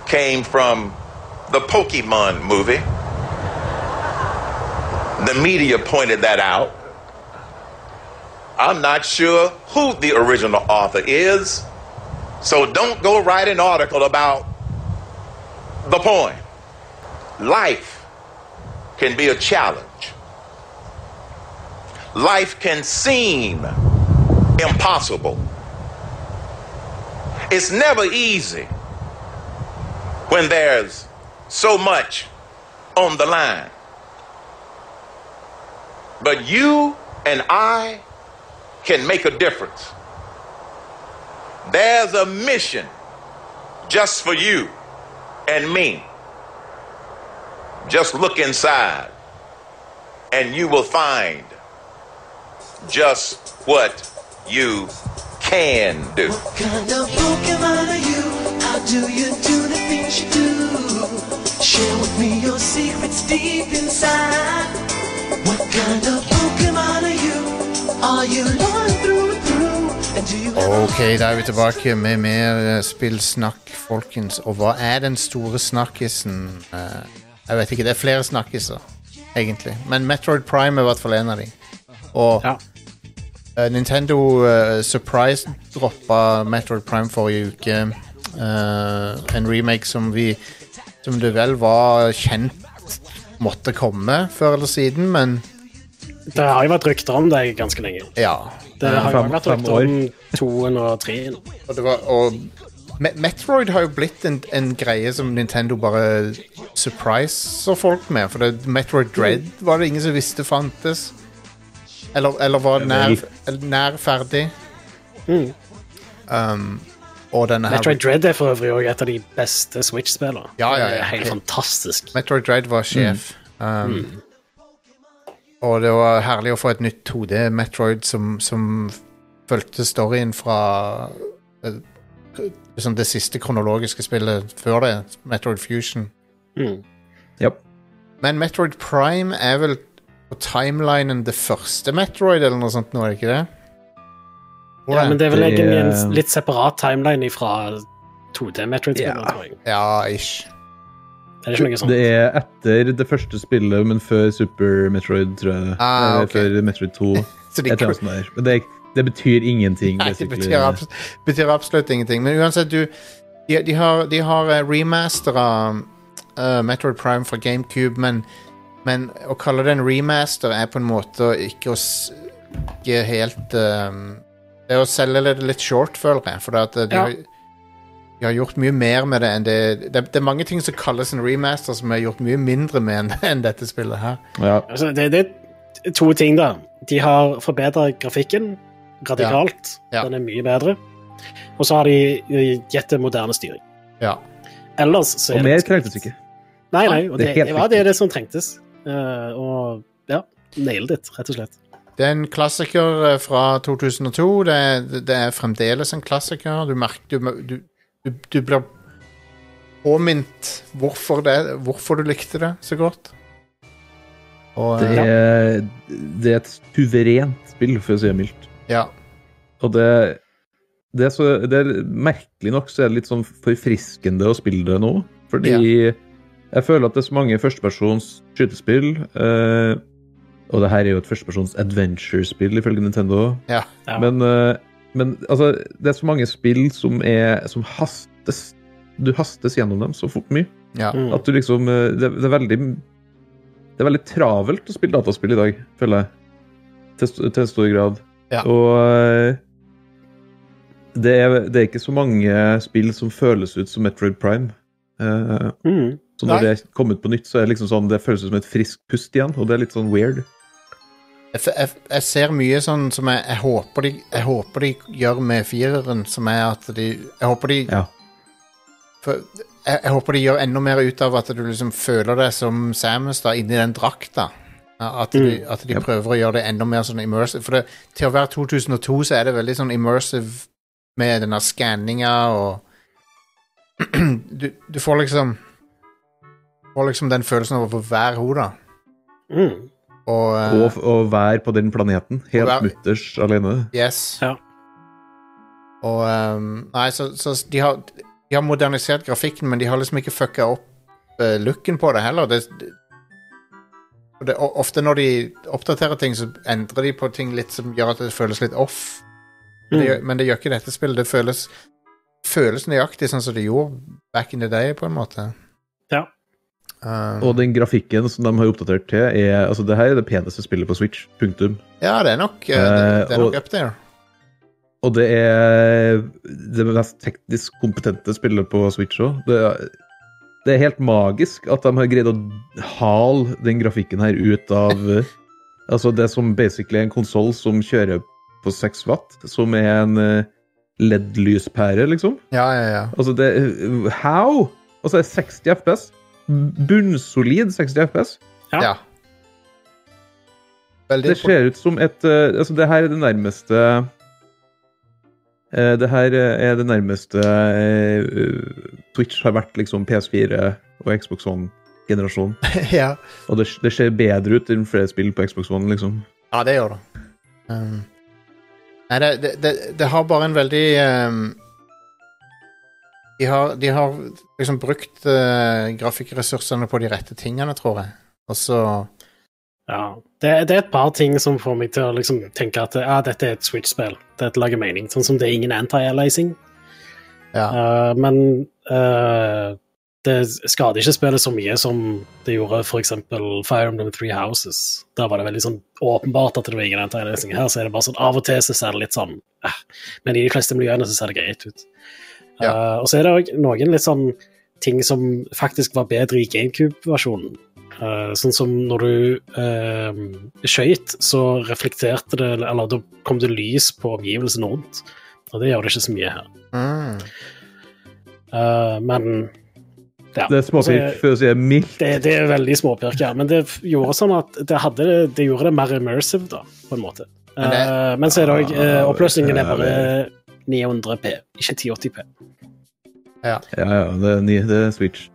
[SPEAKER 6] came from the Pokemon movie. The media pointed that out. I'm not sure who the original author is, so don't go write an article about the poem. Life can be a challenge life can seem impossible. It's never easy when there's so much on the line. But you and I can make a difference. There's a mission just for you and me. Just look inside, and you will find just what you can do.
[SPEAKER 7] Kind of Pokemon are you? How do you do the things you do? Share with me your secrets deep inside. What kind of Pokemon are you? Are you loyal through and through? And do you have a
[SPEAKER 1] Ok, da er vi
[SPEAKER 7] heart that's
[SPEAKER 1] tilbake med mer eh, spillsnakk, folkens. Og hva er den store snakkisen? Eh, jeg vet ikke, det er flere snakkiser, egentlig. Men Metroid Prime er i hvert fall en av de. Og
[SPEAKER 3] Ja.
[SPEAKER 1] eh, Nintendo eh, Surprise droppa Metroid Prime forrige uke. Eh, en remake som vi Som det vel var kjent måtte komme før eller siden, men
[SPEAKER 3] Det har jo vært rykter om det ganske lenge.
[SPEAKER 1] ja.
[SPEAKER 3] Det har jo
[SPEAKER 2] fem-
[SPEAKER 3] vært
[SPEAKER 2] fem
[SPEAKER 3] rykter
[SPEAKER 2] år.
[SPEAKER 3] om toen og treen.
[SPEAKER 1] Og, det var, og Me- Metroid har jo blitt en, en greie som Nintendo bare surpriser folk med. For det, Metroid Dread var det ingen som visste fantes. Eller, eller var nær, eller nær ferdig. Um, og denne her
[SPEAKER 3] Metroid Dread er for øvrig også et av de beste Switch-spillene.
[SPEAKER 1] Ja, ja, ja.
[SPEAKER 3] Det er Helt
[SPEAKER 1] Helt-
[SPEAKER 3] fantastisk.
[SPEAKER 1] Metroid Dread var sjef. Um, Og det var herlig å få et nytt 2D-Metroid som, som fulgte storyen fra eh, liksom det siste kronologiske spillet før det, Metroid Fusion.
[SPEAKER 3] Mm.
[SPEAKER 2] Ja.
[SPEAKER 1] Men Metroid Prime er vel på timelinen det første Metroid, eller noe sånt nå, er det ikke det?
[SPEAKER 3] Ja, men det er vel
[SPEAKER 2] Det-
[SPEAKER 3] egentlig en litt separat timeline fra 2D-Metroid-spillene,
[SPEAKER 2] Ja.
[SPEAKER 3] tror jeg.
[SPEAKER 1] Ja, ish.
[SPEAKER 3] Er det ikke noe sånt?
[SPEAKER 2] Det er etter det første spillet, men før Super Metroid, tror jeg.
[SPEAKER 1] Ah,
[SPEAKER 2] Eller
[SPEAKER 1] ok.
[SPEAKER 2] Før Metroid 2.
[SPEAKER 1] Så de
[SPEAKER 2] Et eller annet sånt der. Men det, det betyr ingenting.
[SPEAKER 1] Nei, det
[SPEAKER 2] basically.
[SPEAKER 1] betyr, abs betyr absolutt ingenting. Men uansett, du De, de har, de har eh, remastera eh, Metroid Prime fra GameCube, men, men å kalle det en remaster er på en måte å ikke å s- Ikke helt eh, Det er å selge det litt short, føler jeg. For det at eh, de,
[SPEAKER 3] Ja.
[SPEAKER 1] har, de har gjort mye mer med det enn det det, det er mange ting som kalles en remaster, som er gjort mye mindre med enn enn dette spillet her.
[SPEAKER 2] Ja.
[SPEAKER 3] Altså, det, det er to ting, da. De har forbedra grafikken radikalt.
[SPEAKER 1] Ja. Ja.
[SPEAKER 3] Den er mye bedre. Og så har de eh, gitt det moderne styring.
[SPEAKER 1] Ja.
[SPEAKER 3] Ellers så er
[SPEAKER 2] Og
[SPEAKER 3] det
[SPEAKER 2] mer
[SPEAKER 3] ganske-
[SPEAKER 2] trengtes ikke.
[SPEAKER 3] Nei, nei, og
[SPEAKER 2] Det
[SPEAKER 3] det,
[SPEAKER 2] er
[SPEAKER 3] det,
[SPEAKER 2] helt
[SPEAKER 3] var
[SPEAKER 2] riktig.
[SPEAKER 3] det, det som trengtes. Eh, og ja, nailed it, rett og slett.
[SPEAKER 1] Det er en klassiker eh, fra 2002. Det er, det er fremdeles en klassiker. Du merker Du, du, du, du blir påminnet hvorfor, det, hvorfor du likte det så godt. Og
[SPEAKER 2] Det
[SPEAKER 1] eh,
[SPEAKER 2] er, det er et suverent spill, for å si det mildt.
[SPEAKER 1] ja.
[SPEAKER 2] Og det, det, er så, det er Merkelig nok så er det litt sånn forfriskende å spille det nå. Fordi jeg føler at det er så mange førstepersons skytespill. eh, og det her er jo et førstepersons adventure-spill, ifølge Nintendo.
[SPEAKER 1] Ja.
[SPEAKER 3] Ja.
[SPEAKER 2] Men, eh, men altså, det er så mange spill som, er, som hastes. Du hastes gjennom dem så fort mye.
[SPEAKER 1] ja.
[SPEAKER 3] Mm.
[SPEAKER 2] At du liksom eh, Det, det er veldig Det er veldig travelt å spille dataspill i dag, føler jeg. Til, st- til en stor grad.
[SPEAKER 1] Ja.
[SPEAKER 2] Og eh, det er, det er ikke så mange spill som føles ut som Metroid Prime. Eh,
[SPEAKER 3] Mm.
[SPEAKER 2] så når
[SPEAKER 1] Nei.
[SPEAKER 2] det kom ut på nytt, så er det liksom sånn Det føles ut som et friskt pust igjen, og det er litt sånn weird.
[SPEAKER 1] Jeg, f- jeg, f- jeg ser mye sånn som jeg, jeg, håper de, jeg håper de gjør med fireren, som er at de Jeg håper de
[SPEAKER 2] Ja.
[SPEAKER 1] For jeg, jeg håper de gjør enda mer ut av at du liksom føler deg som Samus da, inni den drakta. At de, at de
[SPEAKER 2] Mm. Yep.
[SPEAKER 1] prøver å gjøre det enda mer sånn immersive. For det, til å være 2002 så er det veldig sånn immersive med denne skanninga og du, du får liksom Får liksom den følelsen av å være hun, da.
[SPEAKER 3] Mm.
[SPEAKER 1] Og, eh,
[SPEAKER 2] Og, f- og være på den planeten, helt
[SPEAKER 1] Og være-
[SPEAKER 2] mutters alene.
[SPEAKER 1] Yes.
[SPEAKER 3] Ja.
[SPEAKER 1] Og ehm, Nei, så, så de, har, de har modernisert grafikken, men de har liksom ikke fucka opp eh, looken på det heller. Det, det, og det, og ofte når de oppdaterer ting, så endrer de på ting litt som gjør at det føles litt off. Men
[SPEAKER 3] Mm.
[SPEAKER 1] det, gjør- men det gjør ikke dette spillet. Det føles, føles nøyaktig sånn som det gjorde back in the day, på en måte.
[SPEAKER 3] Ja.
[SPEAKER 1] Ehm,
[SPEAKER 2] Og den grafikken som de har oppdatert til, er Altså, det her er det peneste spillet på Switch. Punktum.
[SPEAKER 1] ja, det er nok, eh, det, det er nok
[SPEAKER 2] Eh, og-
[SPEAKER 1] up there.
[SPEAKER 2] Og det er det mest teknisk kompetente spillet på Switch òg. Det, er- det er helt magisk at de har greid å hale den grafikken her ut av eh, Altså det som basically er en konsoll som kjører på 6 watt, som er en eh, LED-lyspære, liksom.
[SPEAKER 1] Ja, ja, ja.
[SPEAKER 2] Altså, det eh, How?! Og så er det 60 FPS. Bunnsolid 60 FPS.
[SPEAKER 3] Ja.
[SPEAKER 1] ja. Veldig
[SPEAKER 2] Det ser ut som et eh, Altså, det her er det nærmeste Eh, det her eh, er det nærmeste eh, eh, Twitch har vært liksom PS4 og Xbox One-generasjonen.
[SPEAKER 1] ja.
[SPEAKER 2] Og det, det ser bedre ut enn flere spill på Xbox One, liksom.
[SPEAKER 1] Ja, det gjør det. Um, nei, det, det, det, det har bare en veldig um, de, har, de har liksom brukt eh, grafikkressursene på de rette tingene, tror jeg. Og så
[SPEAKER 3] Ja. Det, det er et par ting som får meg til å liksom tenke at ah, dette er et Switch-spill. Dette lager mening. Sånn som det er ingen anti-aliasing.
[SPEAKER 1] Ja.
[SPEAKER 3] Eh, men eh, det skader ikke spillet så mye som det gjorde f.eks. Fire Emblem Three Houses. Der var det veldig sånn åpenbart at det var ingen anti-aliasing. Her så er det bare sånn av og til så ser det litt sånn eh, Men i de fleste miljøene så ser det greit ut. Eh, og så er det òg noen litt sånn ting som faktisk var bedre i GameCube-versjonen. Eh, sånn som når du uh, skøyt, så reflekterte det Eller da kom det lys på omgivelsene rundt. Og det gjør det ikke så mye her.
[SPEAKER 1] Mm.
[SPEAKER 3] Eh, men ja.
[SPEAKER 2] Det er småpirk,
[SPEAKER 3] Så
[SPEAKER 2] for å si det mildt.
[SPEAKER 3] Det, det er veldig småpirk, ja. Men det f- gjorde sånn at det, hadde, det gjorde det mer immersive, da, på en måte. Eh,
[SPEAKER 1] Men
[SPEAKER 3] Men,
[SPEAKER 1] det-
[SPEAKER 3] så er det òg
[SPEAKER 2] Ja,
[SPEAKER 3] Oppløsningen er
[SPEAKER 2] ja,
[SPEAKER 3] bare 900P, ikke 1080P.
[SPEAKER 2] Ja, ja, det er, ny, det er Switch.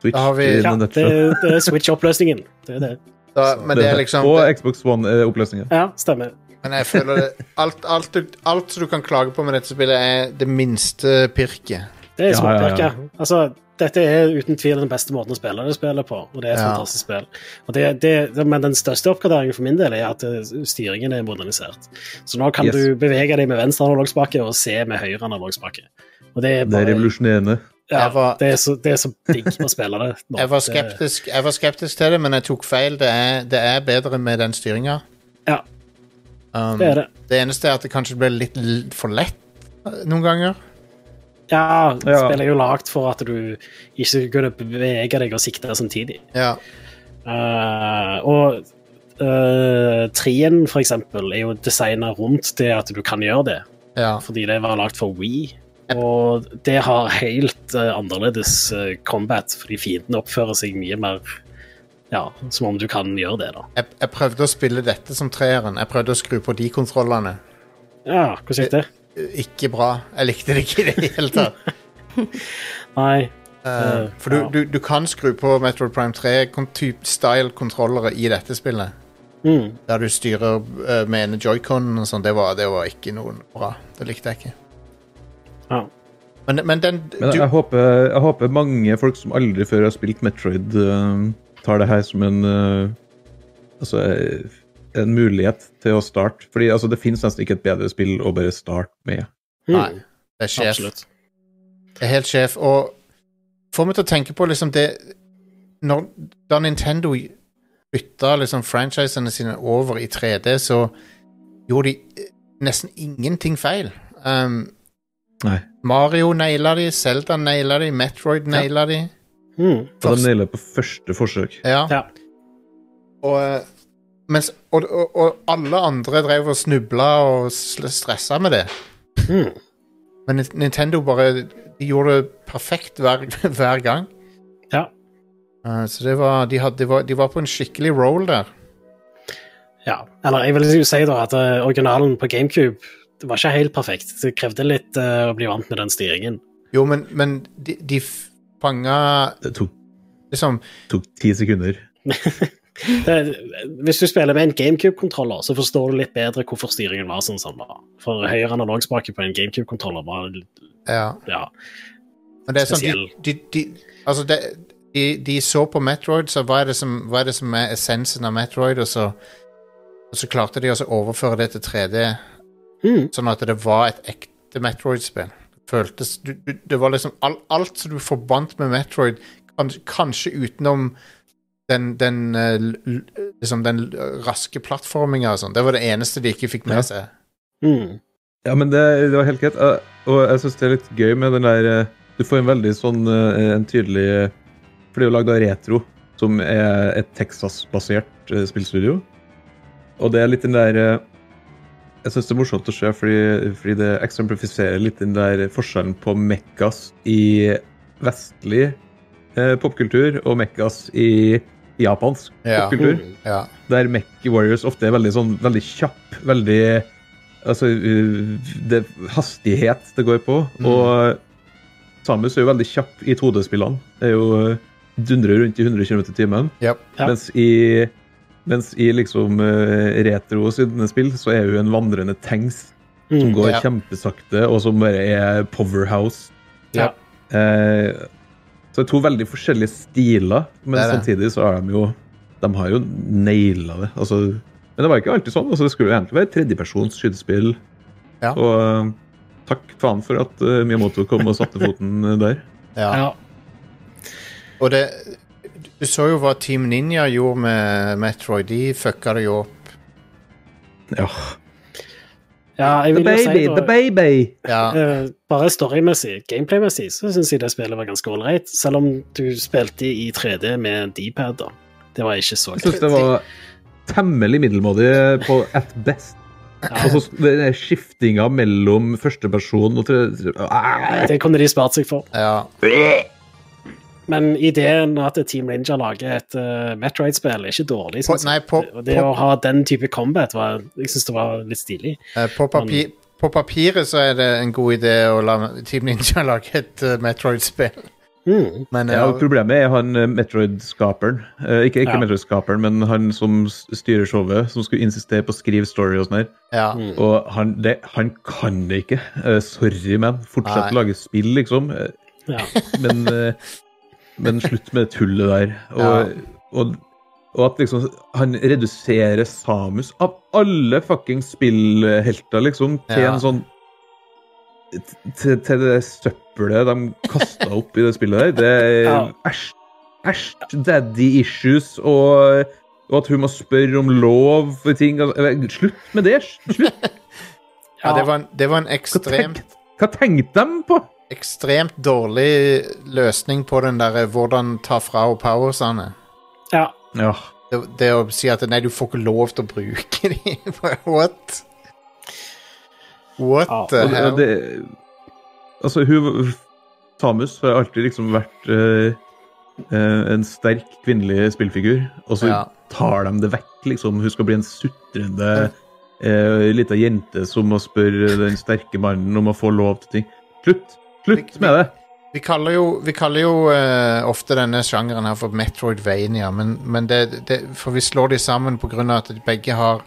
[SPEAKER 2] Switch eh,
[SPEAKER 1] Da har vi-
[SPEAKER 2] in a
[SPEAKER 3] Ja, det,
[SPEAKER 2] nutshell.
[SPEAKER 3] det er Switch-oppløsningen. Det er det.
[SPEAKER 1] da, men det er liksom
[SPEAKER 2] Og
[SPEAKER 1] det,
[SPEAKER 2] Xbox eh, One-oppløsninger.
[SPEAKER 3] Ja, stemmer.
[SPEAKER 1] Men jeg føler det alt, alt, du, alt som du kan klage på med dette spillet, er det minste pirket.
[SPEAKER 3] Det
[SPEAKER 2] Ja, ja,
[SPEAKER 3] er
[SPEAKER 2] ja.
[SPEAKER 3] småpirk, ja. Altså, dette er uten tvil den beste måten å spille det spillet på, og det er et
[SPEAKER 1] Ja.
[SPEAKER 3] fantastisk spill. Og det, det, det, men den største oppgraderingen for min del er at eh, styringen er modernisert. Så nå kan
[SPEAKER 2] Yes.
[SPEAKER 3] du bevege deg med venstre analogspake og se med høyre analogspake. Og det er
[SPEAKER 2] Det er
[SPEAKER 3] bare
[SPEAKER 2] revolusjonerende.
[SPEAKER 3] ja,
[SPEAKER 1] Jeg var-
[SPEAKER 3] det, er så, det er så digg å spille det. nå.
[SPEAKER 1] Jeg var,
[SPEAKER 3] Det-
[SPEAKER 1] skeptisk, jeg var skeptisk til det, men jeg tok feil. Det er, det er bedre med den styringa.
[SPEAKER 3] Ja,
[SPEAKER 1] Um,
[SPEAKER 3] det er det.
[SPEAKER 1] det eneste er at det kanskje ble litt l- for lett eh, noen ganger.
[SPEAKER 3] Ja,
[SPEAKER 2] Ja.
[SPEAKER 3] spillet er jo lagd for at du ikke skal kunne bevege deg og sikte samtidig.
[SPEAKER 1] Ja.
[SPEAKER 3] Eh, og uh, trien, for eksempel, er jo designa rundt det at du kan gjøre det,
[SPEAKER 1] ja.
[SPEAKER 3] fordi det var lagd for We. Og det har helt eh, annerledes eh, combat, fordi fiendene oppfører seg mye mer ja, som om du kan gjøre det, da.
[SPEAKER 1] jeg, jeg prøvde å spille dette som treeren. Jeg prøvde å skru på de kontrollene.
[SPEAKER 3] Ja, hvordan gikk det?
[SPEAKER 1] Ikke bra. Jeg likte det ikke i det hele tatt.
[SPEAKER 3] Nei.
[SPEAKER 1] Eh, for du, du, du kan skru på Metroid Prime 3-style-kontrollere i dette spillet.
[SPEAKER 3] Mm.
[SPEAKER 1] Der du styrer eh, med ene joyconen og sånn. Det, var- det var ikke noe bra. Det likte jeg ikke.
[SPEAKER 3] Ja.
[SPEAKER 1] Men, men den
[SPEAKER 2] Men
[SPEAKER 1] du,
[SPEAKER 2] jeg håper, jeg håper mange folk som aldri før har spilt Metroid, eh, tar det her som en eh, Altså eh, en mulighet til å starte. Fordi altså, det fins nesten ikke et bedre spill å bare starte med.
[SPEAKER 3] Mm.
[SPEAKER 1] Nei, det er sjef.
[SPEAKER 3] Absolutt.
[SPEAKER 1] Det er helt sjef. Og får meg til å tenke på liksom det når, Da Nintendo bytta liksom franchisene sine over i 3D, så gjorde de eh, nesten ingenting feil. Um,
[SPEAKER 2] Nei.
[SPEAKER 1] Mario naila de, Zelda naila de, Metroid naila de.
[SPEAKER 3] Mm.
[SPEAKER 2] Og
[SPEAKER 1] Først-
[SPEAKER 2] de nailer på første forsøk.
[SPEAKER 1] Ja.
[SPEAKER 3] Ja.
[SPEAKER 1] Og, eh, mens, og, og, og alle andre drev og snubla og sl- stressa med det.
[SPEAKER 3] Mm.
[SPEAKER 1] Men Nin- Nintendo bare de gjorde det perfekt hver, hver gang.
[SPEAKER 3] Ja.
[SPEAKER 1] Eh, Så det var, de, hadde, de, var, de var på en skikkelig roll der.
[SPEAKER 3] Ja, eller jeg vil jo si da at eh, originalen på GameCube det var ikke helt perfekt. Det krevde litt eh, å bli vant med den styringen.
[SPEAKER 1] Jo, men, men de, de f- fanga
[SPEAKER 2] Det tok,
[SPEAKER 1] liksom
[SPEAKER 2] tok ti sekunder.
[SPEAKER 3] Det, hvis du spiller med en GameCube-kontroller, så forstår du litt bedre hvorfor styringen var sånn som den var. For høyre analogspake på en GameCube-kontroller var
[SPEAKER 1] Ja.
[SPEAKER 3] ja,
[SPEAKER 1] Men det er sånn, de,
[SPEAKER 3] Spesiell.
[SPEAKER 1] de, de, altså det, de, de så på Metroid, så hva er det som, hva er, det som er essensen av Metroid, og så, og så klarte de også å overføre det til 3D,
[SPEAKER 3] mm,
[SPEAKER 1] sånn at det var et ekte Metroid-spill. Føltes, du, du, det var liksom all, alt som du forbandt med Metroid, kan, kanskje utenom den, den, eh, l- l- liksom den eh, raske plattforminga og sånn. Det var det eneste de ikke fikk
[SPEAKER 2] Ja.
[SPEAKER 1] med seg.
[SPEAKER 3] mm,
[SPEAKER 2] Ja, men det, det var helt greit. Eh, Og jeg syns det er litt gøy med den der eh, Du får en veldig sånn eh, en tydelig eh, For det er jo lagd av Retro, som er et Texas-basert eh, spillstudio. Og det er litt den der eh, Jeg syns det er morsomt å se, fordi, fordi det eksemplifiserer litt den der forskjellen på mekkas i vestlig eh, popkultur og mekkas i japansk
[SPEAKER 1] Ja.
[SPEAKER 2] popkultur.
[SPEAKER 3] mm,
[SPEAKER 1] Ja.
[SPEAKER 2] Der Mech Warriors ofte er veldig sånn veldig kjapp, veldig altså, uh, det er hastighet det går på. Og Samus er jo veldig kjapp i 2D-spillene. Er jo uh, dundrer rundt i 100 km i timen.
[SPEAKER 1] Yep.
[SPEAKER 3] Ja.
[SPEAKER 2] Mens i, mens i liksom eh, retro sine spill så er hun en vandrende tanks
[SPEAKER 3] mm.
[SPEAKER 2] som går
[SPEAKER 1] ja.
[SPEAKER 2] kjempesakte, og som bare er powerhouse.
[SPEAKER 1] Ja.
[SPEAKER 2] Eh, så det er to veldig forskjellige stiler, men
[SPEAKER 1] Det er det.
[SPEAKER 2] samtidig så er de jo De har jo naila det. Altså, men det var ikke alltid sånn. Altså, det skulle jo egentlig være tredjepersons skytespill.
[SPEAKER 1] Ja.
[SPEAKER 2] Og eh, takk faen for at eh, Miyamoto kom og satte foten eh, der.
[SPEAKER 1] Ja.
[SPEAKER 3] Ja.
[SPEAKER 1] Og det Du så jo hva Team Ninja gjorde med Metroid. De fucka det jo opp.
[SPEAKER 2] Ja.
[SPEAKER 3] ja, jeg vil jo si da-
[SPEAKER 2] baby!
[SPEAKER 1] Ja.
[SPEAKER 3] Eh, bare storymessig, gameplaymessig, så syns jeg det spillet var ganske ålreit. Selv om du spilte i 3D med D-pad, da. Det var ikke så
[SPEAKER 2] Jeg syns
[SPEAKER 3] greit.
[SPEAKER 2] det var temmelig middelmådig på at best. Og så den skiftinga mellom førsteperson og tredje Ah!
[SPEAKER 3] Det kunne de spart seg for.
[SPEAKER 1] ja.
[SPEAKER 3] Men ideen at Team Ninja lager et eh, Metroid-spill, er ikke dårlig.
[SPEAKER 1] På,
[SPEAKER 3] synes
[SPEAKER 1] nei,
[SPEAKER 3] jeg.
[SPEAKER 1] på,
[SPEAKER 3] Og det å
[SPEAKER 1] på,
[SPEAKER 3] ha den type combat, var, jeg syns det var litt stilig.
[SPEAKER 1] eh, på, papir, på papiret så er det en god idé å la Team Ninja lage et eh, Metroid-spill,
[SPEAKER 3] Mm.
[SPEAKER 1] men
[SPEAKER 2] Ja,
[SPEAKER 1] eh,
[SPEAKER 2] og Problemet er han eh, Metroid-skaperen. Eh, ikke ikke
[SPEAKER 3] Ja.
[SPEAKER 2] Metroid-skaperen, men han som s- styrer showet, som skulle insistere på å skrive story og sånn her.
[SPEAKER 1] ja.
[SPEAKER 2] Og han, det, han kan det ikke. Eh, sorry, man. Fortsett å
[SPEAKER 1] Nei.
[SPEAKER 2] lage spill, liksom. Eh,
[SPEAKER 3] Ja.
[SPEAKER 2] Men, eh, men slutt med det tullet der. Og, og, og at liksom han reduserer Samus av alle fucking spillhelter, liksom, til
[SPEAKER 1] Ja.
[SPEAKER 2] en sånn til, til det søppelet de kasta opp i det spillet der. Det er
[SPEAKER 3] Ja.
[SPEAKER 2] æsj, æsj, daddy issues og og at hun må spørre om lov for ting. altså, Slutt med det! Slutt!
[SPEAKER 1] ja det, var en, det var en
[SPEAKER 2] Hva
[SPEAKER 1] ekstremt,
[SPEAKER 2] tenkte hva tenkte de på?
[SPEAKER 1] ekstremt dårlig løsning på den derre hvordan ta fra og powersene.
[SPEAKER 3] ja.
[SPEAKER 2] Ja.
[SPEAKER 1] Det, det å si at nei, du får ikke lov til å bruke dem. What? What
[SPEAKER 3] Ja,
[SPEAKER 1] the
[SPEAKER 2] Og- og
[SPEAKER 1] hell?
[SPEAKER 2] det, altså, hun Samus har alltid liksom vært eh, eh, en sterk kvinnelig spillfigur, og så
[SPEAKER 1] Ja.
[SPEAKER 2] tar de det vekk, liksom. Hun skal bli en sutrende uh, lita jente som må spørre den sterke mannen om å få lov til ting. Slutt! Slutt med det!
[SPEAKER 1] Vi kaller jo, vi kaller jo eh, ofte denne sjangeren her for Metroidvania, men, men det, det, for vi slår de sammen på grunn av at begge har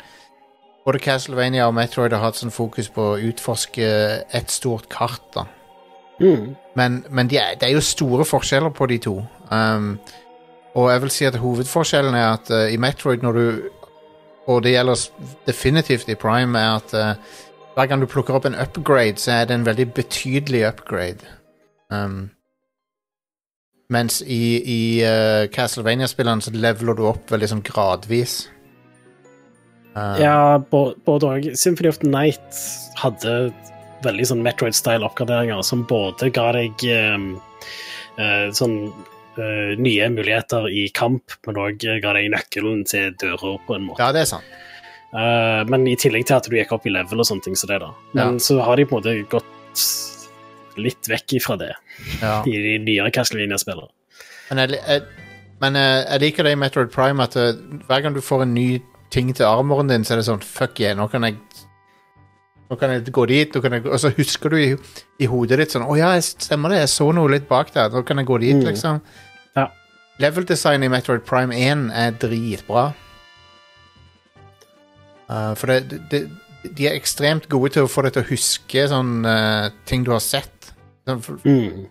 [SPEAKER 1] Både Castlevania og Metroid har hatt sånn fokus på å utforske et stort kart. da.
[SPEAKER 3] Mm.
[SPEAKER 1] Men, men de er, det er jo store forskjeller på de to. Um, og jeg vil si at hovedforskjellen er at eh, i Metroid, når du Og det gjelder s- definitivt i Prime, er at eh, hver gang du plukker opp en upgrade, så er det en veldig betydelig upgrade. Um, mens i, i eh, Castlevania-spillene så leveler du opp veldig sånn gradvis. Um,
[SPEAKER 3] ja bo- både òg. Symphony of the Night hadde veldig sånn Metroid-style-oppgraderinger som både ga deg ehm, eh, sånn eh, nye muligheter i kamp, men òg ga deg nøkkelen til dører, på en måte.
[SPEAKER 1] ja, det er sant.
[SPEAKER 3] Eh, men i tillegg til at du gikk opp i level og sånne ting som det, da. Men
[SPEAKER 1] Ja.
[SPEAKER 3] så har de på en måte gått litt vekk ifra det
[SPEAKER 1] Ja.
[SPEAKER 3] i de nyere Castlevania-spillene.
[SPEAKER 1] Men, jeg, jeg, men eh, jeg, jeg liker det i Metroid Prime at eh, hver gang du får en ny ting til armoren din, så er det sånn Fuck yeah, nå kan jeg Nå kan jeg gå dit, nå kan jeg, gå-" og så husker du i, i hodet ditt sånn Å ja, jeg stemmer det, jeg så noe litt bak der. Nå kan jeg gå dit,
[SPEAKER 3] Mm.
[SPEAKER 1] liksom.
[SPEAKER 3] Ja.
[SPEAKER 1] Level-design i Metroid Prime 1 er dritbra. Eh, for det, det, de er ekstremt gode til å få deg til å huske sånn eh, ting du har sett. Sånn, for,
[SPEAKER 3] Mm.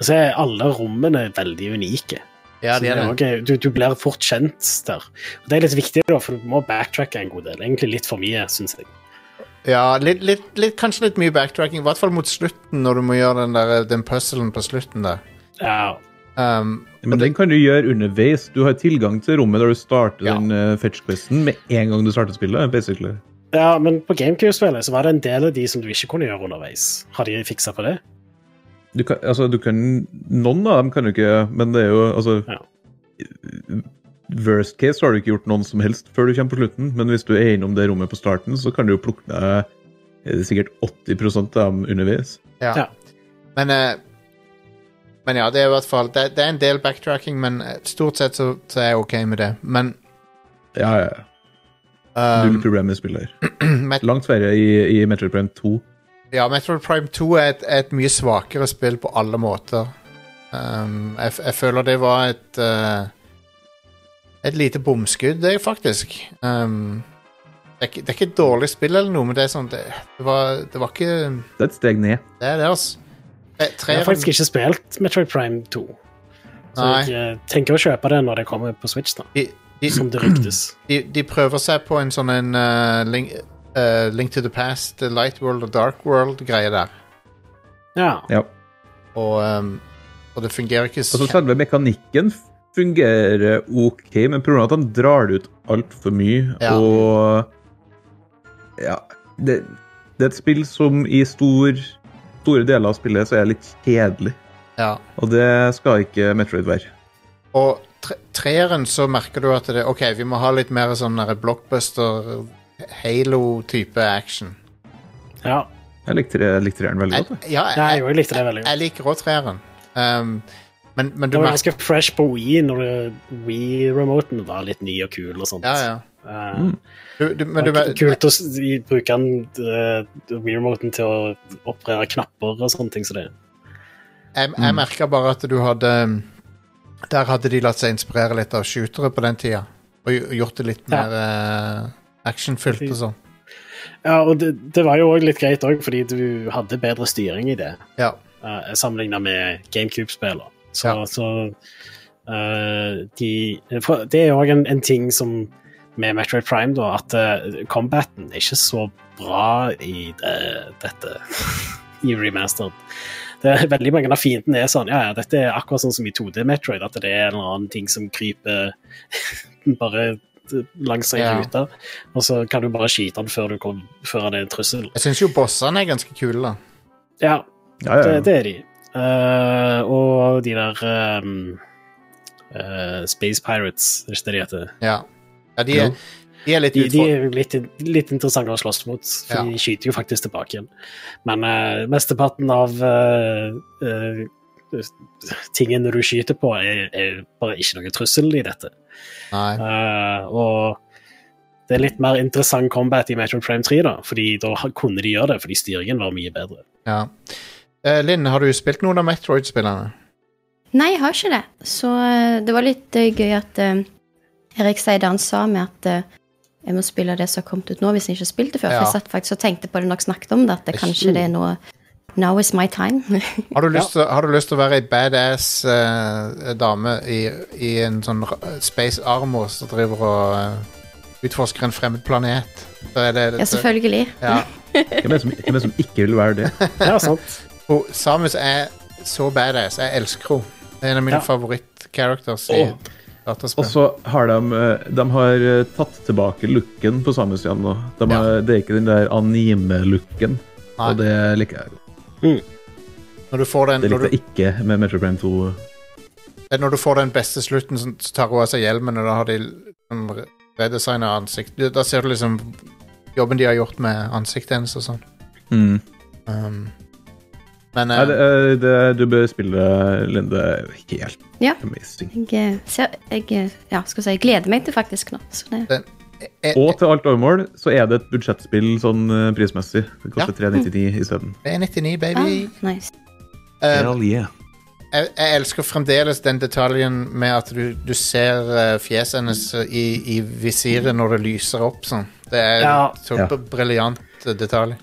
[SPEAKER 3] Og så er alle rommene veldig unike.
[SPEAKER 1] ja,
[SPEAKER 3] Så
[SPEAKER 1] de
[SPEAKER 3] det
[SPEAKER 1] er
[SPEAKER 3] er
[SPEAKER 1] det.
[SPEAKER 3] også- du, du blir fort kjent der. Og det er litt viktig, da, for du må backtracke en god del. Egentlig litt for mye, syns jeg.
[SPEAKER 1] Ja, litt, litt, litt, kanskje litt mye backtracking. I hvert fall mot slutten, når du må gjøre den, der, eh, den puzzlen på slutten der.
[SPEAKER 3] Ja,
[SPEAKER 1] Um,
[SPEAKER 2] Men den kan du gjøre underveis. Du har tilgang til rommet der du starter
[SPEAKER 1] Ja.
[SPEAKER 2] den eh, fetch-questen med en gang du starter spillet. basically.
[SPEAKER 3] ja men på GameCube-spillet så var det en del av de som du ikke kunne gjøre underveis. Har de fiksa på det?
[SPEAKER 2] Du kan, altså, du kan, noen av dem kan du ikke, men det er jo altså,
[SPEAKER 3] Ja.
[SPEAKER 2] Worst case så har du ikke gjort noen som helst før du kommer på slutten, men hvis du er innom det rommet på starten, så kan du jo plukke deg eh, sikkert 80 av dem underveis.
[SPEAKER 1] ja.
[SPEAKER 3] Ja.
[SPEAKER 1] Men, eh, men ja, det er i hvert fall Det, det er en del backtracking, men eh, stort sett så, så er jeg OK med det. Men
[SPEAKER 2] Ja, Um, ja, ja. Null problem med spillet her.
[SPEAKER 1] Met
[SPEAKER 2] Langt verre i, i Metroid Prime 2.
[SPEAKER 1] ja, Metroid Prime 2 er et, er et mye svakere spill på alle måter. Um, jeg, f- jeg føler det var et eh, Et lite bomskudd, det, faktisk. Um, det, er, ikke- det er ikke et dårlig spill eller noe, men det er sånn Det, det, var, det var ikke
[SPEAKER 2] Det er et steg ned.
[SPEAKER 1] Det er det, altså. Eh,
[SPEAKER 3] Jeg har
[SPEAKER 1] Treeren
[SPEAKER 3] faktisk ikke spilt Metroid Prime 2. Så
[SPEAKER 1] Nei.
[SPEAKER 3] jeg eh, tenker å kjøpe det når det kommer på Switch, da.
[SPEAKER 1] de, de,
[SPEAKER 3] Som det ryktes.
[SPEAKER 1] de, de prøver seg på en sånn en eh, link, eh, link to the past, eh, light world og dark world-greie der.
[SPEAKER 3] Ja.
[SPEAKER 2] Ja.
[SPEAKER 1] Og, um, og det fungerer ikke så
[SPEAKER 2] Altså, selve mekanikken fungerer ok, men problemet er at han drar det ut altfor mye,
[SPEAKER 1] Ja.
[SPEAKER 2] og Ja. Det, det er et spill som i stor, store deler av spillet så er litt kjedelig,
[SPEAKER 1] ja.
[SPEAKER 2] og det skal ikke Metroid være.
[SPEAKER 1] Og tre, treeren så merker du at det, Ok, vi må ha litt mer sånn der blockbuster Halo-type action.
[SPEAKER 3] ja.
[SPEAKER 2] Jeg likte, det- jeg likte treeren veldig
[SPEAKER 1] Jeg,
[SPEAKER 2] godt. jeg.
[SPEAKER 1] ja,
[SPEAKER 3] Nei,
[SPEAKER 1] jeg,
[SPEAKER 3] jeg likte det veldig
[SPEAKER 1] jeg
[SPEAKER 3] godt.
[SPEAKER 1] liker òg treeren. Um, men, men du
[SPEAKER 3] Det var
[SPEAKER 1] merker
[SPEAKER 3] ganske fresh på Wii når Wii-remoten var litt ny og kul og sånt.
[SPEAKER 1] ja, ja.
[SPEAKER 3] Eh,
[SPEAKER 1] Du, du, men du,
[SPEAKER 3] det var kult å s- i- bruke den eh, Wii-remoten til å operere knapper og sånne ting. Så det.
[SPEAKER 1] jeg,
[SPEAKER 3] Mm.
[SPEAKER 1] jeg merka bare at du hadde Der hadde de latt seg inspirere litt av shootere på den tida. Og gj- gjort det litt
[SPEAKER 3] Ja.
[SPEAKER 1] mer eh, actionfylt og sånn.
[SPEAKER 3] Ja, og det, det var jo òg litt greit òg, fordi du hadde bedre styring i det.
[SPEAKER 1] Ja.
[SPEAKER 3] uh, sammenligna med GameCube-spiller. Så,
[SPEAKER 1] Ja.
[SPEAKER 3] så eh, de for Det er òg en, en ting som med Metroid Prime, da, at eh, combaten er ikke så bra i det, dette i remastered. Det er veldig mange av fiendene er sånn Ja, ja, dette er akkurat sånn som i 2D Metroid, at det er en eller annen ting som kryper bare langs ei
[SPEAKER 1] Ja.
[SPEAKER 3] rute, og så kan du bare skyte den før, du kom, før han er en trussel.
[SPEAKER 1] Jeg syns jo bossene er ganske kule, da.
[SPEAKER 3] Ja,
[SPEAKER 2] Ja, ja, ja.
[SPEAKER 3] det, det er de. Eh, og de der ehm, eh, Space Pirates, er ikke det de heter?
[SPEAKER 1] Ja, ja de, er, de er litt
[SPEAKER 3] De, de
[SPEAKER 1] utfor...
[SPEAKER 3] er jo litt, litt interessante å slåss mot, for
[SPEAKER 1] Ja.
[SPEAKER 3] de skyter jo faktisk tilbake igjen. Men eh, mesteparten av eh, eh, tingene du skyter på, er, er bare ikke noe trussel i dette.
[SPEAKER 1] Nei.
[SPEAKER 3] Eh, og det er litt mer interessant combat i Metroid Prime 3, da, fordi da ha- kunne de gjøre det, fordi styringen var mye bedre.
[SPEAKER 1] Ja. Eh, Linn, har du spilt noen av Metroid-spillene?
[SPEAKER 4] Nei, jeg har ikke det. Så eh, det var litt eh, gøy at eh, Erik Seidan sa med at eh, jeg må spille det som har kommet ut nå, hvis jeg ikke har spilt det før.
[SPEAKER 1] Ja.
[SPEAKER 4] For jeg satt faktisk og tenkte på det når dere snakket om det, at det,
[SPEAKER 1] Ikke-
[SPEAKER 4] kanskje det er noe Now is my time.
[SPEAKER 1] Har du lyst, til, har du lyst til å være ei badass eh, dame i, i en sånn ra- space armor som driver og eh, utforsker en fremmed planet? Så er det,
[SPEAKER 4] ja, selvfølgelig.
[SPEAKER 1] Ja.
[SPEAKER 2] Hvem er det som, hvem er det som ikke vil være det?
[SPEAKER 3] Ja, sant.
[SPEAKER 1] Hun- Samus er så badass. Jeg elsker henne. Det er en av mine
[SPEAKER 3] Ja.
[SPEAKER 1] favoritt-characters i
[SPEAKER 2] Åh. Og
[SPEAKER 1] dataspill.
[SPEAKER 2] så har de, eh, de har eh, tatt tilbake looken på Samus igjen nå. De har, Det er ikke den der anime-looken,
[SPEAKER 1] Nei.
[SPEAKER 2] og det liker jeg.
[SPEAKER 1] Når du får den,
[SPEAKER 2] Det
[SPEAKER 1] når
[SPEAKER 2] likte
[SPEAKER 1] du,
[SPEAKER 2] jeg ikke med Metro Prime 2.
[SPEAKER 1] det er når du får den beste slutten, så så tar hun av seg hjelmen, og da har de sånn re- redesigna ansikt. Du- Da ser du liksom jobben de har gjort med ansiktet hennes og sånn.
[SPEAKER 2] Mm.
[SPEAKER 1] Um, men
[SPEAKER 2] Nei,
[SPEAKER 1] eh,
[SPEAKER 2] det, eh, det, du bør spille Linde helt
[SPEAKER 4] Ja.
[SPEAKER 2] amazing.
[SPEAKER 4] Jeg, eh, ser, jeg eh, ja, skal vi si, jeg gleder meg til faktisk nå. Så det,
[SPEAKER 1] den, jeg,
[SPEAKER 2] Og til alt overmål så er det et budsjettspill sånn eh, prismessig. Det koster 399 isteden.
[SPEAKER 1] Det er 99,
[SPEAKER 4] ah,
[SPEAKER 1] baby.
[SPEAKER 4] nice.
[SPEAKER 1] Eh,
[SPEAKER 2] Hell yeah.
[SPEAKER 1] jeg, jeg elsker fremdeles den detaljen med at du, du ser eh, fjeset hennes eh, i, i visiret når det lyser opp sånn. Det er en
[SPEAKER 3] Ja.
[SPEAKER 1] så br- briljant eh, detalj.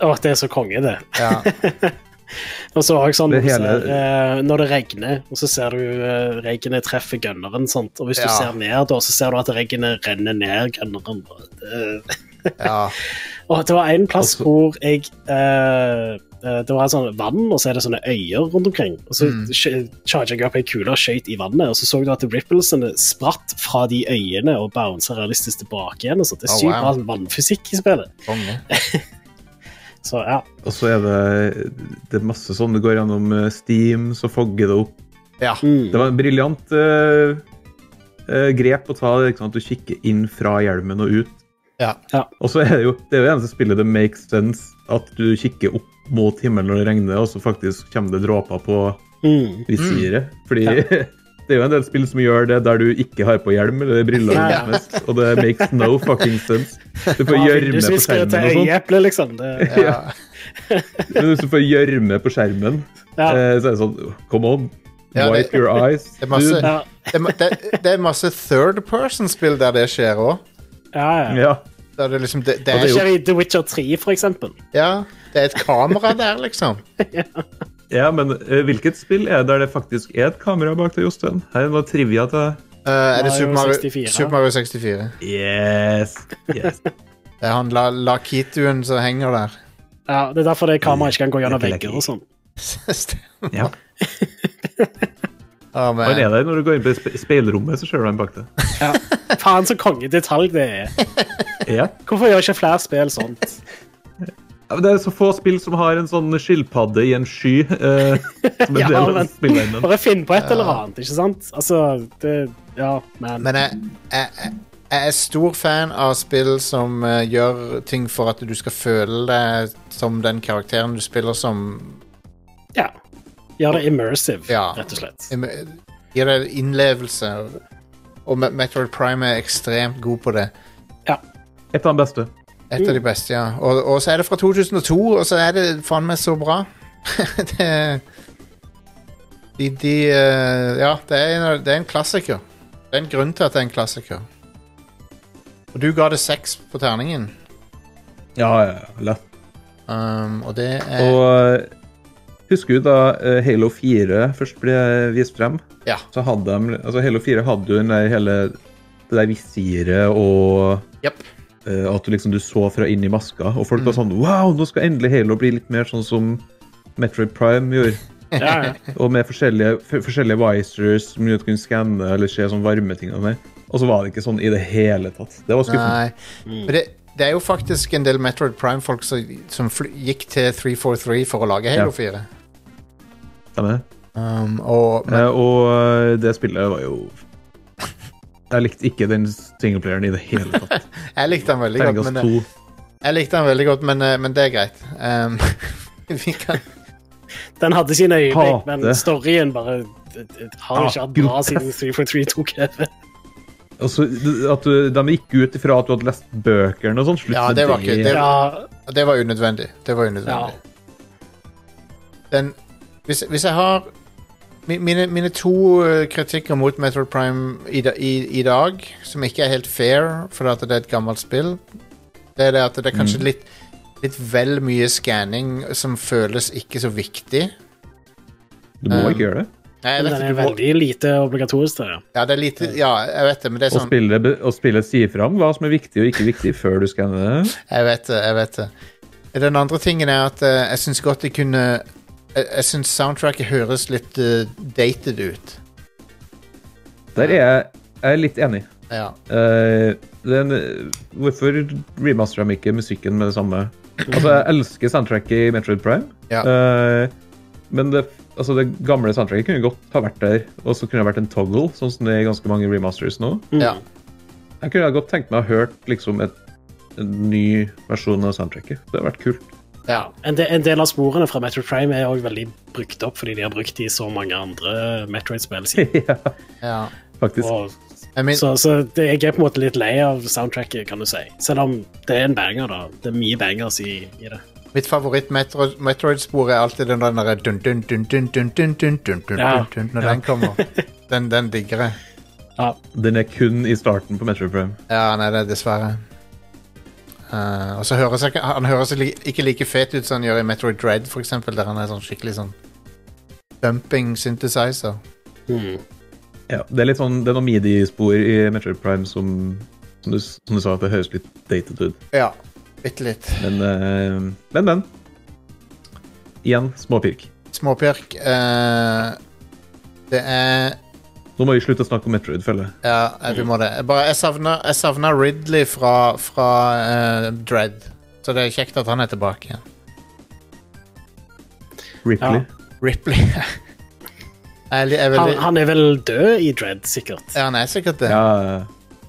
[SPEAKER 3] Å, det er så konge, det.
[SPEAKER 1] Ja.
[SPEAKER 3] Og så også sånn,
[SPEAKER 2] Det
[SPEAKER 3] når du
[SPEAKER 2] hele-
[SPEAKER 3] ser, eh, Når det regner, og så ser du eh, regnet treffe gunneren, sant? og hvis du
[SPEAKER 1] Ja.
[SPEAKER 3] ser ned, da, så ser du at regnet renner ned gunneren. Eh,
[SPEAKER 1] ja.
[SPEAKER 3] Og det var en plass
[SPEAKER 2] Og så-
[SPEAKER 3] hvor jeg eh, eh, Det var sånn vann, og så er det sånne øyer rundt omkring. Og så
[SPEAKER 1] Mm.
[SPEAKER 3] sk- charget jeg opp ei kule og skøyt i vannet, og så så du at ripplesene spratt fra de øyene og bounsa realistisk tilbake igjen. Og sånt. det
[SPEAKER 1] Oh,
[SPEAKER 3] er sykt
[SPEAKER 1] wow.
[SPEAKER 3] bra vannfysikk i spillet.
[SPEAKER 1] Konge.
[SPEAKER 3] Så ja.
[SPEAKER 2] Og så er det, det er masse sånn. Det går gjennom eh, Steam, så fogger det opp.
[SPEAKER 1] Ja.
[SPEAKER 3] Mm.
[SPEAKER 2] Det var en briljant eh, eh, grep å ta, ikke sant, at du kikker inn fra hjelmen og ut.
[SPEAKER 1] Ja.
[SPEAKER 3] Ja.
[SPEAKER 2] Og så er det jo det er jo eneste spillet det makes sense at du kikker opp mot himmelen når det regner, og så faktisk kommer det dråper på
[SPEAKER 3] Mm.
[SPEAKER 2] visiret. Fordi Det er jo en del spill som gjør det der du ikke har på hjelm eller briller.
[SPEAKER 3] Ja, ja.
[SPEAKER 2] eller noe som helst, Og det makes no fucking sense. Du får
[SPEAKER 3] Ja,
[SPEAKER 2] gjørme på
[SPEAKER 3] vindusviskere
[SPEAKER 2] skjermen
[SPEAKER 3] til
[SPEAKER 2] og sånt.
[SPEAKER 3] øyeeplet, liksom. Det,
[SPEAKER 2] Ja. Men hvis du får gjørme på skjermen,
[SPEAKER 3] Ja.
[SPEAKER 2] eh, så er det sånn Come on,
[SPEAKER 1] Ja, det-
[SPEAKER 2] wipe your eyes.
[SPEAKER 1] er masse-
[SPEAKER 2] dude.
[SPEAKER 3] ja,
[SPEAKER 1] Det, er ma- det, det er masse third person-spill der det skjer òg.
[SPEAKER 3] ja, ja.
[SPEAKER 2] Ja.
[SPEAKER 1] Der det liksom det, det er,
[SPEAKER 3] Det skjer i The Witcher 3, for eksempel.
[SPEAKER 1] ja, det er et kamera der, liksom.
[SPEAKER 2] ja, men eh, hvilket spill er det der det faktisk er et kamera bak deg, Jostein? Her er noe trivia til deg.
[SPEAKER 1] Eh, er det
[SPEAKER 3] Mario
[SPEAKER 1] Super Mario
[SPEAKER 3] 64?
[SPEAKER 1] Super Mario 64?
[SPEAKER 2] Yes. yes.
[SPEAKER 1] Det er han la- Lakituen som henger der.
[SPEAKER 3] Ja, Det er derfor det kameraet ikke kan gå gjennom
[SPEAKER 2] Det er
[SPEAKER 3] vegger
[SPEAKER 2] ikke-
[SPEAKER 3] og sånn.
[SPEAKER 1] Stemmer.
[SPEAKER 2] Ja.
[SPEAKER 1] Å,
[SPEAKER 2] Og Han
[SPEAKER 1] man.
[SPEAKER 2] er der når du går inn på spe- speilrommet, så ser du han bak deg.
[SPEAKER 3] Ja. Faen, så kongedetalj det er.
[SPEAKER 2] Ja.
[SPEAKER 3] Hvorfor gjør ikke flere spill sånt?
[SPEAKER 2] Ja, men Det er så få spill som har en sånn skilpadde i en sky. Eh, som en
[SPEAKER 3] Ja,
[SPEAKER 2] del av
[SPEAKER 3] men-
[SPEAKER 2] spillverdenen.
[SPEAKER 3] Bare finn på et eller annet, ikke sant? Altså, det Ja, man.
[SPEAKER 1] Men jeg, jeg, jeg- jeg er stor fan av spill som eh, gjør ting for at du skal føle deg som den karakteren du spiller som.
[SPEAKER 3] Ja. Gjør det immersive,
[SPEAKER 1] Ja.
[SPEAKER 3] rett og slett.
[SPEAKER 1] Im- Gir deg innlevelse. Og Me- Metroid Prime er ekstremt god på det.
[SPEAKER 2] Et av de beste.
[SPEAKER 1] Et av de beste, ja. Og, og så er det fra 2002, og så er det faen meg så bra. det er- de, de eh, Ja, det er, en, det er en klassiker. Det er en grunn til at det er en klassiker. Og du ga det seks på terningen,
[SPEAKER 2] Ja, ja, ja, lett.
[SPEAKER 1] um, og det er
[SPEAKER 2] Og eh, husker du da eh, Halo 4 først ble vist frem?
[SPEAKER 1] Ja.
[SPEAKER 2] Så hadde de, altså Halo 4 hadde jo den der hele det der visiret og
[SPEAKER 1] Jepp.
[SPEAKER 2] eh, at du liksom du så fra inn i maska, og folk
[SPEAKER 3] Mm.
[SPEAKER 2] var sånn Wow, nå skal endelig Halo bli litt mer sånn som Metroid Prime gjorde.
[SPEAKER 3] Ja, ja.
[SPEAKER 2] Og med forskjellige, f- forskjellige visors som gjorde at du kunne skanne eller se sånn varmeting. Og sånn. Og så var det ikke sånn i det hele tatt. Det var skuffende.
[SPEAKER 1] Nei. Men det, det er jo faktisk en del Metroid Prime-folk som, som fly, gikk til 343 for å lage
[SPEAKER 2] Ja.
[SPEAKER 1] Halo 4.
[SPEAKER 2] Stemmer det?
[SPEAKER 1] Um, og, men,
[SPEAKER 2] Eh, og eh, det spillet var jo Jeg likte ikke den singleplayeren i det hele tatt.
[SPEAKER 1] jeg likte den veldig godt,
[SPEAKER 2] Terningkast
[SPEAKER 1] men,
[SPEAKER 2] to.
[SPEAKER 1] jeg likte den veldig godt, men, eh, men det er greit. Um, vi kan
[SPEAKER 3] Den hadde sine øyeblikk,
[SPEAKER 2] Hate.
[SPEAKER 3] men storyen bare det- det har
[SPEAKER 2] Ja,
[SPEAKER 3] ikke hatt bra
[SPEAKER 2] grotesk.
[SPEAKER 3] siden 343 tok over.
[SPEAKER 2] Og så at du, De gikk ut ifra at du hadde lest bøkene og sånn. Slutt
[SPEAKER 1] Ja,
[SPEAKER 2] med
[SPEAKER 1] det var ikke- det-
[SPEAKER 3] Ja,
[SPEAKER 1] Og Det var unødvendig. Det var unødvendig.
[SPEAKER 3] ja.
[SPEAKER 1] Den, hvis, hvis jeg har mi- mine, mine to eh, kritikker mot Metroid Prime i, da, i, i dag, som ikke er helt fair fordi at det er et gammelt spill, det er det at det er kanskje litt, litt vel mye skanning som føles ikke så viktig.
[SPEAKER 2] Du må ikke gjøre det.
[SPEAKER 1] Nei, jeg
[SPEAKER 3] Men
[SPEAKER 1] vet,
[SPEAKER 3] den
[SPEAKER 1] ikke,
[SPEAKER 3] er
[SPEAKER 1] du må,
[SPEAKER 3] veldig lite obligatorisk til det.
[SPEAKER 1] ja, det er lite, ja, jeg vet det, men det er
[SPEAKER 2] Og
[SPEAKER 1] sånn
[SPEAKER 2] spillet, be- og spillet sier fram hva som er viktig og ikke viktig, før du skanner det.
[SPEAKER 1] Jeg vet det, jeg vet det. Den andre tingen er at eh, jeg syns godt de kunne Jeg, jeg syns soundtracket høres litt eh, dated ut.
[SPEAKER 2] Der er jeg, jeg er litt enig.
[SPEAKER 1] Ja.
[SPEAKER 2] Eh, den, hvorfor remasterer de ikke musikken med det samme? Altså, Jeg elsker soundtracket i Metroid Prime,
[SPEAKER 1] Ja.
[SPEAKER 2] Eh, men det, altså, det gamle soundtracket kunne godt ha vært der. Og så kunne det vært en toggle, sånn som det er i ganske mange remasters nå.
[SPEAKER 3] Mm.
[SPEAKER 1] ja.
[SPEAKER 2] Jeg kunne godt tenkt meg å ha hørt liksom, et, en ny versjon av soundtracket. Det hadde vært kult.
[SPEAKER 1] ja.
[SPEAKER 3] En, de, en del av sporene fra Metroid Prime er også veldig brukt opp, fordi de har brukt de i så mange andre Metroid-spill siden.
[SPEAKER 2] ja,
[SPEAKER 1] ja.
[SPEAKER 2] faktisk.
[SPEAKER 3] Og-
[SPEAKER 1] Jeg min,
[SPEAKER 3] Så, så det, jeg er på en måte litt lei av soundtracket, kan du si. Selv om det er en banger, da. Det er mye bangers i, i det.
[SPEAKER 1] mitt favoritt-Metroid-spor er alltid den der dun dun dun dun dun dun dun dun dun
[SPEAKER 3] Ja.
[SPEAKER 1] dun dun Når den kommer. Den, den digger jeg.
[SPEAKER 3] Ja,
[SPEAKER 2] Den er kun i starten på Metroid Prime.
[SPEAKER 1] Ja, nei, det er dessverre. Eh, og så høres jeg, ikke- han høres li- ikke like fet ut som han gjør i Metroid Dread, for eksempel, der han er sånn skikkelig sånn dumping synthesizer.
[SPEAKER 2] Ja, det er litt sånn, det er noen midi-spor i Metroid Prime som, som, du, som du sa, at det høres litt dated ut.
[SPEAKER 1] Ja, bitte litt.
[SPEAKER 2] Men, eh, men, men. Igjen, småpirk.
[SPEAKER 1] Småpirk. eh, det er
[SPEAKER 2] Nå må vi slutte å snakke om Metroid, føler jeg.
[SPEAKER 1] Ja, eh, vi må det. Jeg Bare, jeg savner, jeg savner Ridley fra, fra eh, Dread. Så det er kjekt at han er tilbake igjen.
[SPEAKER 2] Ripley.
[SPEAKER 3] Ja.
[SPEAKER 1] Ripley. jeg, li- jeg er
[SPEAKER 3] han,
[SPEAKER 1] veldig, han,
[SPEAKER 3] han er vel død i Dread, sikkert.
[SPEAKER 1] ja, han er sikkert det.
[SPEAKER 2] Ja.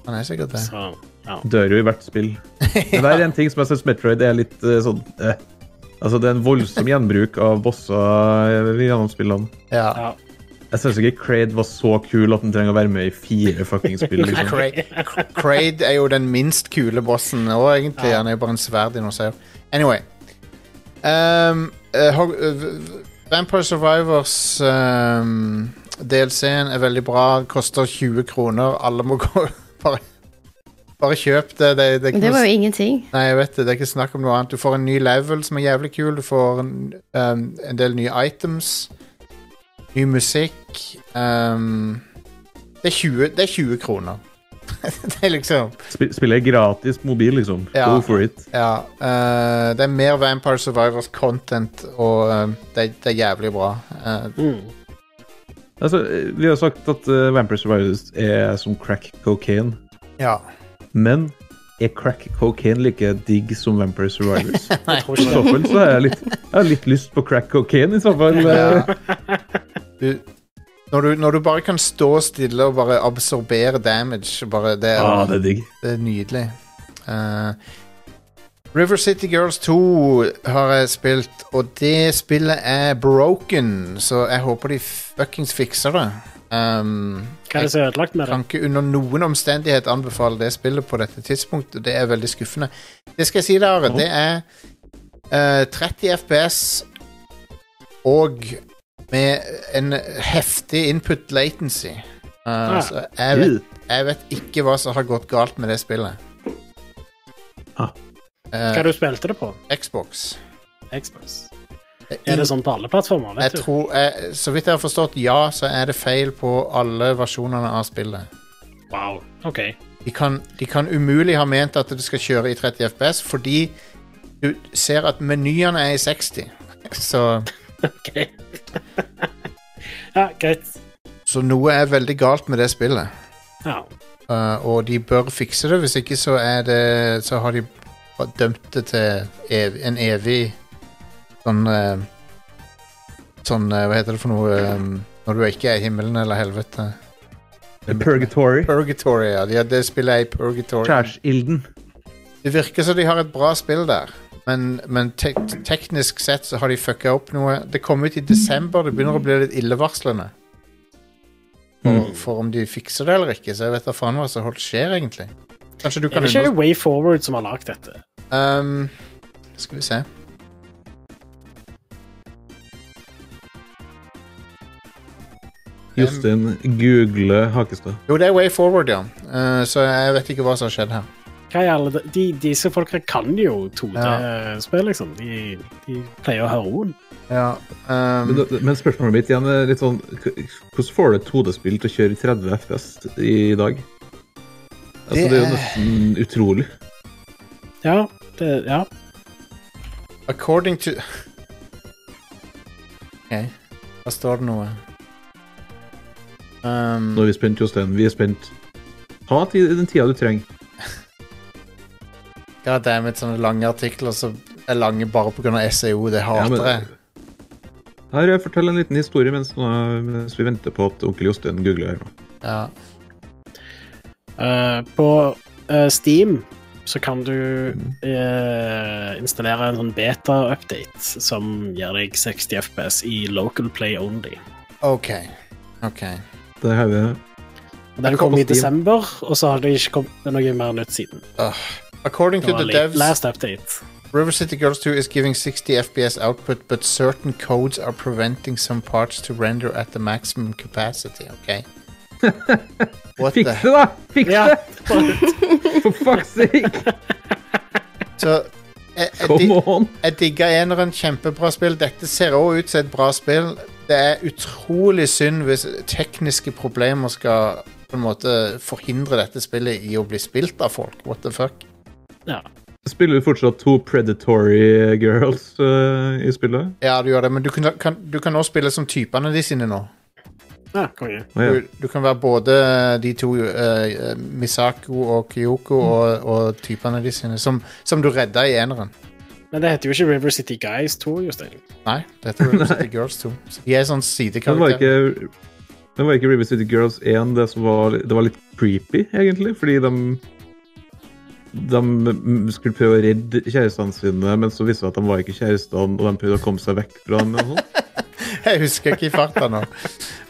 [SPEAKER 1] Han er sikkert det.
[SPEAKER 3] Så, ja.
[SPEAKER 2] dør jo i hvert spill. Men det er en ting som jeg syns Metroid er litt eh, sånn eh. Altså, det er en voldsom gjenbruk av bosser eh, gjennom spillene.
[SPEAKER 1] Ja.
[SPEAKER 3] Ja.
[SPEAKER 2] Jeg syns ikke Craid var så kul at den trenger å være med i fire fucking spill. Liksom.
[SPEAKER 1] Cra- Cra- Craid er jo den minst kule bossen òg, egentlig. Han er jo bare en svær dinosaur. Anyway. Um, eh, Hog- eh, v- v- Vampire Survivors um, DLC-en er veldig bra. Koster 20 kroner. Alle må gå Bare, bare kjøp det. det, det, er ikke
[SPEAKER 4] Det
[SPEAKER 1] noe-
[SPEAKER 4] var jo ingenting.
[SPEAKER 1] Nei, jeg vet det. Det er ikke snakk om noe annet. Du får en ny level som er jævlig kul. Du får en, um, en del nye items. Ny musikk. Um, det, er 20, det er 20 kroner. det er liksom
[SPEAKER 2] Sp- Spiller gratis mobil, liksom.
[SPEAKER 1] Ja.
[SPEAKER 2] Go for it.
[SPEAKER 1] Ja. eh, det er mer Vampire Survivors content, og eh, det, det er jævlig bra. Eh,
[SPEAKER 2] Altså, eh, vi har sagt at eh, Vampire Survivors er som crack cocaine.
[SPEAKER 1] ja.
[SPEAKER 2] Men er crack cocaine like digg som Vampire Survivors?
[SPEAKER 3] Jeg
[SPEAKER 2] I
[SPEAKER 3] tror ikke
[SPEAKER 2] så
[SPEAKER 3] det.
[SPEAKER 2] fall så har jeg litt, jeg har litt lyst på crack cocaine, i så fall.
[SPEAKER 1] Ja.
[SPEAKER 2] eh.
[SPEAKER 1] Du, når, du, når du bare kan stå stille og bare absorbere damage bare det, er-
[SPEAKER 2] Ah, det er digg.
[SPEAKER 1] Det er nydelig. Eh, River City Girls 2 har jeg spilt, og det spillet er broken, så jeg håper de fuckings fikser det. Um,
[SPEAKER 3] Hva er det som er ødelagt med det?
[SPEAKER 1] kan ikke under noen omstendighet anbefale det spillet på dette tidspunktet. Det er veldig skuffende. Det skal jeg si, dere, det er eh, 30 FPS og med en heftig input latency. Eh, Så jeg vet, jeg vet ikke hva som har gått galt med det spillet.
[SPEAKER 2] Ah.
[SPEAKER 1] Eh,
[SPEAKER 3] Hva du spilte det på?
[SPEAKER 1] Xbox.
[SPEAKER 3] Xbox. Er det sånn på alle plattformer?
[SPEAKER 1] Eh, Jeg
[SPEAKER 3] Vet du?
[SPEAKER 1] tror, jeg, så vidt jeg har forstått, ja, så er det feil på alle versjonene av spillet.
[SPEAKER 3] Wow. OK.
[SPEAKER 1] de kan, de kan umulig ha ment at det skal kjøre i 30 FPS, fordi du ser at menyene er i 60. Så,
[SPEAKER 3] ok. ja, greit.
[SPEAKER 1] så noe er veldig galt med det spillet.
[SPEAKER 3] Ja.
[SPEAKER 1] Uh, og de bør fikse det, hvis ikke så, er det, så har de bare dømt det til ev en evig sånn eh, Sånn, eh, hva heter det for noe eh, Når du ikke er i himmelen eller helvete.
[SPEAKER 2] Purgatory.
[SPEAKER 1] Purgatory, ja. De, det spillet er i Purgatory.
[SPEAKER 2] Kjærsilden.
[SPEAKER 1] Det virker som de har et bra spill der, men, men te teknisk sett så har de fucka opp noe. Det kom ut i desember, det begynner å bli litt illevarslende.
[SPEAKER 2] Mm.
[SPEAKER 1] For, for om de fikser det eller ikke, så jeg vet da faen hva som holdt skjer, egentlig. Kanskje du
[SPEAKER 3] Er
[SPEAKER 1] kan
[SPEAKER 3] det ikke
[SPEAKER 1] under...
[SPEAKER 3] Way Forward som har lagd dette?
[SPEAKER 1] Um, skal vi se.
[SPEAKER 2] Jostein googler Hakestad.
[SPEAKER 1] Jo, det er Way Forward, ja. Eh, så jeg vet ikke hva som har skjedd her.
[SPEAKER 3] Hva er alle de, de, disse folka kan jo 2D-spill, liksom. De, de pleier å ha roen.
[SPEAKER 1] Ja, um,
[SPEAKER 2] Men, da- men spørsmålet mitt igjen er litt sånn k- Hvordan får du et 2D-spill til å kjøre i 30 FPS i dag? Altså,
[SPEAKER 1] Det
[SPEAKER 2] det er
[SPEAKER 1] er-
[SPEAKER 2] jo nesten utrolig.
[SPEAKER 3] Ja, det, ja.
[SPEAKER 1] According to OK, da står det noe. Um,
[SPEAKER 2] Nå er vi spent, Jostein. Vi er spent. Ta ti- den tida du trenger.
[SPEAKER 1] God damn it, sånne lange artikler som er lange bare pga. SEO. E Det
[SPEAKER 2] Ja,
[SPEAKER 1] hater
[SPEAKER 2] men-
[SPEAKER 1] jeg.
[SPEAKER 2] Her, jeg forteller en liten historie mens, nå- mens vi venter på at onkel Jostein googler her. nå.
[SPEAKER 1] Ja.
[SPEAKER 3] Eh, på eh, Steam så kan du eh, installere en sånn beta-update som gir deg 60 FPS i local play only.
[SPEAKER 1] OK. OK.
[SPEAKER 2] Der har vi det.
[SPEAKER 3] Og Den
[SPEAKER 2] Jeg kom
[SPEAKER 3] kom
[SPEAKER 2] på
[SPEAKER 3] i
[SPEAKER 2] Steam.
[SPEAKER 3] desember, og så har det ikke kommet noe mer nytt siden.
[SPEAKER 1] According
[SPEAKER 3] Det
[SPEAKER 1] to
[SPEAKER 3] var
[SPEAKER 1] the
[SPEAKER 3] litt
[SPEAKER 1] devs,
[SPEAKER 3] last update.
[SPEAKER 1] River City Girls 2 is giving 60 FPS output, but certain codes are preventing some parts to render at the maximum capacity. OK. What the
[SPEAKER 2] Fiks det, da! Fiks
[SPEAKER 3] Ja,
[SPEAKER 2] det! For fuck's sake!
[SPEAKER 1] Så jeg, jeg,
[SPEAKER 2] Come
[SPEAKER 1] dig-
[SPEAKER 2] on!
[SPEAKER 1] jeg digga eneren. Kjempebra spill. Dette ser òg ut som et bra spill. Det er utrolig synd hvis tekniske problemer skal på en måte forhindre dette spillet i å bli spilt av folk. What the fuck?
[SPEAKER 3] ja.
[SPEAKER 2] Spiller vi fortsatt to predatory girls eh, i spillet?
[SPEAKER 1] Ja, du gjør det, men du kan, kan, du kan også spille som typene de sine nå.
[SPEAKER 3] ja konge.
[SPEAKER 2] Å, ja.
[SPEAKER 1] Du, du kan være både de to, eh, Misako og Kyoko,
[SPEAKER 2] Mm.
[SPEAKER 1] og, og typene de sine, som, som du redda i eneren.
[SPEAKER 3] Men det heter jo ikke River City Guys 2, Jostein.
[SPEAKER 1] Nei, dette er Room City Girls 2. Så De er sånn
[SPEAKER 2] Men var
[SPEAKER 1] sidekarakter.
[SPEAKER 2] ikke, men var ikke River City Girls 1 det som var Det var litt creepy, egentlig, fordi de de mm, skulle prøve å redde kjærestene sine, men så viste det seg at de var ikke kjærestene, og de prøvde å komme seg vekk fra dem. og sånn.
[SPEAKER 1] Jeg husker ikke i farta nå.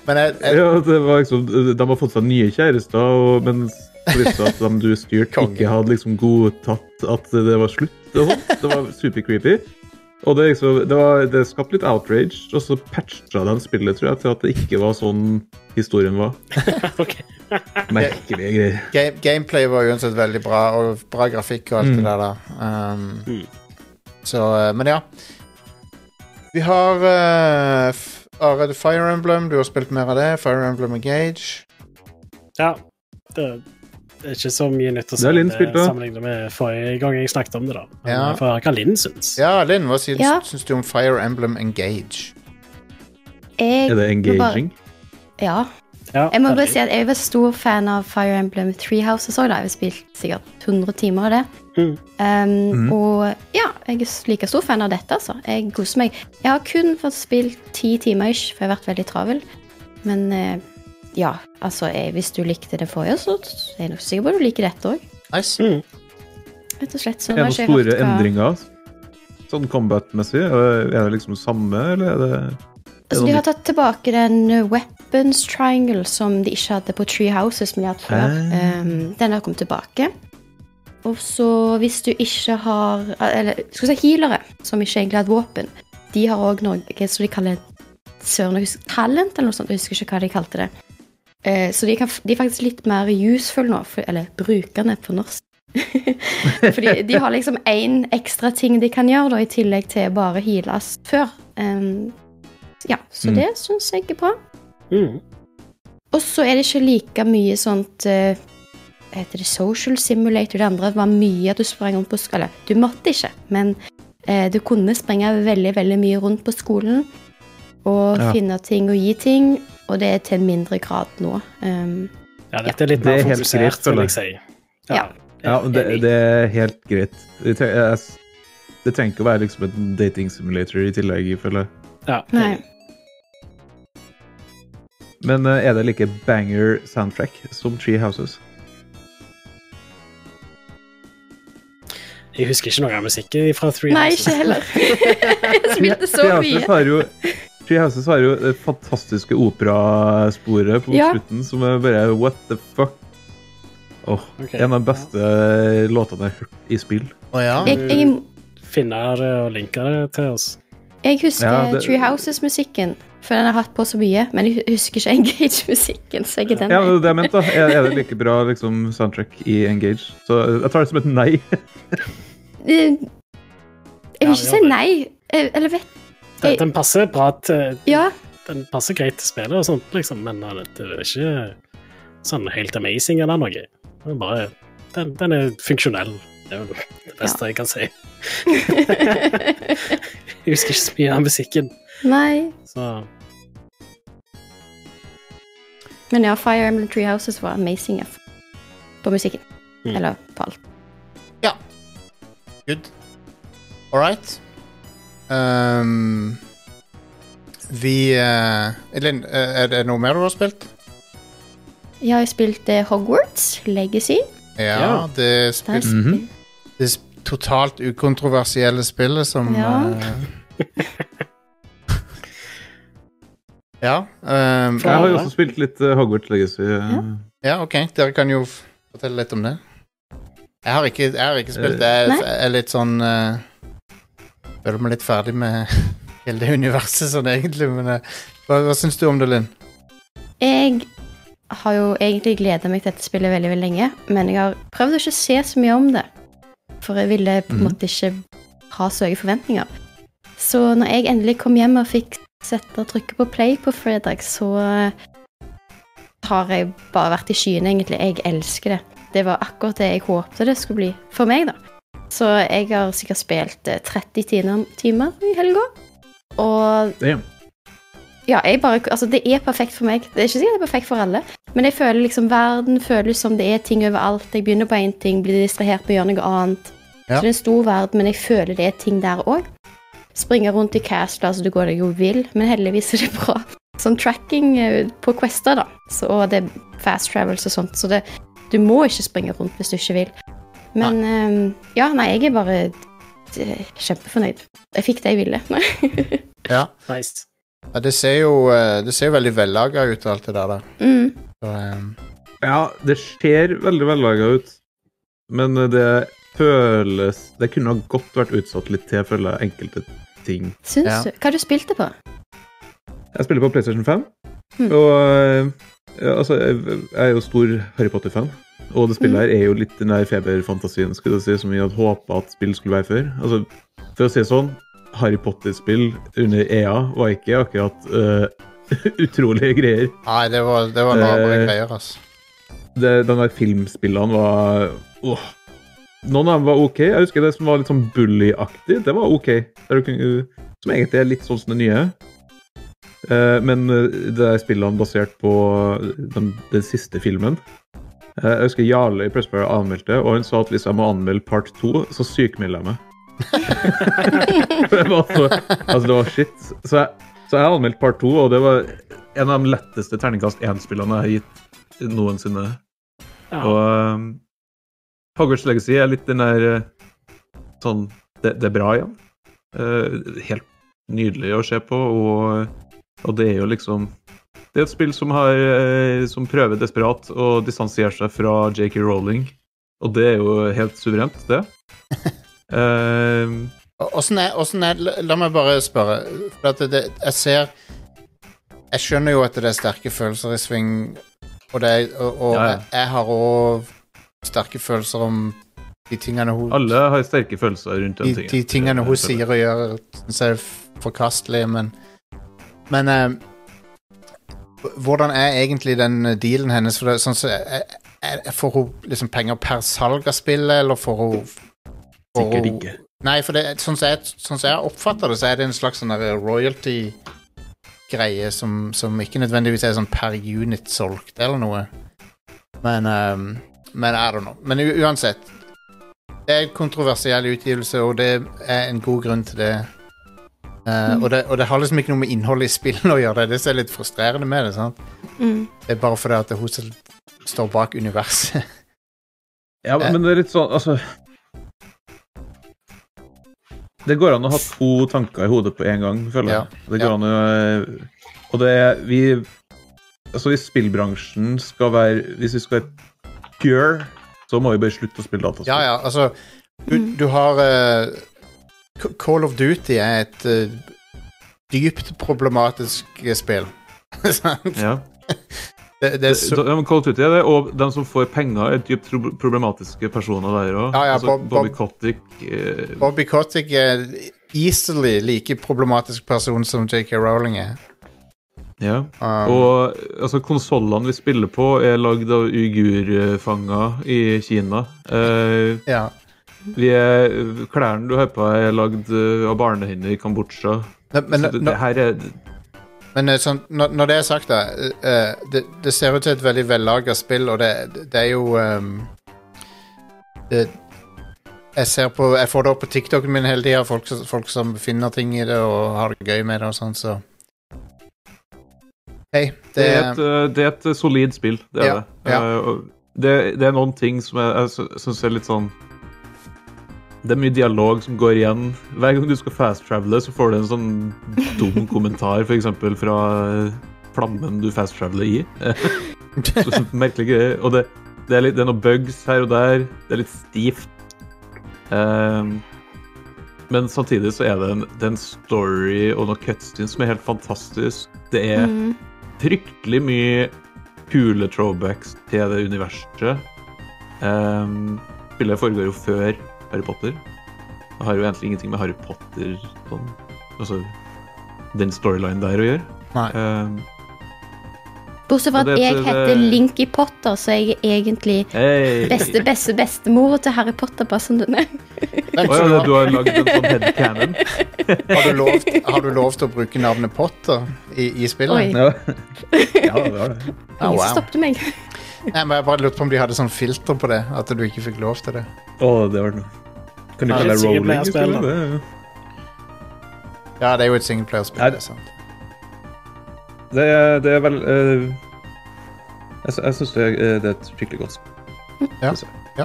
[SPEAKER 1] Men eh, jeg, jeg,
[SPEAKER 2] Ja, det var liksom, de har fått seg nye kjærester, og, men så viste det at de du styrte,
[SPEAKER 1] Konge.
[SPEAKER 2] ikke hadde liksom godtatt at det var slutt. og sånt. Det var super creepy. Og det, liksom, det, var, det skapte litt outrage, og så patcha de spillet tror jeg, til at det ikke var sånn historien var.
[SPEAKER 3] Ok.
[SPEAKER 2] Merkelige greier.
[SPEAKER 1] game, gameplay var uansett veldig bra, og bra grafikk og alt
[SPEAKER 2] Mm.
[SPEAKER 1] det der. da. Um, Så, eh, men ja. Vi har eh, f- Are, Fire Emblem. Du har spilt mer av det. Fire Emblem Engage.
[SPEAKER 3] Ja. Det det er ikke så mye nytt å
[SPEAKER 2] Det har Linn
[SPEAKER 3] eh,
[SPEAKER 2] spilt, da.
[SPEAKER 3] sammenlignet med forrige gang jeg snakket om det. da. Men
[SPEAKER 1] Ja.
[SPEAKER 3] jeg får høre hva Linn syns.
[SPEAKER 1] Ja, Linn, hva syns,
[SPEAKER 4] Ja.
[SPEAKER 1] syns du om Fire Emblem Engage?
[SPEAKER 4] Jeg
[SPEAKER 2] Er det
[SPEAKER 4] må bare-
[SPEAKER 2] engaging?
[SPEAKER 4] Ja.
[SPEAKER 3] Ja,
[SPEAKER 4] Jeg må
[SPEAKER 3] det er
[SPEAKER 4] bare
[SPEAKER 3] det.
[SPEAKER 4] si at jeg var stor fan av Fire Emblem Three Houses òg. Jeg har spilt sikkert 100 timer av det.
[SPEAKER 3] Mm.
[SPEAKER 4] Um, Og ja, jeg er like stor fan av dette, altså. Jeg koser meg. Jeg har kun fått spilt ti timer, ish, for jeg har vært veldig travel. Men eh, ja, altså, jeg, hvis du likte det forrige, så er jeg nok sikker på at du liker dette òg.
[SPEAKER 1] Nice.
[SPEAKER 4] Rett og slett. Så
[SPEAKER 2] Er det
[SPEAKER 4] nå
[SPEAKER 2] noen
[SPEAKER 4] har ikke jeg
[SPEAKER 2] store
[SPEAKER 4] hørt hva-
[SPEAKER 2] endringer? Sånn combat-messig? Er det liksom samme, eller er det
[SPEAKER 4] Altså, de har tatt tilbake den uh, weapons triangle som de ikke hadde på Tree Houses, men de hadde før.
[SPEAKER 2] Ah.
[SPEAKER 4] Um, den har kommet tilbake. Og så hvis du ikke har Eller skal vi si healere, som ikke egentlig har et våpen. De har òg noe som de kaller søren, jeg husker, talent, eller noe sånt. Jeg husker ikke hva de kalte det. Eh, så de, kan, f- de er faktisk litt mer useful nå, for, eller brukende på norsk. Fordi de har liksom én ekstra ting de kan gjøre, da, i tillegg til bare heales før. Um, ja, så
[SPEAKER 2] Mm.
[SPEAKER 4] det syns jeg er bra.
[SPEAKER 3] Mm.
[SPEAKER 4] Og så er det ikke like mye sånt eh, Hva heter det Social simulator det andre. Det var mye at du sprang rundt på skolen. Du måtte ikke, men eh, du kunne springe veldig, veldig mye rundt på skolen og
[SPEAKER 2] Ja.
[SPEAKER 4] finne ting og gi ting, og det er til en mindre grad nå. Um,
[SPEAKER 3] ja, dette er litt
[SPEAKER 2] Det er
[SPEAKER 3] mer
[SPEAKER 2] helt greit,
[SPEAKER 3] fokusert, vil
[SPEAKER 2] føler
[SPEAKER 3] jeg si.
[SPEAKER 4] Ja.
[SPEAKER 2] Ja, men det, det er helt greit. Det tre- jeg s- det trenger ikke å være liksom en dating simulator i tillegg, føler jeg.
[SPEAKER 3] Ja.
[SPEAKER 4] nei.
[SPEAKER 2] Men eh, er det like banger soundtrack som Tree Houses?
[SPEAKER 3] Jeg husker ikke noe av musikken fra Three
[SPEAKER 4] nei,
[SPEAKER 3] Houses.
[SPEAKER 4] ikke heller. Jeg spilte så
[SPEAKER 2] Tree Houses
[SPEAKER 4] mye.
[SPEAKER 2] har jo Tree Houses har jo det fantastiske operasporet på
[SPEAKER 4] Ja.
[SPEAKER 2] slutten som er bare What the fuck? Åh,
[SPEAKER 3] Ok.
[SPEAKER 2] En av de beste låtene jeg har hørt i spill.
[SPEAKER 1] Å ja.
[SPEAKER 4] Jeg, jeg,
[SPEAKER 3] Finne det og linke det til oss.
[SPEAKER 4] jeg husker
[SPEAKER 2] Ja, det-
[SPEAKER 4] Tree Houses-musikken, for den har jeg hatt på så mye, men jeg husker ikke Engage-musikken, så jeg er den.
[SPEAKER 2] Ja, det er det jeg mente. da. Er, er det like bra liksom, soundtrack i Engage? Så eh, jeg tar det som et nei.
[SPEAKER 4] Eh, Jeg
[SPEAKER 3] Ja, det
[SPEAKER 4] vil ikke si
[SPEAKER 3] gjør det.
[SPEAKER 4] nei. Eh, Eller vet
[SPEAKER 3] Den,
[SPEAKER 4] Jeg-
[SPEAKER 3] den passer bra til
[SPEAKER 4] Ja,
[SPEAKER 3] Den passer greit til spillet og sånt, liksom, men den det er ikke sånn helt amazing eller noe. Den er bare Den, den er funksjonell. Det er jo det beste jeg kan si. jeg husker ikke så mye av musikken,
[SPEAKER 4] nei.
[SPEAKER 3] så
[SPEAKER 4] Men ja, Fire Emblem Tree Houses var amazing. Ja. På musikken.
[SPEAKER 3] Mm.
[SPEAKER 4] Eller på alt.
[SPEAKER 1] Good. All right. Ehm, vi eh, Elin, eh, er det noe mer du har spilt?
[SPEAKER 4] Jeg har spilt eh, Hogwarts Legacy.
[SPEAKER 1] Ja,
[SPEAKER 3] Ja.
[SPEAKER 1] det er
[SPEAKER 4] Der
[SPEAKER 1] spilt
[SPEAKER 4] spil-
[SPEAKER 2] Mhm.
[SPEAKER 1] det s- totalt ukontroversielle spillet som
[SPEAKER 4] Ja.
[SPEAKER 1] eh, Ja. ehm,
[SPEAKER 2] Jeg har jo også spilt litt eh, Hogwarts Legacy. eh.
[SPEAKER 4] Ja.
[SPEAKER 1] ja, OK. Dere kan jo f- fortelle litt om det. Jeg har ikke, jeg har ikke spilt det. Jeg
[SPEAKER 4] Nei.
[SPEAKER 1] jeg er litt sånn eh, Føler meg litt ferdig med hele det universet sånn egentlig, men eh, hva, hva syns du om det, Linn?
[SPEAKER 4] Jeg har jo egentlig gleda meg til dette spillet veldig veldig lenge, men jeg har prøvd å ikke se så mye om det. For jeg ville på en måte ikke ha så høye forventninger. Så når jeg endelig kom hjem og fikk sette trykket på play på fredag, så eh, har jeg bare vært i skyene, egentlig. Jeg elsker det. Det var akkurat det jeg håpte det skulle bli for meg, da. Så jeg har sikkert spilt eh, 30 timer- timer i helga. Og
[SPEAKER 2] Damn.
[SPEAKER 4] ja, jeg bare, altså det er perfekt for meg. Det er ikke sikkert det er perfekt for alle, men jeg føler liksom verden føles som det er ting overalt. Jeg begynner på én ting, blir distrahert på å gjøre noe annet.
[SPEAKER 1] Ja.
[SPEAKER 4] Så det er en stor verden, men jeg føler det er ting der òg. Springe rundt i castler så du går deg jo vill, men heldigvis er det bra. Sånn tracking eh, på quester, da, så, og det er fast travels og sånt, så det, du må ikke springe rundt hvis du ikke vil. Men ehm, ja, nei, jeg er bare eh, kjempefornøyd. Jeg fikk det jeg ville.
[SPEAKER 1] Ja.
[SPEAKER 3] nice.
[SPEAKER 1] Ja, det ser jo eh, Det ser jo veldig vellaga ut, alt det der. da.
[SPEAKER 4] Mm.
[SPEAKER 1] Så, ehm,
[SPEAKER 2] Ja, det ser veldig vellaga ut, men eh, det føles Det kunne ha godt vært utsatt litt til, føler jeg, enkelte ting.
[SPEAKER 4] Syns
[SPEAKER 1] Ja.
[SPEAKER 4] du? Hva har du spilt det på?
[SPEAKER 2] Jeg spiller på PlayStation 5,
[SPEAKER 4] Hmm.
[SPEAKER 2] og eh, ja, altså, jeg jeg er jo stor Harry Potter-fan. Og det spillet her er jo litt den der feberfantasien skulle jeg si, som vi hadde håpa at spill skulle være før. Altså, for å si det sånn, Harry Potter-spill under EA var ikke akkurat eh, utrolige greier.
[SPEAKER 1] Nei, det var, det var noe
[SPEAKER 2] Eh.
[SPEAKER 1] greier, altså.
[SPEAKER 2] det, den der filmspillene var åh. Noen av dem var OK. Jeg husker det som var litt sånn bully-aktig. Det var OK. Der du kunne, som egentlig er litt sånn som det nye. Eh, men eh, det er spillene basert på øh, den, den siste filmen. Eh, jeg husker Jarle i Pressfire anmeldte, og han sa at hvis jeg må anmelde part to, så sykemelder jeg meg. For det var så, altså, det var shit. Så jeg, så jeg anmeldte part to, og det var en av de letteste terningkast én-spillene jeg har gitt noensinne.
[SPEAKER 3] Ja.
[SPEAKER 2] Og um, Hogwarts Legacy er litt den der eh, sånn Det, det er bra igjen. Eh, helt nydelig å se på, og, og det er jo liksom Det er et spill som, har, eh, som prøver desperat å distansiere seg fra JK Rowling, og det er jo helt suverent, det. Eh,
[SPEAKER 1] Og- Åssen er, åssen er la- La meg bare spørre. For at det, jeg ser Jeg skjønner jo at det er sterke følelser i sving, og, det, er- og, og
[SPEAKER 2] Ja, ja.
[SPEAKER 1] Jeg, jeg har òg sterke følelser om de tingene hun
[SPEAKER 2] alle har sterke følelser rundt den Eh,
[SPEAKER 1] de, de tingene hun sier og gjør, syns jeg er f- forkastelig, men Men eh, h- hvordan er egentlig den eh, dealen hennes? For det, er sånn, så, eh, eh, eh, får hun liksom penger per salg av spillet, eller får hun får hun-
[SPEAKER 2] Sikkert ikke.
[SPEAKER 1] Nei, for det, er- sånn som jeg, sånn som jeg oppfatter det, så er det en slags sånn der royalty-greie som, som ikke nødvendigvis er sånn per unit solgt eller noe. Men ehm, Men I don't know. Men u uansett. Det er en kontroversiell utgivelse, og det er en god grunn til det. Eh, og, det og det har liksom ikke noe med innholdet i spillene å gjøre. Det er det som er litt frustrerende med det. sant?
[SPEAKER 4] Mm.
[SPEAKER 1] Det er bare fordi at det er hun som står bak universet.
[SPEAKER 2] Ja,
[SPEAKER 1] Eh.
[SPEAKER 2] men det er litt sånn, altså Det går an å ha to tanker i hodet på en gang, føler jeg. Det går
[SPEAKER 1] ja.
[SPEAKER 2] an å Og det er Vi Altså, hvis spillbransjen skal være Hvis vi skal være pure, så må vi bare slutte å spille dataspill.
[SPEAKER 1] Ja, ja, altså Du, du har eh, C- Call of Duty er et eh, dypt problematisk eh, spill. Sant?
[SPEAKER 2] Ja.
[SPEAKER 1] det, det er så,
[SPEAKER 2] Da- ja, men Call of Duty er det, og de som får penger, er dypt pro- problematiske personer der òg.
[SPEAKER 1] Ja, ja,
[SPEAKER 2] altså,
[SPEAKER 1] Bob-
[SPEAKER 2] Bobby
[SPEAKER 1] Bob-
[SPEAKER 2] Kotick eh,
[SPEAKER 1] Bobby Kotick er easily like problematisk person som JK Rowling er.
[SPEAKER 2] Ja.
[SPEAKER 1] Um,
[SPEAKER 2] Og altså, konsollene vi spiller på, er lagd av uigurfanger i Kina. Eh,
[SPEAKER 1] Ja.
[SPEAKER 2] vi er, klærne du har på, er lagd eh, av barnehender i Kambodsja.
[SPEAKER 1] Men, men,
[SPEAKER 2] så det, det her er
[SPEAKER 1] Men eh, sånn, når, når det er sagt, da eh, eh, det, det ser ut til et veldig vellaga spill, og det, det er jo ehm, det, jeg, ser på, jeg får det opp på TikToken min hele tida, folk, som- folk som finner ting i det og har det gøy med det og sånn, så Hei, det,
[SPEAKER 2] Det er et, eh, det er et solid spill, det er
[SPEAKER 1] Ja,
[SPEAKER 2] det.
[SPEAKER 1] ja.
[SPEAKER 2] Eh, og det. Det er noen ting som jeg, jeg sy- syns er litt sånn Det er mye dialog som går igjen. Hver gang du skal fast-travele, så får du en sånn dum kommentar, f.eks. fra eh, flammen du fast-traveler i. Så Merkelig greie. Og det, det, er litt, det er noen bugs her og der. Det er litt stivt. Ehm, men samtidig så er det en, det er en story og noen cutscenes som er helt fantastisk. Det er
[SPEAKER 4] Mm.
[SPEAKER 2] fryktelig mye kule throwbacks til det universet. Ehm, spillet foregår jo før Harry Potter. Det har jo egentlig ingenting med Harry Potter sånn, altså den storylinen der å gjøre.
[SPEAKER 1] Nei.
[SPEAKER 2] Ehm,
[SPEAKER 4] Bortsett fra
[SPEAKER 2] Og
[SPEAKER 4] at
[SPEAKER 2] det- eh,
[SPEAKER 4] jeg
[SPEAKER 2] det-
[SPEAKER 4] heter Linky Potter, så jeg er egentlig
[SPEAKER 2] hey.
[SPEAKER 4] beste, beste, bestemor til Harry Potter. Bare sånn den er.
[SPEAKER 1] Vent,
[SPEAKER 2] Å
[SPEAKER 1] så du
[SPEAKER 2] ja, det-
[SPEAKER 1] har,
[SPEAKER 2] du har lagd en sånn headcanon?
[SPEAKER 1] har, du lov, har du lov til å bruke navnet Potter i, i
[SPEAKER 4] Oi.
[SPEAKER 1] spillet?
[SPEAKER 2] Ja. ja, det var det.
[SPEAKER 1] Ah,
[SPEAKER 4] Ingen som
[SPEAKER 1] wow.
[SPEAKER 4] stoppet meg.
[SPEAKER 1] Nei, men Jeg bare lurte på om de hadde sånn filter på det, at du ikke fikk lov til det.
[SPEAKER 2] Å, det var noe. Kan du
[SPEAKER 3] Ja,
[SPEAKER 2] kalle
[SPEAKER 3] det
[SPEAKER 2] det
[SPEAKER 3] sier
[SPEAKER 2] rolling? i
[SPEAKER 3] playerspill,
[SPEAKER 2] spillet?
[SPEAKER 3] da.
[SPEAKER 2] Det er jo-
[SPEAKER 1] Ja, det er jo et singleplayerspill.
[SPEAKER 2] Nei,
[SPEAKER 1] det
[SPEAKER 2] det-
[SPEAKER 1] er sant.
[SPEAKER 2] Det er, det er vel eh, Jeg, sy- jeg syns det, er- eh, det er et skikkelig godt spill.
[SPEAKER 1] Ja, Eh.
[SPEAKER 2] Synes jeg.
[SPEAKER 1] ja.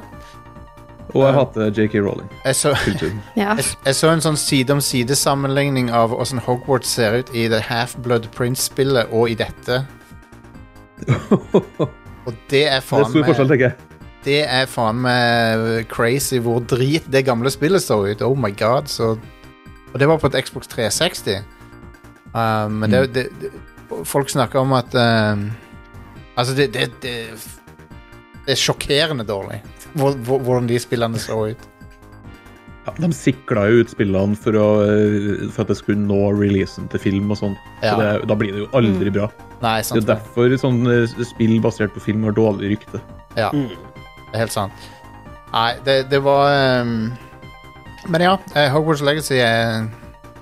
[SPEAKER 2] Og jeg hater JK Rowling.
[SPEAKER 1] Jeg så,
[SPEAKER 2] Kulturen.
[SPEAKER 4] Ja.
[SPEAKER 1] jeg, jeg så en sånn side-om-side-sammenligning av åssen Hogwarts ser ut i The Half-Blood Prince-spillet og i dette. Og det er
[SPEAKER 2] Det er
[SPEAKER 1] faen
[SPEAKER 2] stor
[SPEAKER 1] meg
[SPEAKER 2] forskjell, tenker jeg.
[SPEAKER 1] Det er faen meg crazy hvor drit det gamle spillet står ut. Oh my god. Så, og det var på et Xbox 360. Uh, men
[SPEAKER 2] Mm.
[SPEAKER 1] det, det, det Folk snakker om at uh, Altså, det, det, det Det er sjokkerende dårlig hvor- hvor- hvordan de spillene så ut.
[SPEAKER 2] Ja, de sikla jo ut spillene for, å, eh, for at det skulle nå releasen til film og sånn.
[SPEAKER 1] Ja. Mm.
[SPEAKER 2] Så det- Da blir det jo aldri bra.
[SPEAKER 1] Nei,
[SPEAKER 2] Det
[SPEAKER 1] sant.
[SPEAKER 2] er derfor sånn eh, spill basert på film har dårlig rykte.
[SPEAKER 1] Ja, det er helt sant. Nei, det, det var um, Men ja, eh, Hogwarts Legacy er,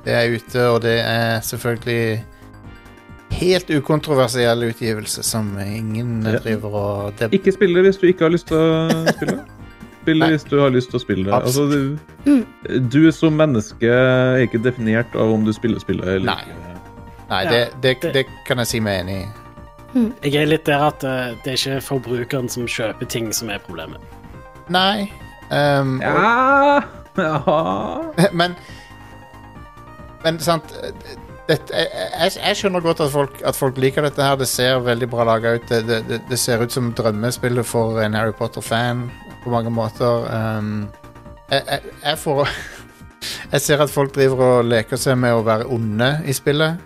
[SPEAKER 1] det er ute, og det er selvfølgelig helt ukontroversiell utgivelse som ingen
[SPEAKER 2] Ja.
[SPEAKER 1] driver og det,
[SPEAKER 2] Ikke spille hvis du ikke har lyst til å spille. Spille
[SPEAKER 1] Nei.
[SPEAKER 2] hvis du har lyst til å spille det. Altså, du, du som menneske er ikke definert av om du spiller spillet eller
[SPEAKER 1] Nei.
[SPEAKER 2] ikke.
[SPEAKER 1] Nei,
[SPEAKER 3] Ja,
[SPEAKER 1] det, det,
[SPEAKER 3] det-
[SPEAKER 1] det kan jeg si meg enig i.
[SPEAKER 3] Jeg er litt der at eh, det er ikke forbrukeren som kjøper ting som er problemet.
[SPEAKER 1] Nei. Um,
[SPEAKER 2] Ja. ja.
[SPEAKER 1] Men Men sant dette, jeg, jeg, jeg skjønner godt at folk, at folk liker dette her. Det ser veldig bra laga ut. Det, det- det, det ser ut som drømmespillet for en Harry Potter-fan på mange måter. Um, jeg, jeg, jeg får Jeg ser at folk driver og leker seg med å være onde i spillet.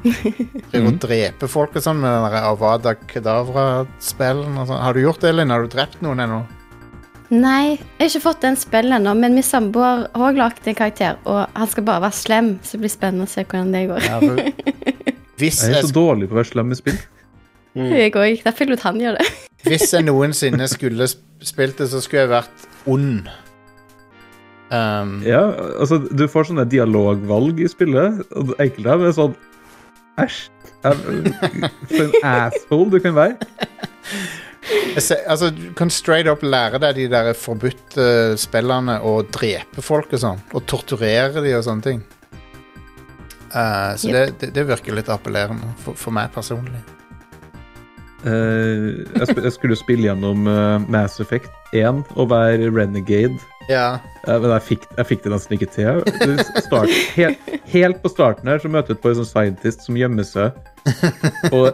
[SPEAKER 1] Driver og dreper folk og sånn med den der Avada Kedavra-spillen. og sånn. Har du gjort det, Linn? Har du drept noen ennå?
[SPEAKER 4] Nei, jeg har ikke fått den spillet ennå, men min samboer har også lagd en karakter, og han skal bare være slem, så det blir spennende å se hvordan det går.
[SPEAKER 1] Ja, for- Hvis
[SPEAKER 2] Jeg er så dårlig på å være slem i spill.
[SPEAKER 4] Jeg òg. Derfor lot han gjøre det.
[SPEAKER 1] Hvis jeg noensinne skulle sp- spilt det, så skulle jeg vært ond. Um,
[SPEAKER 2] Ja, altså, du får sånne dialogvalg i spillet, og enkelte av dem er sånn Æsj. jeg- For en asshole du kan være.
[SPEAKER 1] jeg se- altså, du kan straight up lære deg de der forbudte spillene og drepe folk og sånn. Og torturere de og sånne ting. Uh, så det, det, det virker litt appellerende for, for meg personlig.
[SPEAKER 2] Eh, jeg, sp jeg skulle jo spille gjennom eh, Mass Effect 1 og være renegade.
[SPEAKER 1] Ja,
[SPEAKER 2] Eh, men jeg fikk, jeg fikk det nesten ikke til. Det Start, helt, helt på starten her så møter du på en sånn scientist som gjemmer seg. Og,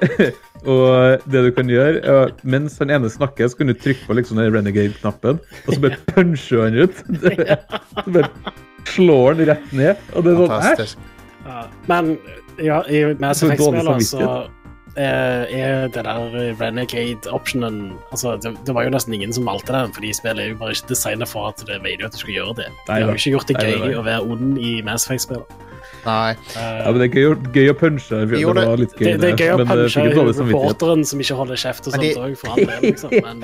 [SPEAKER 2] og det du kan gjøre, er, mens han ene snakker, så kan du trykke på liksom den renegade-knappen, og så bare puncher han ut. Det- Så bare slår han rett ned. Og det er sånn Æsj!
[SPEAKER 1] fantastisk.
[SPEAKER 3] Ja. Men ja, i Mass
[SPEAKER 2] Det er Altså, dårlig
[SPEAKER 3] Effect-spillene så
[SPEAKER 2] samvittighet.
[SPEAKER 3] eh, er det der Renegade-optionen altså, det, det var jo nesten ingen som valgte den, fordi spillet er jo bare ikke designet for at det vet jo at du skal gjøre det.
[SPEAKER 2] Nei,
[SPEAKER 3] De har
[SPEAKER 2] nei.
[SPEAKER 3] jo ikke gjort det
[SPEAKER 2] Nei, nei,
[SPEAKER 3] gøy
[SPEAKER 2] nei.
[SPEAKER 3] å være ond i Mass Effect-spillet.
[SPEAKER 1] Nei.
[SPEAKER 2] Ja, men det er gøy, å- gøy å punche. for
[SPEAKER 1] Jo,
[SPEAKER 2] Det
[SPEAKER 1] det-
[SPEAKER 2] var litt
[SPEAKER 3] Det,
[SPEAKER 2] gøy,
[SPEAKER 3] det er gøy å
[SPEAKER 2] men det
[SPEAKER 3] punche
[SPEAKER 2] fikk jo dårlig samvittighet.
[SPEAKER 3] reporteren som ikke holder kjeft og
[SPEAKER 1] Men
[SPEAKER 3] sånt
[SPEAKER 1] de-
[SPEAKER 3] òg, for all del, liksom. Men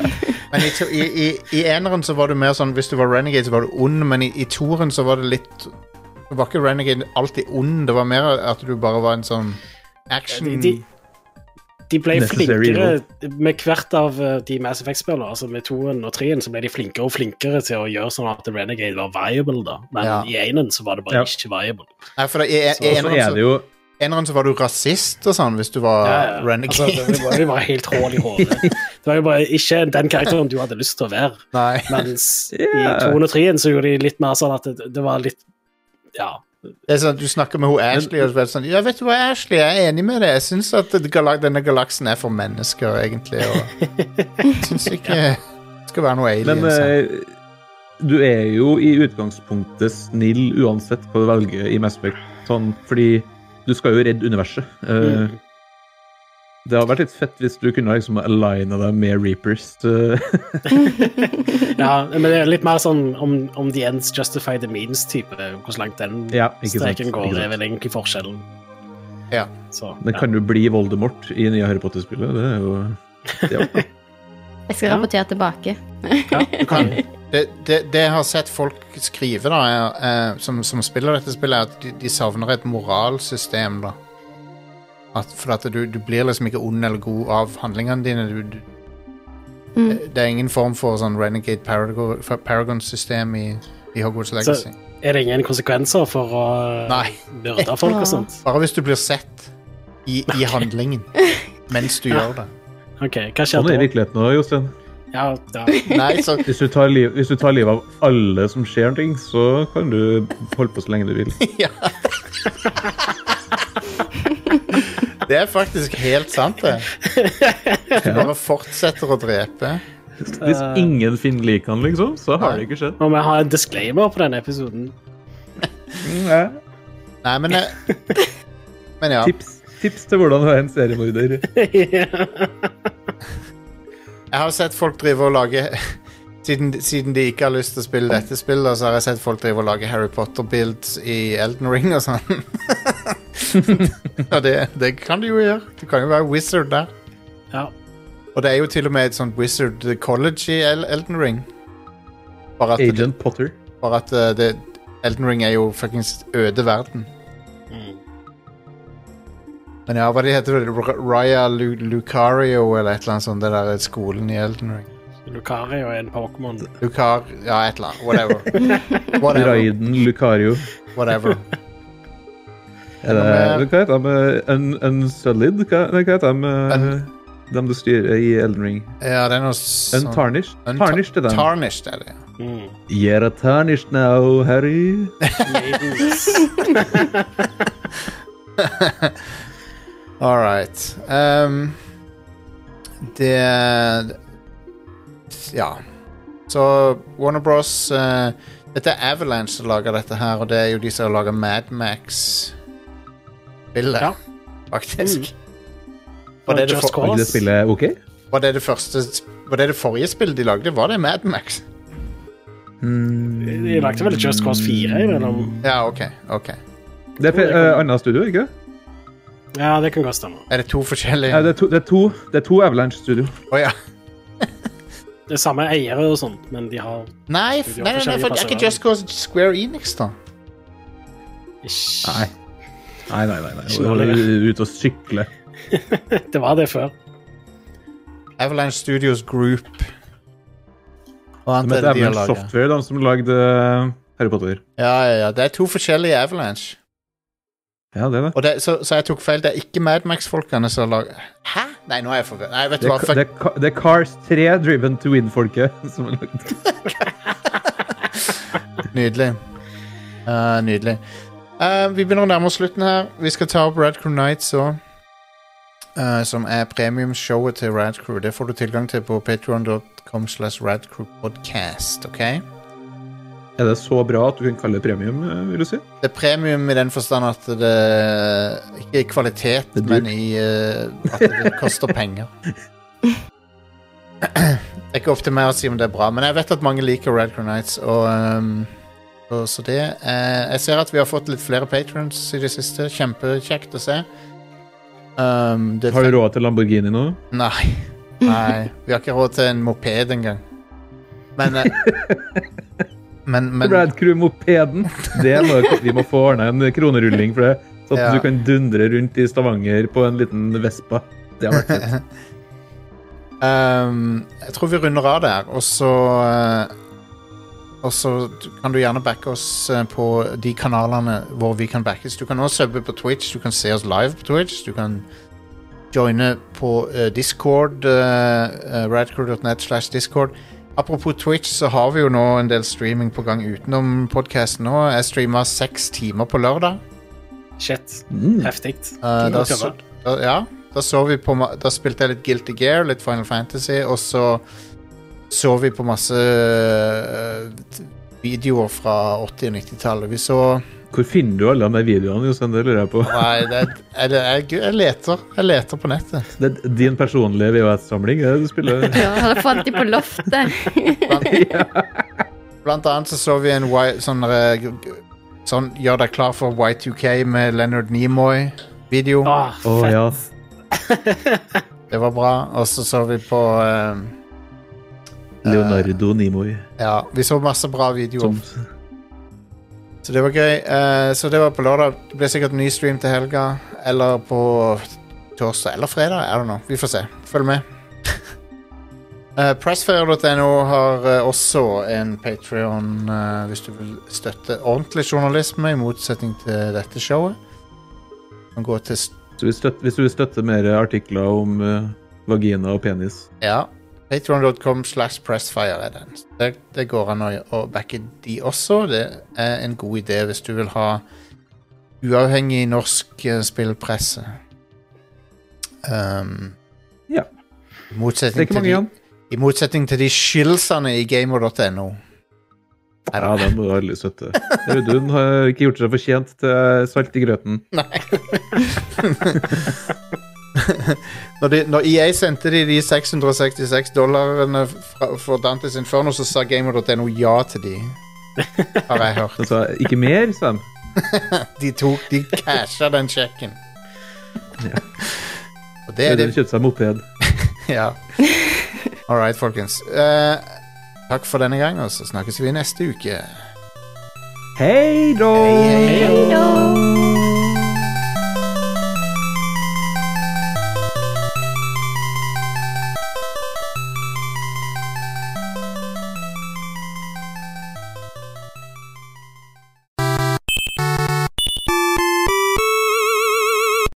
[SPEAKER 1] Men i, to- i, i, i eneren så var du mer sånn Hvis du var renegade, så var du ond, men i, i toeren så var det litt Det var ikke renegade alltid ond, det var mer at du bare var en sånn action
[SPEAKER 3] de, de, de ble
[SPEAKER 2] Necessary
[SPEAKER 3] flinkere med hvert av eh, de Mass Effect-spillene, altså med toen og treen, så ble de flinkere og flinkere til å gjøre sånn at Renegade var viable, da. Men
[SPEAKER 1] Ja.
[SPEAKER 3] i enen så var det
[SPEAKER 2] Ja.
[SPEAKER 3] bare ikke viable.
[SPEAKER 1] Nei, for det, i, i,
[SPEAKER 2] Og så
[SPEAKER 1] eneren,
[SPEAKER 2] er det
[SPEAKER 1] så,
[SPEAKER 2] jo
[SPEAKER 1] eneren så var du rasist og sånn, hvis du var
[SPEAKER 3] Ja, ja.
[SPEAKER 1] renegade.
[SPEAKER 3] Altså, det var jo bare helt hull i hodet. Det var jo bare ikke den karakteren du hadde lyst til å være.
[SPEAKER 1] Nei.
[SPEAKER 3] Mens
[SPEAKER 2] Ja.
[SPEAKER 3] i 203 så gjorde de litt mer sånn at det, det var litt Ja.
[SPEAKER 1] Det er sånn, at du snakker med hun Ashley, og så er det sånn Ja, vet du hva, Ashley, jeg er enig med deg. Jeg syns at det- galak denne galaksen er for mennesker, egentlig, og syns ikke det skal være noe
[SPEAKER 2] Men
[SPEAKER 1] aliens. her.
[SPEAKER 2] eh, du er jo i utgangspunktet snill uansett hva du velger i Mass Effect. Sånn, fordi du skal jo redde universet. Eh, Det hadde vært litt fett hvis du kunne liksom aligna deg med Reapers. eh,
[SPEAKER 3] ja. Men det er litt mer sånn om, om the ends justify the means-type. Hvor langt den
[SPEAKER 2] ja, ikke sant?
[SPEAKER 3] streken går,
[SPEAKER 2] Ikke sant.
[SPEAKER 3] er vel egentlig forskjellen.
[SPEAKER 1] Ja.
[SPEAKER 3] Så,
[SPEAKER 2] Den kan jo bli Voldemort i nye Harry Potter-spillet. Det er jo det er jo-
[SPEAKER 4] Jeg skal rapportere tilbake.
[SPEAKER 1] Du kan, det, det, det jeg har sett folk skrive, da, er, eh, som, som spiller dette spillet, er at de, de savner et moralsystem, da. At, for at du, du blir liksom ikke ond eller god av handlingene dine. Du, du, det, det er ingen form for sånn Renegade Paragon- Paragon-system i, i Hogwarts
[SPEAKER 3] så
[SPEAKER 1] Legacy.
[SPEAKER 3] er det ingen konsekvenser for å
[SPEAKER 1] Nei.
[SPEAKER 3] myrde folk
[SPEAKER 4] Ja.
[SPEAKER 3] og sånt?
[SPEAKER 1] Bare hvis du blir sett i, i handlingen mens du gjør det.
[SPEAKER 3] OK, hva skjer
[SPEAKER 2] Sånn er
[SPEAKER 3] da?
[SPEAKER 2] virkeligheten òg, Jostein.
[SPEAKER 3] Ja, da.
[SPEAKER 1] Nei, så
[SPEAKER 2] Hvis du tar liv- hvis du tar livet av alle som skjer ting, så kan du holde på så lenge du vil.
[SPEAKER 1] Ja. Det er faktisk helt sant, det. Du bare fortsetter å drepe.
[SPEAKER 2] Hvis ingen finner likene, liksom, så har det ikke skjedd.
[SPEAKER 3] Må vi ha en disclaimer på denne episoden?
[SPEAKER 1] Nei, men eh, Men ja.
[SPEAKER 2] Tips, tips til hvordan være en seriemorder.
[SPEAKER 1] Jeg har sett folk drive og lage siden, siden de ikke har lyst til å spille dette spillet, så har jeg sett folk drive og lage Harry Potter-builds i Elden Ring og sånn. og det, det kan du jo gjøre. Du kan jo være wizard der.
[SPEAKER 3] Ja.
[SPEAKER 1] Og det er jo til og med et sånt wizard college i El Elden Ring. Bare at,
[SPEAKER 2] Agent Potter.
[SPEAKER 1] bare at eh, det, Elden Ring er jo fuckings øde verden. Men ja, hva de heter det? R- Raya Lu Lucario eller et eller annet sånt, det der er skolen i Elden Ring.
[SPEAKER 3] Lucario er en Pokémon.
[SPEAKER 1] Lucar... Ja, et eller annet. Whatever. Whatever.
[SPEAKER 2] Raiden Lucario.
[SPEAKER 1] Whatever.
[SPEAKER 2] Er det,
[SPEAKER 1] Eller med-
[SPEAKER 2] Eh, hva heter de? Un- Unsullied? Hva, nei, hva heter de?
[SPEAKER 1] Un-
[SPEAKER 2] De du styrer i Elden Ring.
[SPEAKER 1] Ja, det er noe sånn
[SPEAKER 2] Untarnished.
[SPEAKER 1] Untar-
[SPEAKER 2] Tarnished er den.
[SPEAKER 1] Tarnished er det, ja.
[SPEAKER 3] Mm.
[SPEAKER 2] You're a tarnished now, Harry.
[SPEAKER 3] Maidens.
[SPEAKER 1] All right. Um, det Ja. Så Warner Bros eh, Dette er Avalanche som lager dette her, og det er jo de som lager Madmax-spillet,
[SPEAKER 3] Ja. Mm.
[SPEAKER 1] faktisk. Var
[SPEAKER 3] Og
[SPEAKER 1] det det,
[SPEAKER 3] Just
[SPEAKER 1] for,
[SPEAKER 2] Var ikke det spillet OK?
[SPEAKER 1] var, det det, første, var det det forrige spillet de lagde? Var det Madmax?
[SPEAKER 3] De lagde vel Just Cause 4 imellom?
[SPEAKER 1] Ja, OK. ok
[SPEAKER 2] Det er et annet studio, ikke det?
[SPEAKER 3] Ja, det kan godt stemme.
[SPEAKER 1] Er det to forskjellige
[SPEAKER 2] Nei, det er to, det er to, det er to Avalanche-studio.
[SPEAKER 1] Å ja.
[SPEAKER 3] Det er samme eiere og sånt, men de har
[SPEAKER 1] Nei, f-
[SPEAKER 3] De har
[SPEAKER 1] nei, nei, nei for det er
[SPEAKER 3] forskjellige
[SPEAKER 1] ikke Just Cause Square Enix, da.
[SPEAKER 3] ikke
[SPEAKER 2] Nei. Nei, nei, nei. nei.
[SPEAKER 3] Ikke noe lenger.
[SPEAKER 2] Du er Ute og sykle.
[SPEAKER 3] Det var det før.
[SPEAKER 1] Avalanche Studios Group. Og
[SPEAKER 2] De
[SPEAKER 1] annet er
[SPEAKER 2] heter
[SPEAKER 1] det de har
[SPEAKER 2] Avalanche
[SPEAKER 1] laget.
[SPEAKER 2] Software, de som lagde eh, Harry Potter.
[SPEAKER 1] Ja, ja, ja. Det er to forskjellige Avalanche.
[SPEAKER 2] Ja, det er det.
[SPEAKER 1] Og det, så, så jeg tok feil. Det er ikke Madmax-folkene som lager Hæ? Nei, nå er jeg forvirret. Nei, vet du
[SPEAKER 2] Det
[SPEAKER 1] hva.
[SPEAKER 2] er, det,
[SPEAKER 1] Fuck.
[SPEAKER 2] er, Ca- det er Cars 3 Driven to Win-folket som har lagd det.
[SPEAKER 1] Nydelig. Eh, nydelig. Eh, vi begynner å nærme oss slutten her. Vi skal ta opp Radcrew Nights òg. som er premiumshowet til Radcrew. Det får du tilgang til på patreon.com slash radcrewpodcast, OK?
[SPEAKER 2] Er det så bra at du kan kalle det premium, eh, vil du si?
[SPEAKER 1] Det er premium i den forstand at det Ikke i kvalitet,
[SPEAKER 2] Det er dyrt.
[SPEAKER 1] men i eh, at det koster penger. Det er ikke opp til meg å si om det er bra, men jeg vet at mange liker Red Nights. Og, ehm, og så det eh, Jeg ser at vi har fått litt flere patrons i det siste. Kjempekjekt å se. Ehm, det
[SPEAKER 2] Har du råd til Lamborghini nå?
[SPEAKER 1] Nei. Nei. Vi har ikke råd til en moped engang. Men, eh, men, men
[SPEAKER 2] Radcrew-mopeden! Det må, vi må få ordna en kronerulling for det, så at
[SPEAKER 1] Ja.
[SPEAKER 2] du kan dundre rundt i Stavanger på en liten Vespa. Det har vært fett.
[SPEAKER 1] Ehm, jeg tror vi runder av der, og så eh, Og så kan du gjerne backe oss eh, på de kanalene hvor vi kan backes. Du kan også subbe på Twitch, du kan se oss live på Twitch, du kan joine på eh, Discord. Uh, Radcrew.net slash Discord. Apropos Twitch, så har vi jo nå en del streaming på gang utenom podkasten nå. Jeg streama seks timer på lørdag.
[SPEAKER 3] Shit.
[SPEAKER 2] Mm.
[SPEAKER 3] Heftig.
[SPEAKER 1] Eh, da,
[SPEAKER 3] Ikke
[SPEAKER 1] så,
[SPEAKER 3] kødda.
[SPEAKER 1] da, ja, da så vi på ma- Da spilte jeg litt Guilty Gear, litt Final Fantasy, og så så vi på masse eh, t- videoer fra 80- og 90-tallet. Vi så
[SPEAKER 2] Hvor finner du alle de der videoene? Jostein? Det lurer jeg på.
[SPEAKER 1] Nei, det er, er det, jeg, jeg leter. Jeg leter på nettet.
[SPEAKER 2] Det er din personlige VHS-samling? er det Du spiller
[SPEAKER 4] Ja, har det falt de på loftet.
[SPEAKER 1] Blant annet så så vi en Y- sånn eh, g- g- Sånn gjør deg klar for Y2K med Leonard Nimoy-video.
[SPEAKER 3] Åh,
[SPEAKER 2] Å
[SPEAKER 3] fett.
[SPEAKER 2] ja.
[SPEAKER 1] Det var bra. Og så så vi på eh,
[SPEAKER 2] Leonardo Nimoy.
[SPEAKER 1] Ja, vi så masse bra videoer.
[SPEAKER 2] Som,
[SPEAKER 1] Så det var gøy. Eh, så det var på lørdag. Det blir sikkert ny stream til helga. Eller på torsdag eller fredag. I don't know. Vi får se. Følg med. Eh, Pressfire.no har eh, også en Patrion hvis du vil støtte ordentlig journalisme, i motsetning til dette showet. Du kan gå til s-
[SPEAKER 2] så hvis, støt, hvis du vil støtte mer artikler om eh, vagina og penis
[SPEAKER 1] Ja. Patreon.com slash pressfire er den. Det, det går an å, å backe de også. Det er en god idé hvis du vil ha uavhengig norsk eh, spillpresse. Um,
[SPEAKER 2] Ja.
[SPEAKER 1] I
[SPEAKER 2] Det er
[SPEAKER 1] motsetning,
[SPEAKER 2] ikke
[SPEAKER 1] til
[SPEAKER 2] mange
[SPEAKER 1] de,
[SPEAKER 2] igjen.
[SPEAKER 1] I motsetning til de skilsene i gamer.no.
[SPEAKER 2] Ja, den må eh. du aldri støtte. Audun har ikke gjort seg fortjent til eh, salt i grøten.
[SPEAKER 1] Når, de, når EA sendte de de 666 dollarene fra, for Dantes Inferno, så sa gamer.no ja til de. Har jeg hørt.
[SPEAKER 2] Den sa ikke mer, sa de.
[SPEAKER 1] De tok, de casha den sjekken. Og det er
[SPEAKER 2] Audun
[SPEAKER 1] det
[SPEAKER 2] kjøpte seg moped.
[SPEAKER 1] Ja. All right, folkens. Eh, takk for denne gang, og så snakkes vi neste uke.
[SPEAKER 2] Hei da!
[SPEAKER 1] Hei, hei.
[SPEAKER 4] Hei da!